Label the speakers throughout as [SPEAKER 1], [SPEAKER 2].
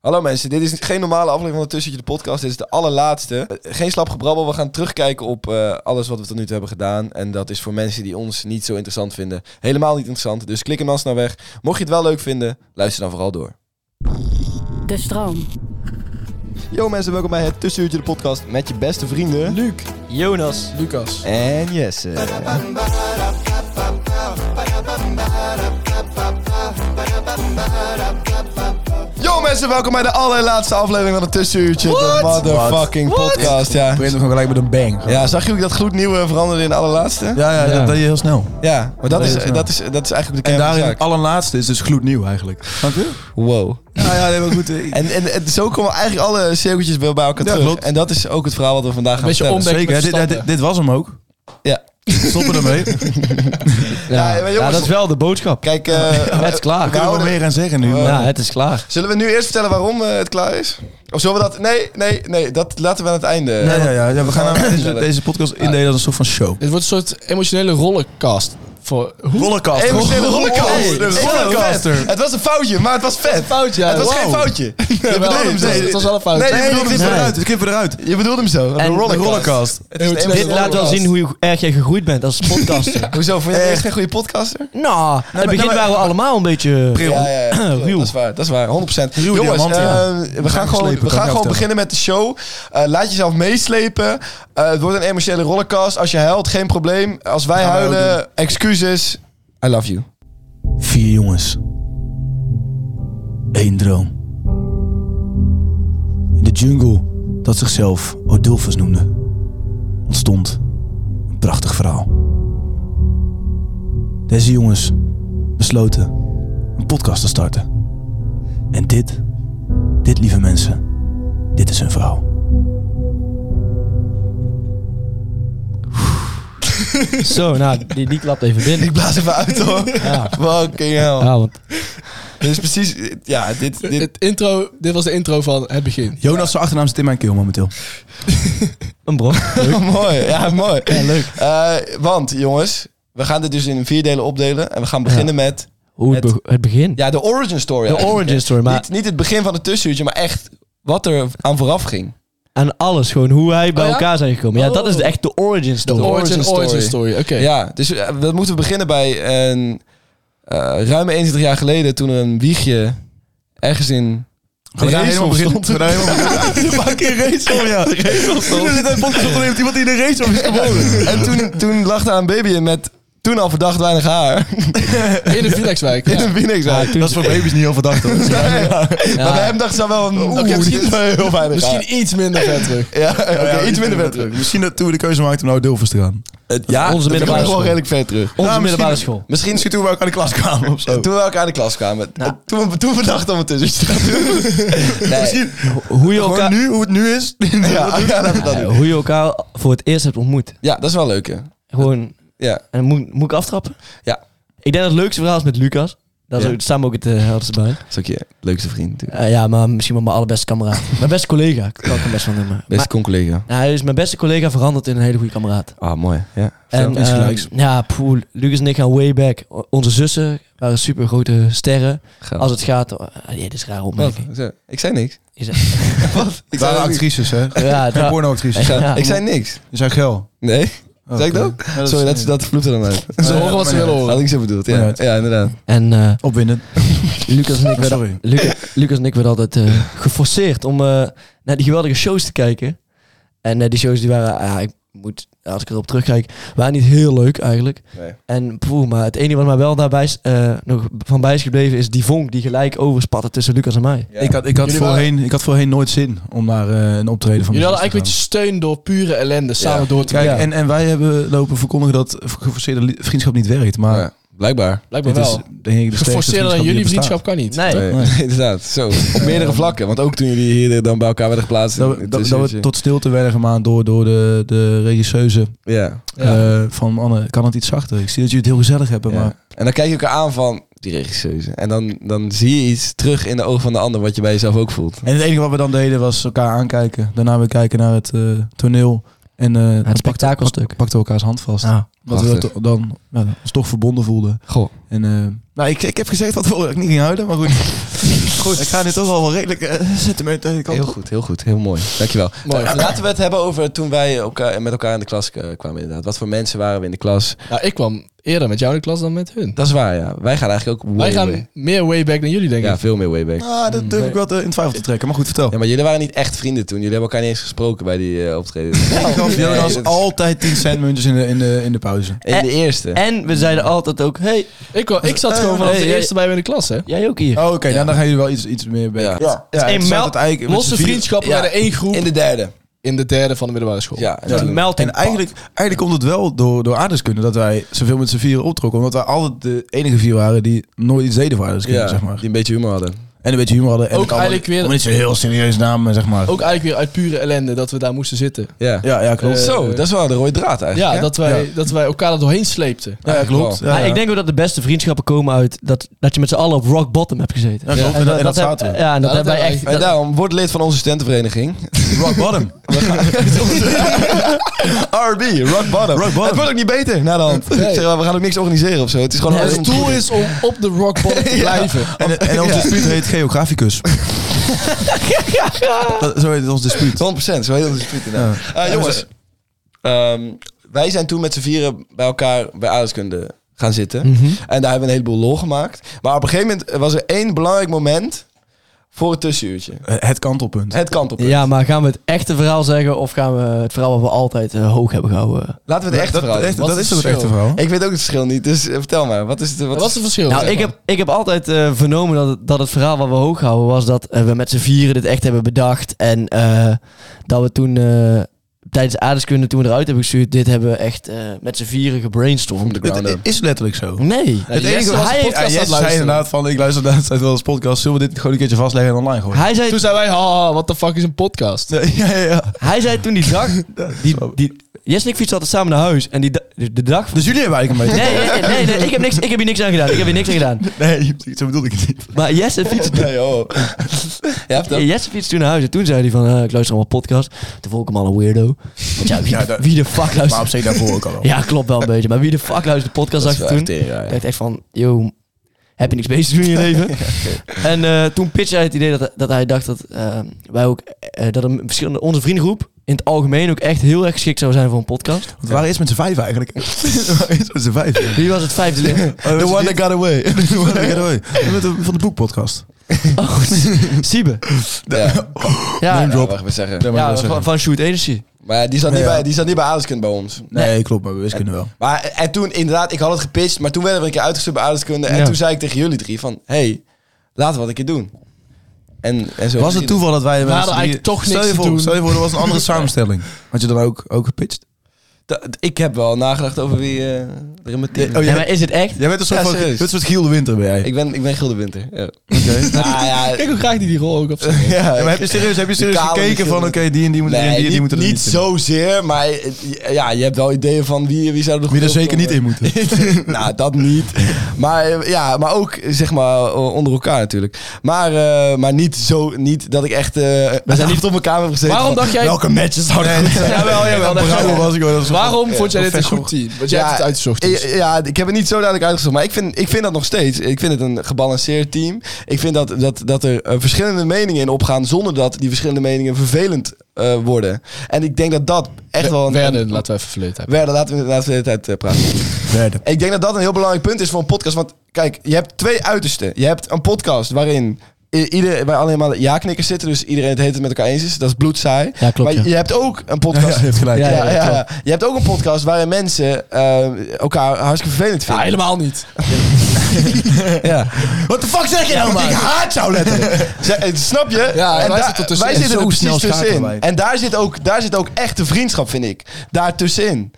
[SPEAKER 1] Hallo mensen, dit is geen normale aflevering van Tussentje de Podcast. Dit is de allerlaatste. Eh, Geen slap gebrabbel, we gaan terugkijken op eh, alles wat we tot nu toe hebben gedaan. En dat is voor mensen die ons niet zo interessant vinden, helemaal niet interessant. Dus klik hem dan snel weg. Mocht je het wel leuk vinden, luister dan vooral door.
[SPEAKER 2] De stroom.
[SPEAKER 1] Yo mensen, welkom bij het Tussenuurtje de Podcast met je beste vrienden... Luc, Jonas
[SPEAKER 3] Lucas.
[SPEAKER 1] en Jesse. Yo mensen, welkom bij de allerlaatste aflevering van het Tussenuurtje. De motherfucking podcast, ja.
[SPEAKER 3] Begint nog gelijk met een bang.
[SPEAKER 1] Ja, zag je ook dat gloednieuwe veranderde in de allerlaatste?
[SPEAKER 3] ja, ja,
[SPEAKER 4] Ja.
[SPEAKER 3] dat deed je heel snel.
[SPEAKER 1] Ja, maar dat,
[SPEAKER 3] Dat
[SPEAKER 1] is,
[SPEAKER 3] is wel.
[SPEAKER 1] dat, is, dat is eigenlijk de kern van
[SPEAKER 3] En
[SPEAKER 1] de
[SPEAKER 3] daarin
[SPEAKER 1] zaak.
[SPEAKER 3] het allerlaatste is dus gloednieuw eigenlijk. Snap je?
[SPEAKER 1] Wow.
[SPEAKER 3] Ja, ja, nee, maar goed. eh,
[SPEAKER 1] En, en, en zo komen eigenlijk alle cirkeltjes bij bij elkaar
[SPEAKER 3] Ja,
[SPEAKER 1] terug.
[SPEAKER 3] klopt.
[SPEAKER 1] En dat is ook het verhaal wat we vandaag gaan
[SPEAKER 4] beetje
[SPEAKER 1] vertellen.
[SPEAKER 4] omdenken
[SPEAKER 3] Zeker,
[SPEAKER 4] met
[SPEAKER 3] hè, dit,
[SPEAKER 4] verstand,
[SPEAKER 3] dit, dit was hem ook.
[SPEAKER 1] Zeker. Ja.
[SPEAKER 3] Stoppen ermee.
[SPEAKER 4] Nou,
[SPEAKER 3] We
[SPEAKER 1] Ja,
[SPEAKER 4] Ja,
[SPEAKER 1] maar jongens-
[SPEAKER 4] Ja, dat is wel de boodschap.
[SPEAKER 1] Kijk, eh,
[SPEAKER 4] het is klaar.
[SPEAKER 3] kunnen er wel meer aan zeggen nu. maar-
[SPEAKER 4] Ja, het is klaar.
[SPEAKER 1] zullen we nu eerst vertellen waarom eh, het klaar is? Of zullen we dat... Nee, nee, nee. Dat laten we aan het einde.
[SPEAKER 3] Ja, ja, ja, ja, we gaan
[SPEAKER 1] Gaan we
[SPEAKER 3] nou deze,
[SPEAKER 1] vertellen.
[SPEAKER 3] deze podcast indelen als een soort van show.
[SPEAKER 4] Het wordt een soort emotionele rollercast. Voor hoe?
[SPEAKER 3] Rollercast.
[SPEAKER 1] Emotionele
[SPEAKER 3] Roll-
[SPEAKER 1] rollercoaster.
[SPEAKER 3] Hey,
[SPEAKER 1] dus- Het was
[SPEAKER 3] rollercoaster.
[SPEAKER 1] vet. Het was een foutje, maar het was vet.
[SPEAKER 4] fout, ja.
[SPEAKER 1] Het was
[SPEAKER 4] Wow.
[SPEAKER 1] geen foutje. Je
[SPEAKER 4] Jawel,
[SPEAKER 1] bedoelde hem
[SPEAKER 4] het
[SPEAKER 1] zo.
[SPEAKER 4] was- het was wel een fout.
[SPEAKER 1] Nee,
[SPEAKER 3] Nee,
[SPEAKER 1] je
[SPEAKER 3] nee,
[SPEAKER 1] bedoelde
[SPEAKER 3] knip
[SPEAKER 1] hem
[SPEAKER 3] eruit.
[SPEAKER 1] eruit.
[SPEAKER 3] Ik knip eruit.
[SPEAKER 1] Je bedoelde hem zo.
[SPEAKER 4] En-
[SPEAKER 1] Een rollercast.
[SPEAKER 3] Rollercast.
[SPEAKER 1] Het is de
[SPEAKER 4] Dit
[SPEAKER 1] emotionele
[SPEAKER 4] laat wel zien hoe erg jij gegroeid bent als podcaster.
[SPEAKER 1] Hoezo, vond je echt geen goede podcaster?
[SPEAKER 4] nou, in het begin
[SPEAKER 3] maar-
[SPEAKER 4] waren we allemaal een beetje...
[SPEAKER 1] Ja, ja, ja.
[SPEAKER 4] Ruw.
[SPEAKER 1] Dat is waar, dat is waar. 100%.
[SPEAKER 3] Ruw
[SPEAKER 1] Jongens,
[SPEAKER 3] diamant,
[SPEAKER 1] eh,
[SPEAKER 3] ja.
[SPEAKER 1] we gaan gewoon, we
[SPEAKER 3] geslepen, kan ik
[SPEAKER 1] gaan
[SPEAKER 3] jou
[SPEAKER 1] gewoon
[SPEAKER 3] vertellen.
[SPEAKER 1] beginnen met de show. Eh, laat jezelf meeslepen. Eh, het wordt een emotionele rollercast. Als je huilt, geen probleem. Als wij
[SPEAKER 3] Gaan wij ook
[SPEAKER 1] huilen, excuses. I love you.
[SPEAKER 3] Vier jongens. Eén droom. In de jungle dat zichzelf Odulfus noemde, ontstond een prachtig verhaal. Deze jongens besloten een podcast te starten. En dit, dit lieve mensen, dit is hun verhaal.
[SPEAKER 4] Zo, nou, die, die klapt even binnen.
[SPEAKER 1] Ik blaas even uit hoor.
[SPEAKER 4] Ja,
[SPEAKER 1] Fucking hell.
[SPEAKER 4] ja want
[SPEAKER 1] Dit is precies... Ja, dit... dit
[SPEAKER 5] Het intro, dit was de intro van het begin.
[SPEAKER 3] Jonas' zijn achternaam zit in mijn keel momenteel.
[SPEAKER 4] een bron.
[SPEAKER 1] mooi. Ja, mooi.
[SPEAKER 4] Ja, leuk.
[SPEAKER 1] Eh, want jongens, we gaan dit dus in vier delen opdelen. En we gaan beginnen met...
[SPEAKER 4] Hoe het,
[SPEAKER 1] Het-
[SPEAKER 4] be- het begin.
[SPEAKER 1] Ja, de origin story.
[SPEAKER 4] de
[SPEAKER 1] eigenlijk.
[SPEAKER 4] origin story, maar
[SPEAKER 1] Niet, niet het begin van het tussenuurtje, maar echt wat er aan vooraf ging.
[SPEAKER 4] aan alles gewoon. Hoe wij bij
[SPEAKER 5] Oh, ja?
[SPEAKER 4] elkaar zijn gekomen. Ja, dat is echt de origin story.
[SPEAKER 5] De origin,
[SPEAKER 1] origin
[SPEAKER 5] origin
[SPEAKER 1] story.
[SPEAKER 5] story, oké.
[SPEAKER 1] Ja, dus eh, we moeten beginnen bij een, eh, ruim 21 jaar geleden toen er een wiegje ergens in...
[SPEAKER 3] Gaan we daar helemaal
[SPEAKER 1] Reesom
[SPEAKER 3] beginnen?
[SPEAKER 1] stond.
[SPEAKER 3] Gaan we daar helemaal beginnen? Maak een race om, ja. Er zit een podcast op, iemand die in een race om is geboren.
[SPEAKER 1] En toen, toen lag daar een baby in met toen al verdacht weinig haar.
[SPEAKER 5] In de Phoenixwijk.
[SPEAKER 1] In een Phoenix.
[SPEAKER 4] Ja, toen-
[SPEAKER 3] Dat is voor baby's niet overdag, hoor.
[SPEAKER 1] Maar bij hem dacht ze wel... Oké,
[SPEAKER 5] dit
[SPEAKER 1] misschien
[SPEAKER 5] is-
[SPEAKER 1] wel heel weinig haar.
[SPEAKER 5] Misschien iets minder vet terug.
[SPEAKER 1] Ja, oké, iets minder vet terug.
[SPEAKER 3] Misschien dat toen we de keuze maakten om naar Dulfus te gaan.
[SPEAKER 1] Ja,
[SPEAKER 4] Onze
[SPEAKER 1] dat ging
[SPEAKER 4] middelbare
[SPEAKER 1] wel
[SPEAKER 4] school.
[SPEAKER 1] redelijk ver terug.
[SPEAKER 4] Onze
[SPEAKER 3] Nou,
[SPEAKER 4] middelbare
[SPEAKER 3] misschien-
[SPEAKER 4] school.
[SPEAKER 1] Misschien
[SPEAKER 3] Misschien toen we ook aan de klas kwamen of zo.
[SPEAKER 1] toen we elkaar in de klas kwamen. Toen, toen verdacht om het tussen te gaan doen. Nee.
[SPEAKER 3] Misschien
[SPEAKER 4] Hoe je
[SPEAKER 3] gewoon
[SPEAKER 4] elkaar...
[SPEAKER 3] nu, hoe het nu is.
[SPEAKER 1] Ja, ja, laten we dat
[SPEAKER 4] Ja,
[SPEAKER 1] doen.
[SPEAKER 4] hoe je elkaar voor het eerst hebt ontmoet.
[SPEAKER 1] ja, dat is wel leuk, hè?
[SPEAKER 4] Gewoon,
[SPEAKER 1] Ja.
[SPEAKER 4] en moet, moet ik aftrappen?
[SPEAKER 1] Ja.
[SPEAKER 4] Ik denk dat het leukste verhaal is met Lucas. Daar
[SPEAKER 1] Ja.
[SPEAKER 4] ja. staan we ook het eh, helderste bij.
[SPEAKER 1] Dat is ook je leukste vriend natuurlijk.
[SPEAKER 4] Eh, ja, maar misschien wel mijn allerbeste kameraad. mijn beste collega, kan ik hem best wel noemen.
[SPEAKER 1] Beste con-collega.
[SPEAKER 4] Maar, nou, hij is mijn beste collega veranderd in een hele goede kameraad.
[SPEAKER 1] Ah, mooi. Ja.
[SPEAKER 4] En,
[SPEAKER 3] iets
[SPEAKER 4] eh,
[SPEAKER 3] gelijks.
[SPEAKER 4] ja, poeh, Lucas en ik gaan way back. O- Onze zussen waren super grote sterren.
[SPEAKER 1] Gaaf.
[SPEAKER 4] Als het gaat... oh, eh, dit is een rare
[SPEAKER 1] Wat?
[SPEAKER 4] opmerking.
[SPEAKER 1] Zo. Ik zei niks.
[SPEAKER 4] Is het-
[SPEAKER 1] Wat? Ik
[SPEAKER 3] Het waren
[SPEAKER 1] niks.
[SPEAKER 3] actrices, hè?
[SPEAKER 4] Ja, het
[SPEAKER 3] Geen
[SPEAKER 4] wa-
[SPEAKER 3] pornoactrices.
[SPEAKER 1] Ik zei-
[SPEAKER 4] Ja.
[SPEAKER 1] ik zei niks.
[SPEAKER 3] Die zijn geil.
[SPEAKER 1] Nee?
[SPEAKER 3] Oh,
[SPEAKER 1] zei ik dat?
[SPEAKER 3] oké. Ja,
[SPEAKER 1] Sorry, dat, dat vloept er dan uit.
[SPEAKER 5] Ze horen wat ze willen
[SPEAKER 1] Had
[SPEAKER 5] horen.
[SPEAKER 1] ik zo bedoeld.
[SPEAKER 3] Maar
[SPEAKER 1] Ja,
[SPEAKER 3] uit.
[SPEAKER 1] ja inderdaad.
[SPEAKER 4] En eh,
[SPEAKER 3] Opwinden.
[SPEAKER 4] Lucas en ik werden
[SPEAKER 3] Oh, Sorry.
[SPEAKER 4] Luca- Lucas en ik werden altijd eh, geforceerd om eh, naar die geweldige shows te kijken. En eh, die shows die waren, ah, ja, ik moet, als ik erop terugkijk, waren niet heel leuk eigenlijk.
[SPEAKER 1] Nee.
[SPEAKER 4] En poeh, maar het enige wat mij wel daarbij is, eh, nog van bij is gebleven is die vonk die gelijk overspatte tussen Lucas en mij.
[SPEAKER 1] Ja.
[SPEAKER 3] Ik, had, ik, had
[SPEAKER 5] Jullie waren-
[SPEAKER 3] voorheen, ik had voorheen nooit zin om naar eh, een optreden van
[SPEAKER 5] Jullie hadden
[SPEAKER 3] mezelf
[SPEAKER 5] eigenlijk een
[SPEAKER 3] te
[SPEAKER 5] beetje steun door pure ellende samen
[SPEAKER 1] Ja.
[SPEAKER 5] door te
[SPEAKER 3] gaan. Kijk,
[SPEAKER 4] Ja.
[SPEAKER 3] en, en wij hebben lopen verkondigen dat geforceerde li- vriendschap niet werkt. Maar
[SPEAKER 1] Ja. Blijkbaar.
[SPEAKER 5] Blijkbaar
[SPEAKER 3] Dit is
[SPEAKER 5] wel.
[SPEAKER 3] denk ik de sterkste
[SPEAKER 5] Geforceerd aan
[SPEAKER 3] vriendschap die
[SPEAKER 5] jullie
[SPEAKER 3] er bestaat.
[SPEAKER 5] vriendschap kan niet.
[SPEAKER 4] Nee.
[SPEAKER 1] Nee, inderdaad. Zo. Op meerdere vlakken. Want ook toen jullie hier dan bij elkaar werden geplaatst. in
[SPEAKER 3] Dat,
[SPEAKER 1] eh, het
[SPEAKER 3] we- dat, dat we
[SPEAKER 1] tussenuurtje.
[SPEAKER 3] tot stilte werden gemaakt door, door de, de regisseuse
[SPEAKER 1] Ja.
[SPEAKER 5] Ja.
[SPEAKER 3] eh, van Anne. Kan het iets zachter? Ik zie dat jullie het heel gezellig hebben,
[SPEAKER 1] Ja.
[SPEAKER 3] maar
[SPEAKER 1] En dan kijk je elkaar aan van die regisseuse. En dan, dan zie je iets terug in de ogen van de ander wat je bij jezelf ook voelt.
[SPEAKER 3] En het enige wat we dan deden was elkaar aankijken. Daarna weer kijken naar het eh, toneel. En eh, dan pakten-
[SPEAKER 4] spektakelstuk.
[SPEAKER 3] pakten we elkaars hand vast.
[SPEAKER 4] Ah.
[SPEAKER 3] omdat we
[SPEAKER 1] prachtig.
[SPEAKER 3] dat dan ja, ons toch verbonden voelden.
[SPEAKER 1] Goh.
[SPEAKER 3] En, eh, nou, ik, ik heb gezegd dat we niet ging huilen, maar goed. goed. Ik ga nu toch wel wel redelijk eh, sentimenteel de kant
[SPEAKER 1] Heel
[SPEAKER 3] op.
[SPEAKER 1] goed, heel goed. Heel mooi. Dankjewel.
[SPEAKER 5] Mooi.
[SPEAKER 1] Eh, Laten we het hebben over toen wij elkaar, met elkaar in de klas eh, kwamen inderdaad. Wat voor mensen waren we in de klas?
[SPEAKER 5] Nou, ik kwam eerder met jou in de klas dan met hun.
[SPEAKER 1] Dat is waar, ja. Wij gaan eigenlijk ook way
[SPEAKER 5] Wij gaan
[SPEAKER 1] way-
[SPEAKER 5] meer way back dan jullie, denk
[SPEAKER 1] Ja,
[SPEAKER 5] ik.
[SPEAKER 1] veel meer way back.
[SPEAKER 3] Ah, dat durf ik wel te- in twijfel te trekken, maar goed, vertel.
[SPEAKER 1] Ja, maar jullie waren niet echt vrienden toen. Jullie hebben elkaar niet eens gesproken bij die eh, optreden.
[SPEAKER 3] ik gaf
[SPEAKER 1] nee,
[SPEAKER 3] Jonas
[SPEAKER 1] dat is-
[SPEAKER 3] altijd 10 centmuntjes in de, in, de, in de pauze.
[SPEAKER 1] In de eerste.
[SPEAKER 4] En we zeiden altijd ook, hey,
[SPEAKER 5] Ik, kwam- ik zat
[SPEAKER 3] Eh,
[SPEAKER 5] gewoon vanaf
[SPEAKER 4] hey,
[SPEAKER 5] de
[SPEAKER 4] hey.
[SPEAKER 5] eerste bij me in de klas, hè?
[SPEAKER 4] jij ook hier.
[SPEAKER 3] Oh, oké, nou, dan gaan jullie wel iets, iets meer bij.
[SPEAKER 1] Ja.
[SPEAKER 3] ja,
[SPEAKER 4] Hey,
[SPEAKER 3] het is
[SPEAKER 4] Mel-
[SPEAKER 3] altijd eigenlijk met z'n
[SPEAKER 5] Losse
[SPEAKER 3] vieren-
[SPEAKER 5] vriendschappen
[SPEAKER 1] ja.
[SPEAKER 5] werden één groep
[SPEAKER 1] In
[SPEAKER 5] in de,
[SPEAKER 1] de derde.
[SPEAKER 5] derde van de middelbare school.
[SPEAKER 1] Ja.
[SPEAKER 4] Het is
[SPEAKER 1] toen-
[SPEAKER 4] een melting
[SPEAKER 3] En eigenlijk, eigenlijk komt het wel door, door aardrijkskunde dat wij zoveel met z'n vieren optrokken. Omdat wij altijd de enige vier waren die nooit iets deden voor aardrijkskunde,
[SPEAKER 1] ja,
[SPEAKER 3] zeg maar.
[SPEAKER 1] die een beetje humor hadden.
[SPEAKER 3] En een beetje humor hadden. En
[SPEAKER 5] Ook
[SPEAKER 3] het allemaal-
[SPEAKER 5] eigenlijk weer-
[SPEAKER 3] allemaal niet zo heel serieus namen, zeg maar.
[SPEAKER 5] Ook eigenlijk weer uit pure ellende dat we daar moesten zitten.
[SPEAKER 1] Ja.
[SPEAKER 3] ja, ja, klopt.
[SPEAKER 5] Eh,
[SPEAKER 1] Zo, dat is wel de rode draad eigenlijk.
[SPEAKER 5] Ja,
[SPEAKER 1] hè?
[SPEAKER 5] dat wij, Dat wij elkaar er doorheen sleepten.
[SPEAKER 3] ja, ja, klopt.
[SPEAKER 1] wel.
[SPEAKER 3] Ja,
[SPEAKER 4] Maar
[SPEAKER 3] ja.
[SPEAKER 4] ik denk ook dat de beste vriendschappen komen uit dat, dat je met z'n allen op rock bottom hebt gezeten.
[SPEAKER 3] Ja, klopt. En, dat- en dat
[SPEAKER 4] heb-
[SPEAKER 3] zaten we.
[SPEAKER 4] Ja, en dat,
[SPEAKER 5] Ja,
[SPEAKER 4] hebben wij
[SPEAKER 5] dat
[SPEAKER 4] echt...
[SPEAKER 1] En
[SPEAKER 4] dat-
[SPEAKER 1] daarom, word lid van onze studentenvereniging.
[SPEAKER 3] Rock bottom.
[SPEAKER 1] RB, rock bottom.
[SPEAKER 3] Rock bottom.
[SPEAKER 1] Het wordt ook niet beter na de hand. Ik zeg maar, we gaan ook niks organiseren of zo. Het is gewoon
[SPEAKER 5] Ons
[SPEAKER 1] alles om-
[SPEAKER 5] doel is om op de rock bottom te blijven.
[SPEAKER 3] En, en ons dispuut heet Geographicus. Dat- Zo heet het ons dispuut.
[SPEAKER 1] 100%, zo heel het
[SPEAKER 3] Ja. dus-
[SPEAKER 1] inderdaad. Eh, jongens, ehm, wij zijn toen met z'n vieren bij elkaar bij aardrijkskunde gaan zitten.
[SPEAKER 3] Mhm.
[SPEAKER 4] Mhm.
[SPEAKER 1] En daar hebben we een heleboel lol gemaakt. Maar op een gegeven moment was er één belangrijk moment voor het tussenuurtje.
[SPEAKER 3] Eh, Het kantelpunt.
[SPEAKER 1] Het kantelpunt.
[SPEAKER 4] Ja, maar gaan we het echte verhaal zeggen of gaan we het verhaal wat we altijd eh, hoog hebben gehouden?
[SPEAKER 1] Laten we het echt
[SPEAKER 3] dat,
[SPEAKER 1] verhaal
[SPEAKER 3] dat,
[SPEAKER 1] doen.
[SPEAKER 3] dat is toch het
[SPEAKER 5] verschil?
[SPEAKER 3] echte verhaal?
[SPEAKER 1] Ik weet ook het verschil niet, dus eh, vertel maar. Wat is het? Wat
[SPEAKER 5] Wat is het verschil?
[SPEAKER 4] Nou,
[SPEAKER 5] zeg
[SPEAKER 4] ik
[SPEAKER 5] maar?
[SPEAKER 4] heb, ik heb altijd eh, vernomen dat, het- dat het verhaal wat we hoog houden was dat eh, we met z'n vieren dit echt hebben bedacht. En eh, dat we toen eh, tijdens aardeskunde, toen we eruit hebben gestuurd, dit hebben we echt eh, met z'n vieren gebrainstormd.
[SPEAKER 1] de
[SPEAKER 5] nou,
[SPEAKER 1] ground
[SPEAKER 3] Het e-
[SPEAKER 1] up.
[SPEAKER 3] is letterlijk zo.
[SPEAKER 4] Nee.
[SPEAKER 5] Het enige
[SPEAKER 3] Jesse
[SPEAKER 5] was
[SPEAKER 3] hij- ah,
[SPEAKER 5] een podcast aan het
[SPEAKER 3] Jesse zei
[SPEAKER 5] luisteren.
[SPEAKER 3] inderdaad van, ik luister de hele tijd wel eens podcast. Zullen we dit gewoon een keertje vastleggen en online gooien?
[SPEAKER 4] Hij zei,
[SPEAKER 5] Toen zeiden wij, haha, what the fuck is een podcast?
[SPEAKER 3] Ja, ja, ja.
[SPEAKER 4] hij zei toen die dag... Die,
[SPEAKER 3] snap ik.
[SPEAKER 4] die, Jess en ik fietsen altijd samen naar huis. En die da- de, de dag...
[SPEAKER 3] Dus jullie hebben eigenlijk een
[SPEAKER 4] Nee,
[SPEAKER 3] beetje...
[SPEAKER 4] nee, nee, nee, nee, ik, heb niks, ik heb hier niks aan gedaan. Ik heb hier niks aan gedaan.
[SPEAKER 3] Nee, zo bedoel ik het niet.
[SPEAKER 4] Maar Jesse fietst
[SPEAKER 1] Nee, oh. ja, vertel.
[SPEAKER 4] Jesse fietste toen naar huis en toen zei hij van, eh, ik luister allemaal podcast. Toen vond ik hem al een weirdo. Want ja, wie,
[SPEAKER 3] Ja, dat-
[SPEAKER 4] wie de fuck
[SPEAKER 3] Maar op
[SPEAKER 4] luistert...
[SPEAKER 3] zich daarvoor ook al wel.
[SPEAKER 4] Ja, klopt wel een beetje. Maar wie de fuck luistert de podcast,
[SPEAKER 1] Dat is
[SPEAKER 4] dacht
[SPEAKER 1] wel
[SPEAKER 4] ik
[SPEAKER 1] echt
[SPEAKER 4] toen.
[SPEAKER 1] tering, ja,
[SPEAKER 4] Ik
[SPEAKER 1] ja.
[SPEAKER 4] dacht echt van, yo, heb je niks bezig te doen in je leven? En eh, toen pitchte hij het idee dat, dat hij dacht dat eh, wij ook... eh, dat een verschillende, onze vriendengroep in het algemeen ook echt heel erg geschikt zou zijn voor een podcast.
[SPEAKER 3] Want we waren eerst met z'n vijf eigenlijk. We waren eerst met z'n vijf. Oh,
[SPEAKER 4] Wie was het vijfde lid?
[SPEAKER 3] The one that got away. Ah, Met de, van de boekpodcast.
[SPEAKER 4] Oh, Siebe.
[SPEAKER 1] Ja,
[SPEAKER 4] Ja,
[SPEAKER 1] ja, wacht, we zeggen.
[SPEAKER 4] ja, van, van Shoot Energy.
[SPEAKER 1] Maar die zat niet
[SPEAKER 3] Ja, ja.
[SPEAKER 1] bij, die zat niet bij aardrijkskunde bij ons.
[SPEAKER 3] Nee, klopt, maar we wiskunde wel.
[SPEAKER 1] Maar, en toen, inderdaad, ik had het gepitcht, maar toen werden we een keer uitgestuurd bij aardrijkskunde. En
[SPEAKER 4] Ja.
[SPEAKER 1] toen zei ik tegen jullie drie van, hey, laten we wat een keer doen. En, en zo
[SPEAKER 3] Was het toeval dat wij... met
[SPEAKER 5] hadden
[SPEAKER 3] z'n drieën-
[SPEAKER 5] eigenlijk toch
[SPEAKER 3] Stel
[SPEAKER 5] niks
[SPEAKER 3] je
[SPEAKER 5] te
[SPEAKER 3] voor-
[SPEAKER 5] doen.
[SPEAKER 3] Stel je voor, er was een andere samenstelling. Had je dan ook, ook gepitcht?
[SPEAKER 1] Da- Ik heb wel nagedacht over wie eh, er in mijn team
[SPEAKER 3] Oh,
[SPEAKER 4] Ja,
[SPEAKER 3] jij,
[SPEAKER 4] maar is het echt?
[SPEAKER 3] jij bent een soort
[SPEAKER 1] Ja,
[SPEAKER 3] van...
[SPEAKER 1] serieus.
[SPEAKER 3] Dit soort Giel de Winter ben jij.
[SPEAKER 1] Ik ben, ik ben Gildewinter. Ja. Ah, ja,
[SPEAKER 5] Kijk hoe graag die die rol ook op zich heeft.
[SPEAKER 1] ja,
[SPEAKER 3] Ja, maar heb je serieus, heb je serieus
[SPEAKER 1] kale
[SPEAKER 3] gekeken
[SPEAKER 1] Giel
[SPEAKER 3] van... Oké,
[SPEAKER 1] Winter.
[SPEAKER 3] die en die moeten erin, die
[SPEAKER 1] Nee,
[SPEAKER 3] en die
[SPEAKER 1] niet,
[SPEAKER 3] moeten er
[SPEAKER 1] niet
[SPEAKER 3] niet in.
[SPEAKER 1] zozeer, maar eh, ja, je hebt wel ideeën van wie, wie zou er goed
[SPEAKER 3] Wie er zeker
[SPEAKER 1] opkomen.
[SPEAKER 3] niet in moeten.
[SPEAKER 1] nou, dat niet. Maar, eh, ja, maar ook eh, zeg maar eh, onder elkaar natuurlijk. Maar, eh, maar niet zo, niet dat ik echt. eh, We zijn niet op elkaar heb
[SPEAKER 4] Oh,
[SPEAKER 1] gezeten.
[SPEAKER 5] Waarom
[SPEAKER 1] van,
[SPEAKER 5] dacht jij-
[SPEAKER 1] Welke matches zouden goed zijn?
[SPEAKER 5] Jawel, jawel.
[SPEAKER 3] Brouwer was ik hoor. dat is-
[SPEAKER 5] Waarom vond jij
[SPEAKER 3] Ja,
[SPEAKER 5] dit een
[SPEAKER 3] vet
[SPEAKER 5] goed
[SPEAKER 3] goed.
[SPEAKER 5] team? Want jij hebt het uitgezocht. dus.
[SPEAKER 1] eh, Ja, ik heb het niet zo duidelijk uitgezocht. Maar ik vind, ik vind dat nog steeds. Ik vind het een gebalanceerd team. Ik vind dat, dat, dat er eh, verschillende meningen in opgaan... zonder dat die verschillende meningen vervelend eh, worden. En ik denk dat dat echt wel... Een,
[SPEAKER 5] Werden, laten we even verleerd hebben.
[SPEAKER 1] Werden, laten we laten we de hele tijd eh, praten.
[SPEAKER 3] Derde.
[SPEAKER 1] Ik denk dat dat een heel belangrijk punt is voor een podcast. Want kijk, je hebt twee uitersten. Je hebt een podcast waarin i- ieder, waar alleen maar ja-knikkers zitten. Dus iedereen het heet het met elkaar eens is. Dat is bloedsaai.
[SPEAKER 4] Ja, klopt,
[SPEAKER 1] maar
[SPEAKER 4] ja.
[SPEAKER 1] je hebt ook een
[SPEAKER 3] Ja,
[SPEAKER 1] podcast...
[SPEAKER 3] je hebt gelijk.
[SPEAKER 4] Ja,
[SPEAKER 1] Ja, ja,
[SPEAKER 4] ja,
[SPEAKER 1] ja. Je hebt ook een podcast waarin mensen eh, elkaar hartstikke vervelend
[SPEAKER 5] Ja,
[SPEAKER 1] vinden.
[SPEAKER 5] helemaal niet.
[SPEAKER 4] ja. What the fuck zeg je nou, man?
[SPEAKER 1] Ik haat jou letterlijk. Zij- eh, Snap je?
[SPEAKER 5] Ja,
[SPEAKER 1] En
[SPEAKER 5] wij
[SPEAKER 1] daar-
[SPEAKER 5] zitten ertussenin.
[SPEAKER 1] wij zitten
[SPEAKER 5] Zo
[SPEAKER 1] er
[SPEAKER 5] snel
[SPEAKER 1] precies
[SPEAKER 5] schakelen
[SPEAKER 1] tussenin.
[SPEAKER 5] wij.
[SPEAKER 1] En daar zit, ook, daar zit ook echt de vriendschap, vind ik. Daar tussenin.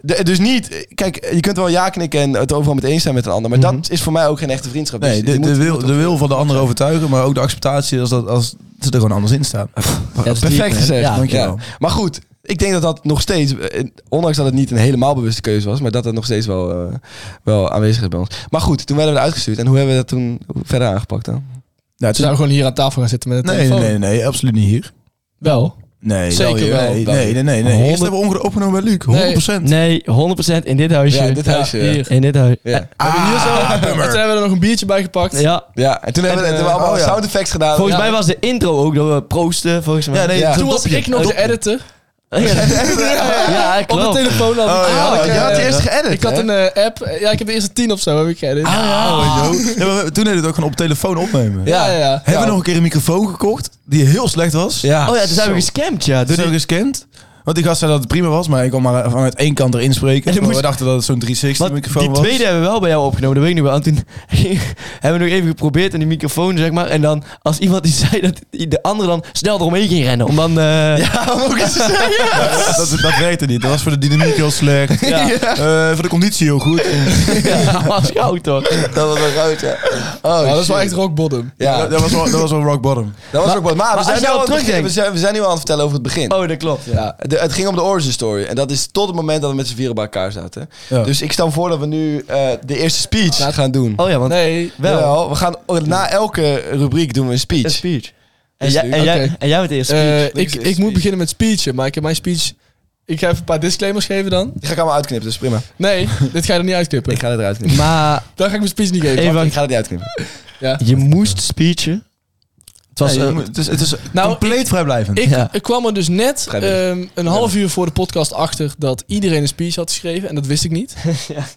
[SPEAKER 1] De- dus niet... Kijk, je kunt wel ja knikken en het overal mee eens zijn met een ander. Maar dat is voor mij ook geen echte vriendschap. Dus
[SPEAKER 6] Nee,
[SPEAKER 1] je
[SPEAKER 6] de,
[SPEAKER 1] moet-
[SPEAKER 6] de,
[SPEAKER 1] je
[SPEAKER 6] wil,
[SPEAKER 1] moet
[SPEAKER 6] de
[SPEAKER 1] op-
[SPEAKER 6] wil van de ander overtuigen, maar ook de acceptatie als, dat, als ze er gewoon anders in staan.
[SPEAKER 4] dat is diep,
[SPEAKER 6] Perfect
[SPEAKER 4] man.
[SPEAKER 6] gezegd,
[SPEAKER 4] Ja.
[SPEAKER 6] dankjewel.
[SPEAKER 1] Ja. Maar goed, ik denk dat dat nog steeds, eh, ondanks dat het niet een helemaal bewuste keuze was, maar dat het nog steeds wel, eh, wel aanwezig is bij ons. Maar goed, toen werden we eruit gestuurd. En hoe hebben we dat toen verder aangepakt dan?
[SPEAKER 6] Nou, het
[SPEAKER 5] Ze
[SPEAKER 6] is-
[SPEAKER 5] zouden gewoon hier aan tafel gaan zitten met een
[SPEAKER 6] nee, nee,
[SPEAKER 5] telefoon.
[SPEAKER 6] nee, nee, absoluut niet hier.
[SPEAKER 5] Wel.
[SPEAKER 6] Nee,
[SPEAKER 5] Zeker
[SPEAKER 6] hier.
[SPEAKER 5] wel,
[SPEAKER 6] Nee,
[SPEAKER 5] wel
[SPEAKER 6] nee,
[SPEAKER 5] hier.
[SPEAKER 6] nee, nee. nee. Eerst
[SPEAKER 4] Honderd-
[SPEAKER 6] hebben we onge- opgenomen bij Luc, 100%.
[SPEAKER 4] Nee, 100% in dit huisje.
[SPEAKER 1] Ja, in dit huisje, ja.
[SPEAKER 4] hier. In dit huisje.
[SPEAKER 1] Ja.
[SPEAKER 4] Eh,
[SPEAKER 5] Hebben we hier zo- en toen hebben we er nog een biertje bij gepakt.
[SPEAKER 4] ja.
[SPEAKER 1] Ja, en toen hebben we, toen
[SPEAKER 5] eh,
[SPEAKER 1] hebben we allemaal
[SPEAKER 6] oh ja.
[SPEAKER 1] sound effects gedaan.
[SPEAKER 4] Volgens
[SPEAKER 1] Ja.
[SPEAKER 4] mij was de intro ook dat we proosten, volgens mij.
[SPEAKER 6] Ja, nee,
[SPEAKER 1] Ja.
[SPEAKER 6] zo'n
[SPEAKER 5] Toen was
[SPEAKER 6] dopje.
[SPEAKER 5] ik nog de editor.
[SPEAKER 4] ja, ja,
[SPEAKER 5] Op de
[SPEAKER 4] klopt.
[SPEAKER 5] telefoon had ik.
[SPEAKER 6] Oh, ja,
[SPEAKER 5] Ah, ik,
[SPEAKER 6] ja,
[SPEAKER 1] je
[SPEAKER 5] eh,
[SPEAKER 1] had eerst geëdit,
[SPEAKER 5] Ik had
[SPEAKER 1] hè?
[SPEAKER 5] een eh, app. Ja, ik heb de eerste tien of zo heb ik geëdit.
[SPEAKER 6] Ah,
[SPEAKER 3] Oh,
[SPEAKER 6] ja, joh. Ja, maar we- toen deed het ook gewoon op telefoon opnemen.
[SPEAKER 5] Ja, ja, ja.
[SPEAKER 6] Hebben we nog een keer een microfoon gekocht die heel slecht was?
[SPEAKER 1] Ja.
[SPEAKER 4] Oh ja, toen zijn we gescamd, ja.
[SPEAKER 6] Toen hebben
[SPEAKER 4] Door die-
[SPEAKER 6] we gescamd. Want die gast zei dat het prima was, maar ik kon maar vanuit één kant erin spreken.
[SPEAKER 4] En
[SPEAKER 6] En
[SPEAKER 4] toen
[SPEAKER 6] we
[SPEAKER 4] moest-
[SPEAKER 6] dachten dat het zo'n 360
[SPEAKER 4] Want
[SPEAKER 6] microfoon
[SPEAKER 4] die
[SPEAKER 6] was.
[SPEAKER 4] tweede hebben we wel bij jou opgenomen, dat weet ik nog wel. En toen hebben we nog even geprobeerd aan die microfoon, zeg maar. En dan, als iemand die zei dat de andere dan snel eromheen ging rennen. Om dan... eh,
[SPEAKER 6] Ja, dat, dat werkte niet. Dat was voor de dynamiek heel slecht.
[SPEAKER 4] Ja.
[SPEAKER 6] Eh, voor de conditie heel goed.
[SPEAKER 4] Ja, was goud toch?
[SPEAKER 1] Dat was wel groot, ja. Oh,
[SPEAKER 5] Ja, Nou, dat is
[SPEAKER 1] shit.
[SPEAKER 5] wel echt rock bottom.
[SPEAKER 1] Ja,
[SPEAKER 6] Dat, dat was wel, dat was wel rock bottom.
[SPEAKER 1] dat was ook wat. Maar, we,
[SPEAKER 4] als
[SPEAKER 1] zijn
[SPEAKER 4] je
[SPEAKER 1] nu
[SPEAKER 4] al
[SPEAKER 1] al aan het begin-
[SPEAKER 4] terugdenkt-
[SPEAKER 1] we, zijn, we zijn nu al aan het vertellen over het begin.
[SPEAKER 4] Oh, dat klopt. Ja.
[SPEAKER 1] De- het ging om de origin story. En dat is tot het moment dat we met z'n vieren bij elkaar zaten.
[SPEAKER 6] Ja.
[SPEAKER 1] Dus ik stel voor dat we nu eh, de eerste speech gaan doen.
[SPEAKER 4] Oh ja, want
[SPEAKER 5] Nee.
[SPEAKER 4] wel.
[SPEAKER 1] Jawel, we gaan, na elke rubriek doen we een
[SPEAKER 4] Een
[SPEAKER 1] speech.
[SPEAKER 4] speech. En,
[SPEAKER 1] Is
[SPEAKER 4] jij,
[SPEAKER 1] leuk.
[SPEAKER 4] en, jij,
[SPEAKER 5] Oké.
[SPEAKER 4] en jij bent de eerste speech.
[SPEAKER 1] Niks
[SPEAKER 5] eh, ik,
[SPEAKER 1] is
[SPEAKER 5] ik
[SPEAKER 1] speech.
[SPEAKER 5] moet beginnen met speechen, maar ik heb mijn speech... Ik ga even een paar disclaimers geven dan.
[SPEAKER 1] Die ga ik allemaal uitknippen, dus prima.
[SPEAKER 5] Nee, dit ga je er niet uitknippen.
[SPEAKER 1] Ik ga het eruit knippen.
[SPEAKER 4] maar
[SPEAKER 5] Dan ga ik mijn speech niet geven.
[SPEAKER 4] Even-
[SPEAKER 1] Ik ga het niet uitknippen.
[SPEAKER 4] je moest speechen. Het was...
[SPEAKER 6] Nee,
[SPEAKER 4] eh,
[SPEAKER 6] je moet- het is, het is
[SPEAKER 5] Nou,
[SPEAKER 6] compleet vrijblijvend.
[SPEAKER 5] Ik,
[SPEAKER 4] Ja.
[SPEAKER 5] ik kwam er dus net
[SPEAKER 1] Vrijwillig.
[SPEAKER 5] ehm, een half uur voor de podcast achter dat iedereen een speech had geschreven. En dat wist ik niet.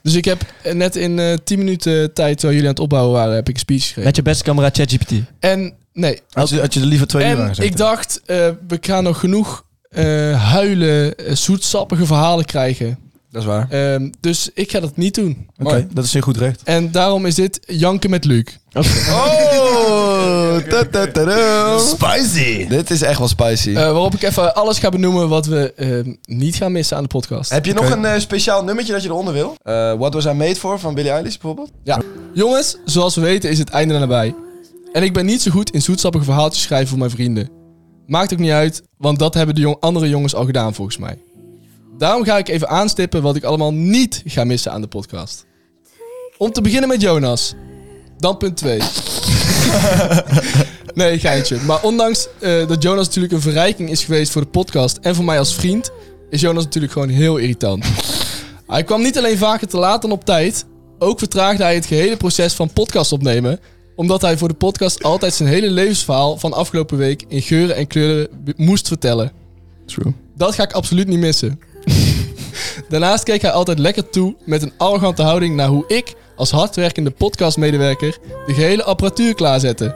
[SPEAKER 5] Dus ik heb eh, net in eh 10 minuten tijd, terwijl jullie aan het opbouwen waren, heb ik een speech geschreven.
[SPEAKER 4] met je beste camera ChatGPT.
[SPEAKER 5] En nee.
[SPEAKER 6] had, je, had je er liever twee uur aan
[SPEAKER 5] En
[SPEAKER 6] gezeten.
[SPEAKER 5] Ehm, ik dacht, eh, we gaan nog genoeg eh, huilen, eh, zoetsappige verhalen krijgen.
[SPEAKER 1] Dat is waar.
[SPEAKER 5] Ehm, dus ik ga dat niet doen.
[SPEAKER 6] Oké, dat is heel goed recht.
[SPEAKER 5] En daarom is dit Janken met Luc.
[SPEAKER 1] Oh! ta-ta-ta-da.
[SPEAKER 6] Spicy!
[SPEAKER 1] Dit is echt wel spicy.
[SPEAKER 5] Eh, waarop ik even alles ga benoemen wat we ehm, niet gaan missen aan de podcast.
[SPEAKER 1] Heb je
[SPEAKER 6] oké.
[SPEAKER 1] nog een eh, speciaal nummertje dat je eronder wil? Eh, What Was I Made For van Billie Eilish bijvoorbeeld?
[SPEAKER 5] Jongens, zoals we weten is het einde er nabij. En ik ben niet zo goed in zoetsappige verhaaltjes schrijven voor mijn vrienden. Maakt ook niet uit, want dat hebben de jong andere jongens al gedaan volgens mij. Daarom ga ik even aanstippen wat ik allemaal niet ga missen aan de podcast. Om te beginnen met Jonas. Dan punt 2. nee, geintje. Maar ondanks eh, dat Jonas natuurlijk een verrijking is geweest voor de podcast en voor mij als vriend, is Jonas natuurlijk gewoon heel irritant. Hij kwam niet alleen vaker te laat dan op tijd, ook vertraagde hij het gehele proces van podcast opnemen, omdat hij voor de podcast altijd zijn hele levensverhaal van afgelopen week in geuren en kleuren b- moest vertellen.
[SPEAKER 1] True.
[SPEAKER 5] Dat ga ik absoluut niet missen. Daarnaast keek hij altijd lekker toe met een arrogante houding naar hoe ik, als hardwerkende podcastmedewerker, de gehele apparatuur klaarzette.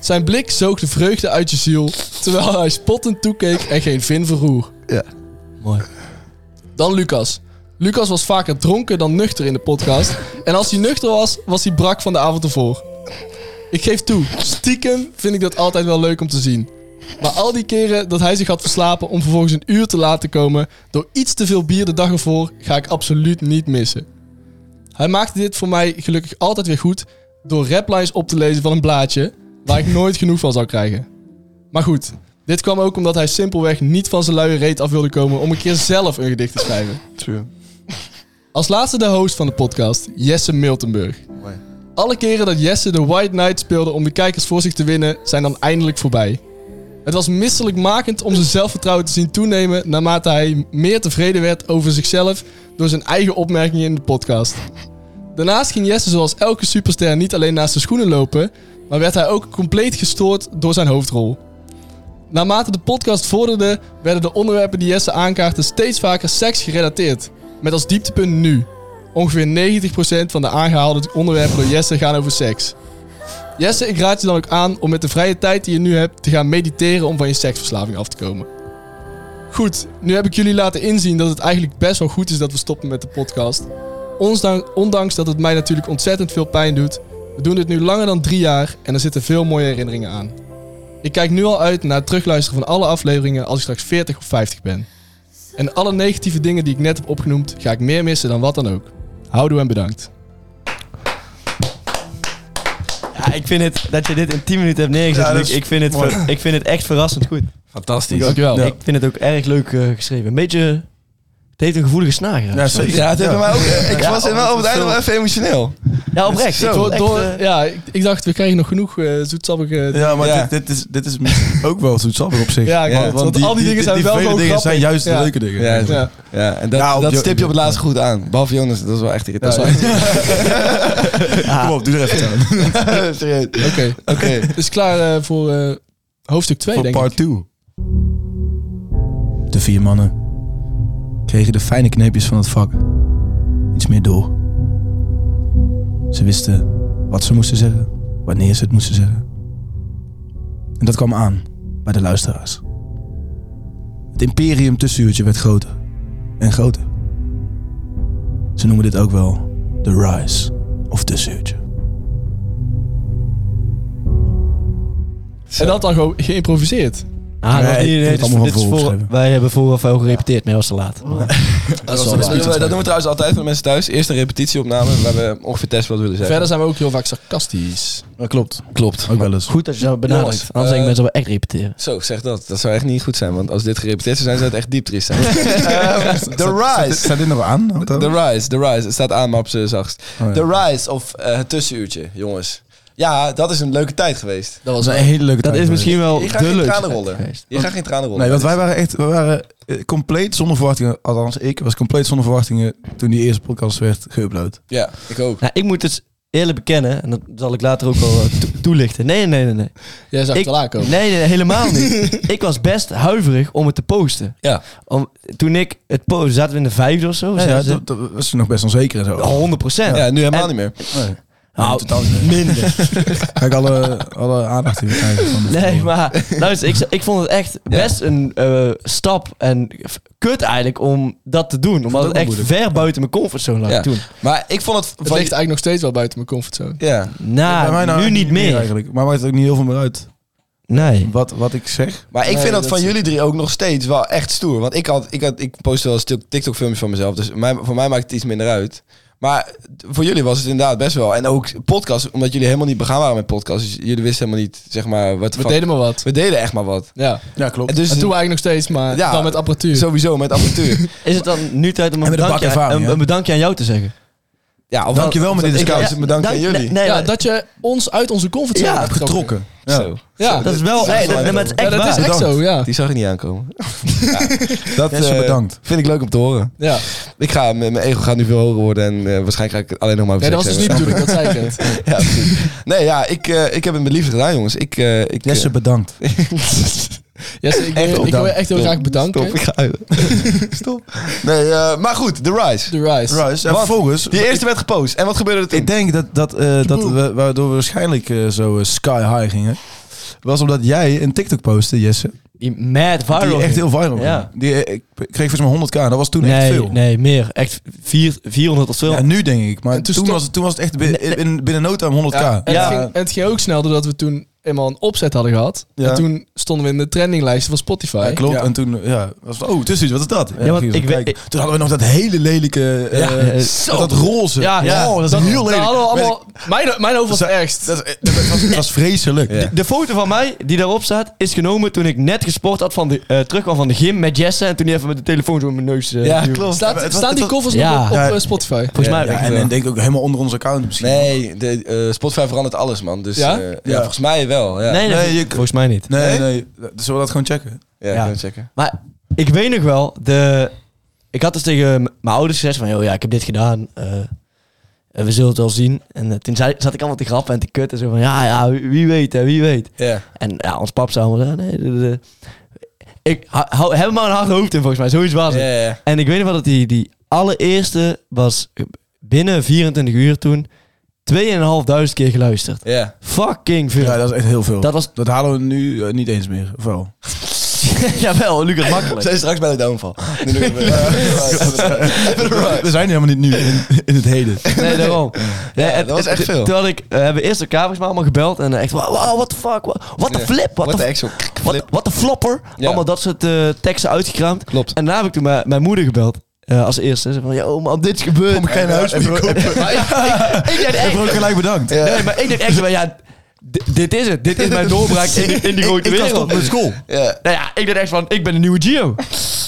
[SPEAKER 5] Zijn blik zoog de vreugde uit je ziel, terwijl hij spottend toekeek en geen vin verroer.
[SPEAKER 1] Ja.
[SPEAKER 4] Mooi.
[SPEAKER 5] Dan Lucas. Lucas was vaker dronken dan nuchter in de podcast. En als hij nuchter was, was hij brak van de avond ervoor. Ik geef toe, stiekem vind ik dat altijd wel leuk om te zien. Maar al die keren dat hij zich had verslapen om vervolgens een uur te laat te komen door iets te veel bier de dag ervoor, ga ik absoluut niet missen. Hij maakte dit voor mij gelukkig altijd weer goed door raplines op te lezen van een blaadje waar ik nooit genoeg van zou krijgen. Maar goed, dit kwam ook omdat hij simpelweg niet van zijn luie reet af wilde komen om een keer zelf een gedicht te schrijven.
[SPEAKER 1] True.
[SPEAKER 5] Als laatste de host van de podcast, Jesse Miltenburg.
[SPEAKER 1] Mooi.
[SPEAKER 5] Alle keren dat Jesse de White Knight speelde om de kijkers voor zich te winnen, zijn dan eindelijk voorbij. Het was misselijkmakend om zijn zelfvertrouwen te zien toenemen naarmate hij meer tevreden werd over zichzelf door zijn eigen opmerkingen in de podcast. Daarnaast ging Jesse zoals elke superster niet alleen naast zijn schoenen lopen, maar werd hij ook compleet gestoord door zijn hoofdrol. Naarmate de podcast vorderde, werden de onderwerpen die Jesse aankaartte steeds vaker seks gerelateerd. Met als dieptepunt nu. Ongeveer 90% van de aangehaalde onderwerpen door Jesse gaan over seks. Jesse, ik raad je dan ook aan om met de vrije tijd die je nu hebt te gaan mediteren om van je seksverslaving af te komen. Goed, nu heb ik jullie laten inzien dat het eigenlijk best wel goed is dat we stoppen met de podcast. Ondanks- Ondanks dat het mij natuurlijk ontzettend veel pijn doet. We doen dit nu langer dan drie jaar en er zitten veel mooie herinneringen aan. Ik kijk nu al uit naar het terugluisteren van alle afleveringen als ik straks 40 of 50 ben. En alle negatieve dingen die ik net heb opgenoemd, ga ik meer missen dan wat dan ook. Houdoe en bedankt.
[SPEAKER 4] Ja, ik vind het dat je dit in 10 minuten hebt neergezet.
[SPEAKER 1] Ja, dat
[SPEAKER 4] Luc.
[SPEAKER 1] is
[SPEAKER 4] ik, vind het,
[SPEAKER 1] mooi.
[SPEAKER 4] ver- ik vind het echt verrassend goed.
[SPEAKER 1] Fantastisch.
[SPEAKER 5] Dankjewel.
[SPEAKER 4] Ik vind het ook erg leuk eh, geschreven. Een beetje. Het heeft een gevoelige snaar. geraakt.
[SPEAKER 1] Ja, zeker. Ja, het heeft bij mij ook, eh, ik
[SPEAKER 4] Ja,
[SPEAKER 1] was wel op het einde wel even emotioneel.
[SPEAKER 4] Ja, oprecht.
[SPEAKER 1] Zo.
[SPEAKER 4] Ik vond
[SPEAKER 5] Door,
[SPEAKER 4] het
[SPEAKER 5] door-
[SPEAKER 4] echt, eh,
[SPEAKER 5] ja, ik, ik dacht, we krijgen nog genoeg eh zoetsappige... Ja,
[SPEAKER 3] Ja, maar
[SPEAKER 1] Ja.
[SPEAKER 3] Dit, dit is, dit is ook wel zoetsappig op zich.
[SPEAKER 5] ik
[SPEAKER 1] ja,
[SPEAKER 5] wou het, want, al die, dingen zijn wel
[SPEAKER 3] vele
[SPEAKER 5] gewoon
[SPEAKER 3] dingen
[SPEAKER 5] grappig.
[SPEAKER 3] zijn juist
[SPEAKER 5] Ja.
[SPEAKER 3] de leuke dingen.
[SPEAKER 1] Ja,
[SPEAKER 5] Ja.
[SPEAKER 1] Ja, en dat,
[SPEAKER 3] Ja, op
[SPEAKER 1] dat
[SPEAKER 3] Jo-
[SPEAKER 1] stip je Nou, op het laatst goed aan. Behalve Jonas, dat is wel echt irritant.
[SPEAKER 5] Ja,
[SPEAKER 3] Kom op, doe er even aan.
[SPEAKER 1] Serieus. Oké.
[SPEAKER 5] Oké, het is klaar eh, voor eh, hoofdstuk 2,
[SPEAKER 3] Voor
[SPEAKER 5] denk ik.
[SPEAKER 3] part 2.
[SPEAKER 6] De vier mannen kregen de fijne kneepjes van het vak iets meer door. Ze wisten wat ze moesten zeggen, wanneer ze het moesten zeggen. En dat kwam aan bij de luisteraars. Het imperium tussenuurtje werd groter en groter. Ze noemen dit ook wel de rise of tussenuurtje.
[SPEAKER 5] En dat dan gewoon geïmproviseerd.
[SPEAKER 4] Ah,
[SPEAKER 6] Nee,
[SPEAKER 4] nog niet,
[SPEAKER 6] ik
[SPEAKER 4] nee,
[SPEAKER 6] heb het
[SPEAKER 4] dit is-
[SPEAKER 6] allemaal
[SPEAKER 4] dit is
[SPEAKER 6] van
[SPEAKER 4] voor-
[SPEAKER 6] voorgeschreven.
[SPEAKER 4] wij hebben vooraf wel gerepeteerd, maar dat was te laat.
[SPEAKER 1] Dat, was- dat, doen we, dat doen we trouwens altijd voor de mensen thuis. Eerst een repetitieopname waar we ongeveer testen wat we willen zeggen.
[SPEAKER 5] Verder zijn we ook heel vaak sarcastisch.
[SPEAKER 6] Dat klopt.
[SPEAKER 1] klopt.
[SPEAKER 6] Ook wel eens.
[SPEAKER 4] Goed dat je dat benadrukt.
[SPEAKER 1] Jongens,
[SPEAKER 4] Anders denk ik
[SPEAKER 1] eh,
[SPEAKER 4] mensen wel echt repeteren.
[SPEAKER 1] Zo, zeg dat. Dat zou echt niet goed zijn, want als dit gerepeteerd zou zijn, zou het echt diep triest zijn. Ehm, the Rise.
[SPEAKER 3] Staat dit nog aan? Ook
[SPEAKER 1] The
[SPEAKER 3] dan?
[SPEAKER 1] Rise, The Rise. Het staat aan, maar op z'n zachtst.
[SPEAKER 6] Oh,
[SPEAKER 3] ja.
[SPEAKER 1] The Rise of eh, het tussenuurtje, jongens. Ja, dat is een leuke tijd geweest.
[SPEAKER 3] Dat was een hele leuke
[SPEAKER 4] Dat
[SPEAKER 3] tijd
[SPEAKER 4] is
[SPEAKER 3] geweest.
[SPEAKER 4] misschien wel
[SPEAKER 1] Je gaat
[SPEAKER 4] Oh, de
[SPEAKER 1] geen
[SPEAKER 4] leukste
[SPEAKER 1] tranen rollen.
[SPEAKER 4] geweest.
[SPEAKER 1] Je gaat geen tranen rollen.
[SPEAKER 3] Nee, want wij waren echt we waren eh, compleet zonder verwachtingen. Althans, ik was compleet zonder verwachtingen toen die eerste podcast werd geüpload.
[SPEAKER 1] Ja, ik ook.
[SPEAKER 4] Nou, ik moet dus eerlijk bekennen, en dat zal ik later ook wel eh, to- toelichten. Nee, nee, nee, nee.
[SPEAKER 5] Jij zag
[SPEAKER 4] Ik-
[SPEAKER 5] het wel aankomen.
[SPEAKER 4] Nee, nee, helemaal niet. ik was best huiverig om het te posten.
[SPEAKER 1] Ja.
[SPEAKER 4] Om, toen ik het posten, zaten we in de vijfde of zo?
[SPEAKER 3] Ja,
[SPEAKER 4] zeiden
[SPEAKER 3] ja,
[SPEAKER 4] ze?
[SPEAKER 3] dat, Oh, dat was toen nog best onzeker en zo.
[SPEAKER 4] Ja, 100 procent.
[SPEAKER 1] Ja, nu helemaal
[SPEAKER 4] En-
[SPEAKER 1] niet meer.
[SPEAKER 4] Nou,
[SPEAKER 3] totaal niet.
[SPEAKER 4] minder.
[SPEAKER 3] Ga ik alle, alle aandacht hier krijgen van de
[SPEAKER 4] Nee,
[SPEAKER 3] volgende.
[SPEAKER 4] maar luister, ik, ik vond het echt best een eh, stap en f- kut eigenlijk om dat te doen. Omdat
[SPEAKER 3] ook
[SPEAKER 4] het echt
[SPEAKER 3] moeilijk.
[SPEAKER 4] ver buiten mijn comfortzone lag
[SPEAKER 1] Ja.
[SPEAKER 4] toen.
[SPEAKER 1] Maar ik vond het...
[SPEAKER 5] Het ligt eigenlijk nog steeds wel buiten mijn comfortzone.
[SPEAKER 1] ja.
[SPEAKER 4] Nou,
[SPEAKER 3] Bij mij nou
[SPEAKER 4] nu niet meer.
[SPEAKER 3] eigenlijk. Maar maakt het ook niet heel veel meer uit
[SPEAKER 4] nee.
[SPEAKER 3] wat, wat ik zeg.
[SPEAKER 1] Maar ik
[SPEAKER 5] Nee,
[SPEAKER 1] vind dat,
[SPEAKER 5] dat
[SPEAKER 1] van
[SPEAKER 5] is-
[SPEAKER 1] jullie drie ook nog steeds wel echt stoer. Want ik, had, ik, had, ik post wel eens TikTok-filmpjes van mezelf. Dus mij, voor mij maakt het iets minder uit. Maar voor jullie was het inderdaad best wel. En ook podcast, omdat jullie helemaal niet begaan waren met podcasts. Dus jullie wisten helemaal niet, zeg maar, wat...
[SPEAKER 5] We deden maar wat.
[SPEAKER 1] we deden echt maar wat.
[SPEAKER 5] Ja.
[SPEAKER 3] Ja, klopt.
[SPEAKER 1] En dus
[SPEAKER 5] dat doen we eigenlijk nog steeds, maar
[SPEAKER 1] Ja.
[SPEAKER 5] dan met apparatuur.
[SPEAKER 1] sowieso met apparatuur.
[SPEAKER 4] Is het dan nu tijd om een
[SPEAKER 3] En met een
[SPEAKER 4] bedankje,
[SPEAKER 3] bak ervaring,
[SPEAKER 4] een,
[SPEAKER 3] hè?
[SPEAKER 4] een bedankje aan jou te zeggen?
[SPEAKER 1] ja, of
[SPEAKER 3] Dankjewel,
[SPEAKER 1] of
[SPEAKER 3] maar
[SPEAKER 1] dat
[SPEAKER 3] dit is
[SPEAKER 1] ik
[SPEAKER 3] koud.
[SPEAKER 1] juist- Bedankt aan
[SPEAKER 4] Nee,
[SPEAKER 1] jullie.
[SPEAKER 4] nee, nee,
[SPEAKER 5] ja,
[SPEAKER 4] maar-
[SPEAKER 5] dat je ons uit onze comfortzone
[SPEAKER 4] Ja,
[SPEAKER 5] hebt getrokken.
[SPEAKER 3] getrokken. Ja.
[SPEAKER 1] Zo.
[SPEAKER 5] Ja,
[SPEAKER 4] dat is wel echt, nee, maar het
[SPEAKER 5] Ja,
[SPEAKER 4] is echt
[SPEAKER 5] dat
[SPEAKER 4] waar.
[SPEAKER 5] is echt zo, ja.
[SPEAKER 1] Die zag ik niet aankomen. Ja, dat
[SPEAKER 3] Jesse,
[SPEAKER 1] eh,
[SPEAKER 3] bedankt.
[SPEAKER 1] vind ik leuk om te horen.
[SPEAKER 5] ja.
[SPEAKER 1] Ik ga, mijn mijn ego gaat nu veel hoger worden en eh, waarschijnlijk ga ik het alleen nog maar over
[SPEAKER 5] Nee, dat was
[SPEAKER 1] seks
[SPEAKER 5] dus niet
[SPEAKER 1] hebben.
[SPEAKER 5] natuurlijk, dat zei ik net.
[SPEAKER 1] Ja, precies. nee, ja, ik, eh, ik heb het met liefde gedaan, jongens. Ik, eh, ik,
[SPEAKER 3] Jesse, bedankt.
[SPEAKER 5] Jesse, ik, wil- ik wil je echt heel graag bedanken.
[SPEAKER 1] Stop, ik ga huilen. Stop. Nee, eh, maar goed, The Rise.
[SPEAKER 5] The Rise.
[SPEAKER 3] Rice. En
[SPEAKER 1] Wat?
[SPEAKER 3] vervolgens...
[SPEAKER 1] Die eerste werd gepost. En wat gebeurde er
[SPEAKER 3] Ik
[SPEAKER 1] toen?
[SPEAKER 3] denk dat, dat, eh, dat we, waardoor we waarschijnlijk eh, zo eh, sky high gingen, was omdat jij een TikTok postte, Jesse.
[SPEAKER 4] Die mad viral.
[SPEAKER 3] Die echt
[SPEAKER 4] ging.
[SPEAKER 3] heel viral
[SPEAKER 4] Ja.
[SPEAKER 3] ging. Die eh, ik kreeg volgens mij 100k. Dat was toen echt
[SPEAKER 4] nee,
[SPEAKER 3] veel.
[SPEAKER 4] nee, meer. Echt vier, 400 of zo.
[SPEAKER 3] Ja, nu denk ik. Maar
[SPEAKER 5] En toen
[SPEAKER 3] toen,
[SPEAKER 5] stop-
[SPEAKER 3] was, het, toen was het echt bi- in, binnen no time 100k.
[SPEAKER 5] Ja, en,
[SPEAKER 4] Ja.
[SPEAKER 5] Het ging, en het ging ook snel doordat we toen eenmaal een opzet hadden gehad.
[SPEAKER 3] Ja.
[SPEAKER 5] En toen stonden we in de trendinglijsten van Spotify.
[SPEAKER 3] Ja, klopt. En toen, ja, was het, oh, tussen wat is dat?
[SPEAKER 4] Ja, want
[SPEAKER 3] ging zo
[SPEAKER 4] ik weet-
[SPEAKER 3] kijken. toen hadden we nog dat hele lelijke, eh,
[SPEAKER 4] Ja,
[SPEAKER 3] met dat roze.
[SPEAKER 5] Ja, ja.
[SPEAKER 3] Oh, dat is heel
[SPEAKER 5] Daar
[SPEAKER 3] lelijk.
[SPEAKER 5] hadden we allemaal... Mijn, mijn hoofd was het ergst.
[SPEAKER 3] Dat, is- dat was, dat was vreselijk.
[SPEAKER 1] Ja.
[SPEAKER 4] De foto van mij die daarop staat is genomen toen ik net gesport had van de, eh, terugkwam van de gym met Jesse. En toen die even met de telefoon zo in mijn neus. eh, duwde.
[SPEAKER 5] Staat,
[SPEAKER 3] Het was-
[SPEAKER 5] staan die
[SPEAKER 3] het was-
[SPEAKER 5] covers
[SPEAKER 4] Ja.
[SPEAKER 5] nog op, op
[SPEAKER 3] Ja.
[SPEAKER 5] eh, Spotify?
[SPEAKER 4] Volgens mij.
[SPEAKER 1] Ja,
[SPEAKER 4] wel.
[SPEAKER 3] Ja, en, en denk ik ook helemaal onder ons account misschien.
[SPEAKER 1] Nee, de, eh, Spotify verandert alles, man. Dus
[SPEAKER 5] Ja?
[SPEAKER 1] ja, ja,
[SPEAKER 3] Ja.
[SPEAKER 1] volgens mij wel. Ja,
[SPEAKER 4] nee, nee,
[SPEAKER 3] Nee, je-
[SPEAKER 4] volgens mij niet.
[SPEAKER 3] Nee, nee. Zullen we dat gewoon checken?
[SPEAKER 1] ja,
[SPEAKER 4] Ja.
[SPEAKER 1] Even checken.
[SPEAKER 4] Maar ik weet nog wel, de, ik had dus tegen m- mijn ouders gezegd van, joh, ja, ik heb dit gedaan. eh, eh, we zullen het wel zien. En eh, toen zei, zat ik allemaal te grappen en te kutten. Zo van, ja, ja, wie- wie weet, hè, wie weet.
[SPEAKER 1] Ja.
[SPEAKER 4] En ja, ons pap zei allemaal, nee, de- de- ik hou- hou, heb er maar een hard hoofd in volgens mij. Zoiets was
[SPEAKER 1] Ja,
[SPEAKER 4] het.
[SPEAKER 1] ja, ja.
[SPEAKER 4] En ik weet nog wel dat die, die allereerste was binnen 24 uur toen 2.500 keer geluisterd.
[SPEAKER 1] Ja.
[SPEAKER 4] Fucking veel.
[SPEAKER 3] Ja, dat is echt heel veel.
[SPEAKER 4] dat was
[SPEAKER 3] Dat halen we nu eh, niet eens meer. Of wel?
[SPEAKER 4] Jawel, Lucas Makkelijk.
[SPEAKER 1] Ze is straks bij de downval. Nu doen we het weer.
[SPEAKER 3] We zijn helemaal niet nu in, in het heden.
[SPEAKER 4] Nee, daarom. Nee, en
[SPEAKER 1] dat was echt
[SPEAKER 4] t-
[SPEAKER 1] veel.
[SPEAKER 4] Toen had ik, eh, we hebben eerst elkaar volgens mij allemaal gebeld. En eh, echt, wow, wow, what the fuck. Wow, what the
[SPEAKER 1] Ja.
[SPEAKER 4] flip. What,
[SPEAKER 1] What
[SPEAKER 4] the
[SPEAKER 1] the
[SPEAKER 4] f-
[SPEAKER 1] actual k-
[SPEAKER 4] what-
[SPEAKER 1] flip.
[SPEAKER 4] what the flopper.
[SPEAKER 1] Ja.
[SPEAKER 4] Allemaal dat soort eh, teksten uitgekraamd.
[SPEAKER 1] Klopt.
[SPEAKER 4] En daarna heb ik toen mijn, mijn moeder gebeld. eh, als eerste. Ze van, yo man, dit is gebeurd.
[SPEAKER 3] Kom ik geen huis meer kopen.
[SPEAKER 4] Maar ik, ik, ik dacht
[SPEAKER 3] Heb
[SPEAKER 4] echt,
[SPEAKER 3] ook gelijk bedankt.
[SPEAKER 4] nee, maar ik dacht echt, van, ja, d- dit is het. Dit is mijn doorbraak in, die- in die grote
[SPEAKER 3] ik kan
[SPEAKER 4] wereld.
[SPEAKER 3] stoppen met school.
[SPEAKER 1] Ja.
[SPEAKER 4] Nou ja, ik dacht echt van, ik ben een nieuwe Gio.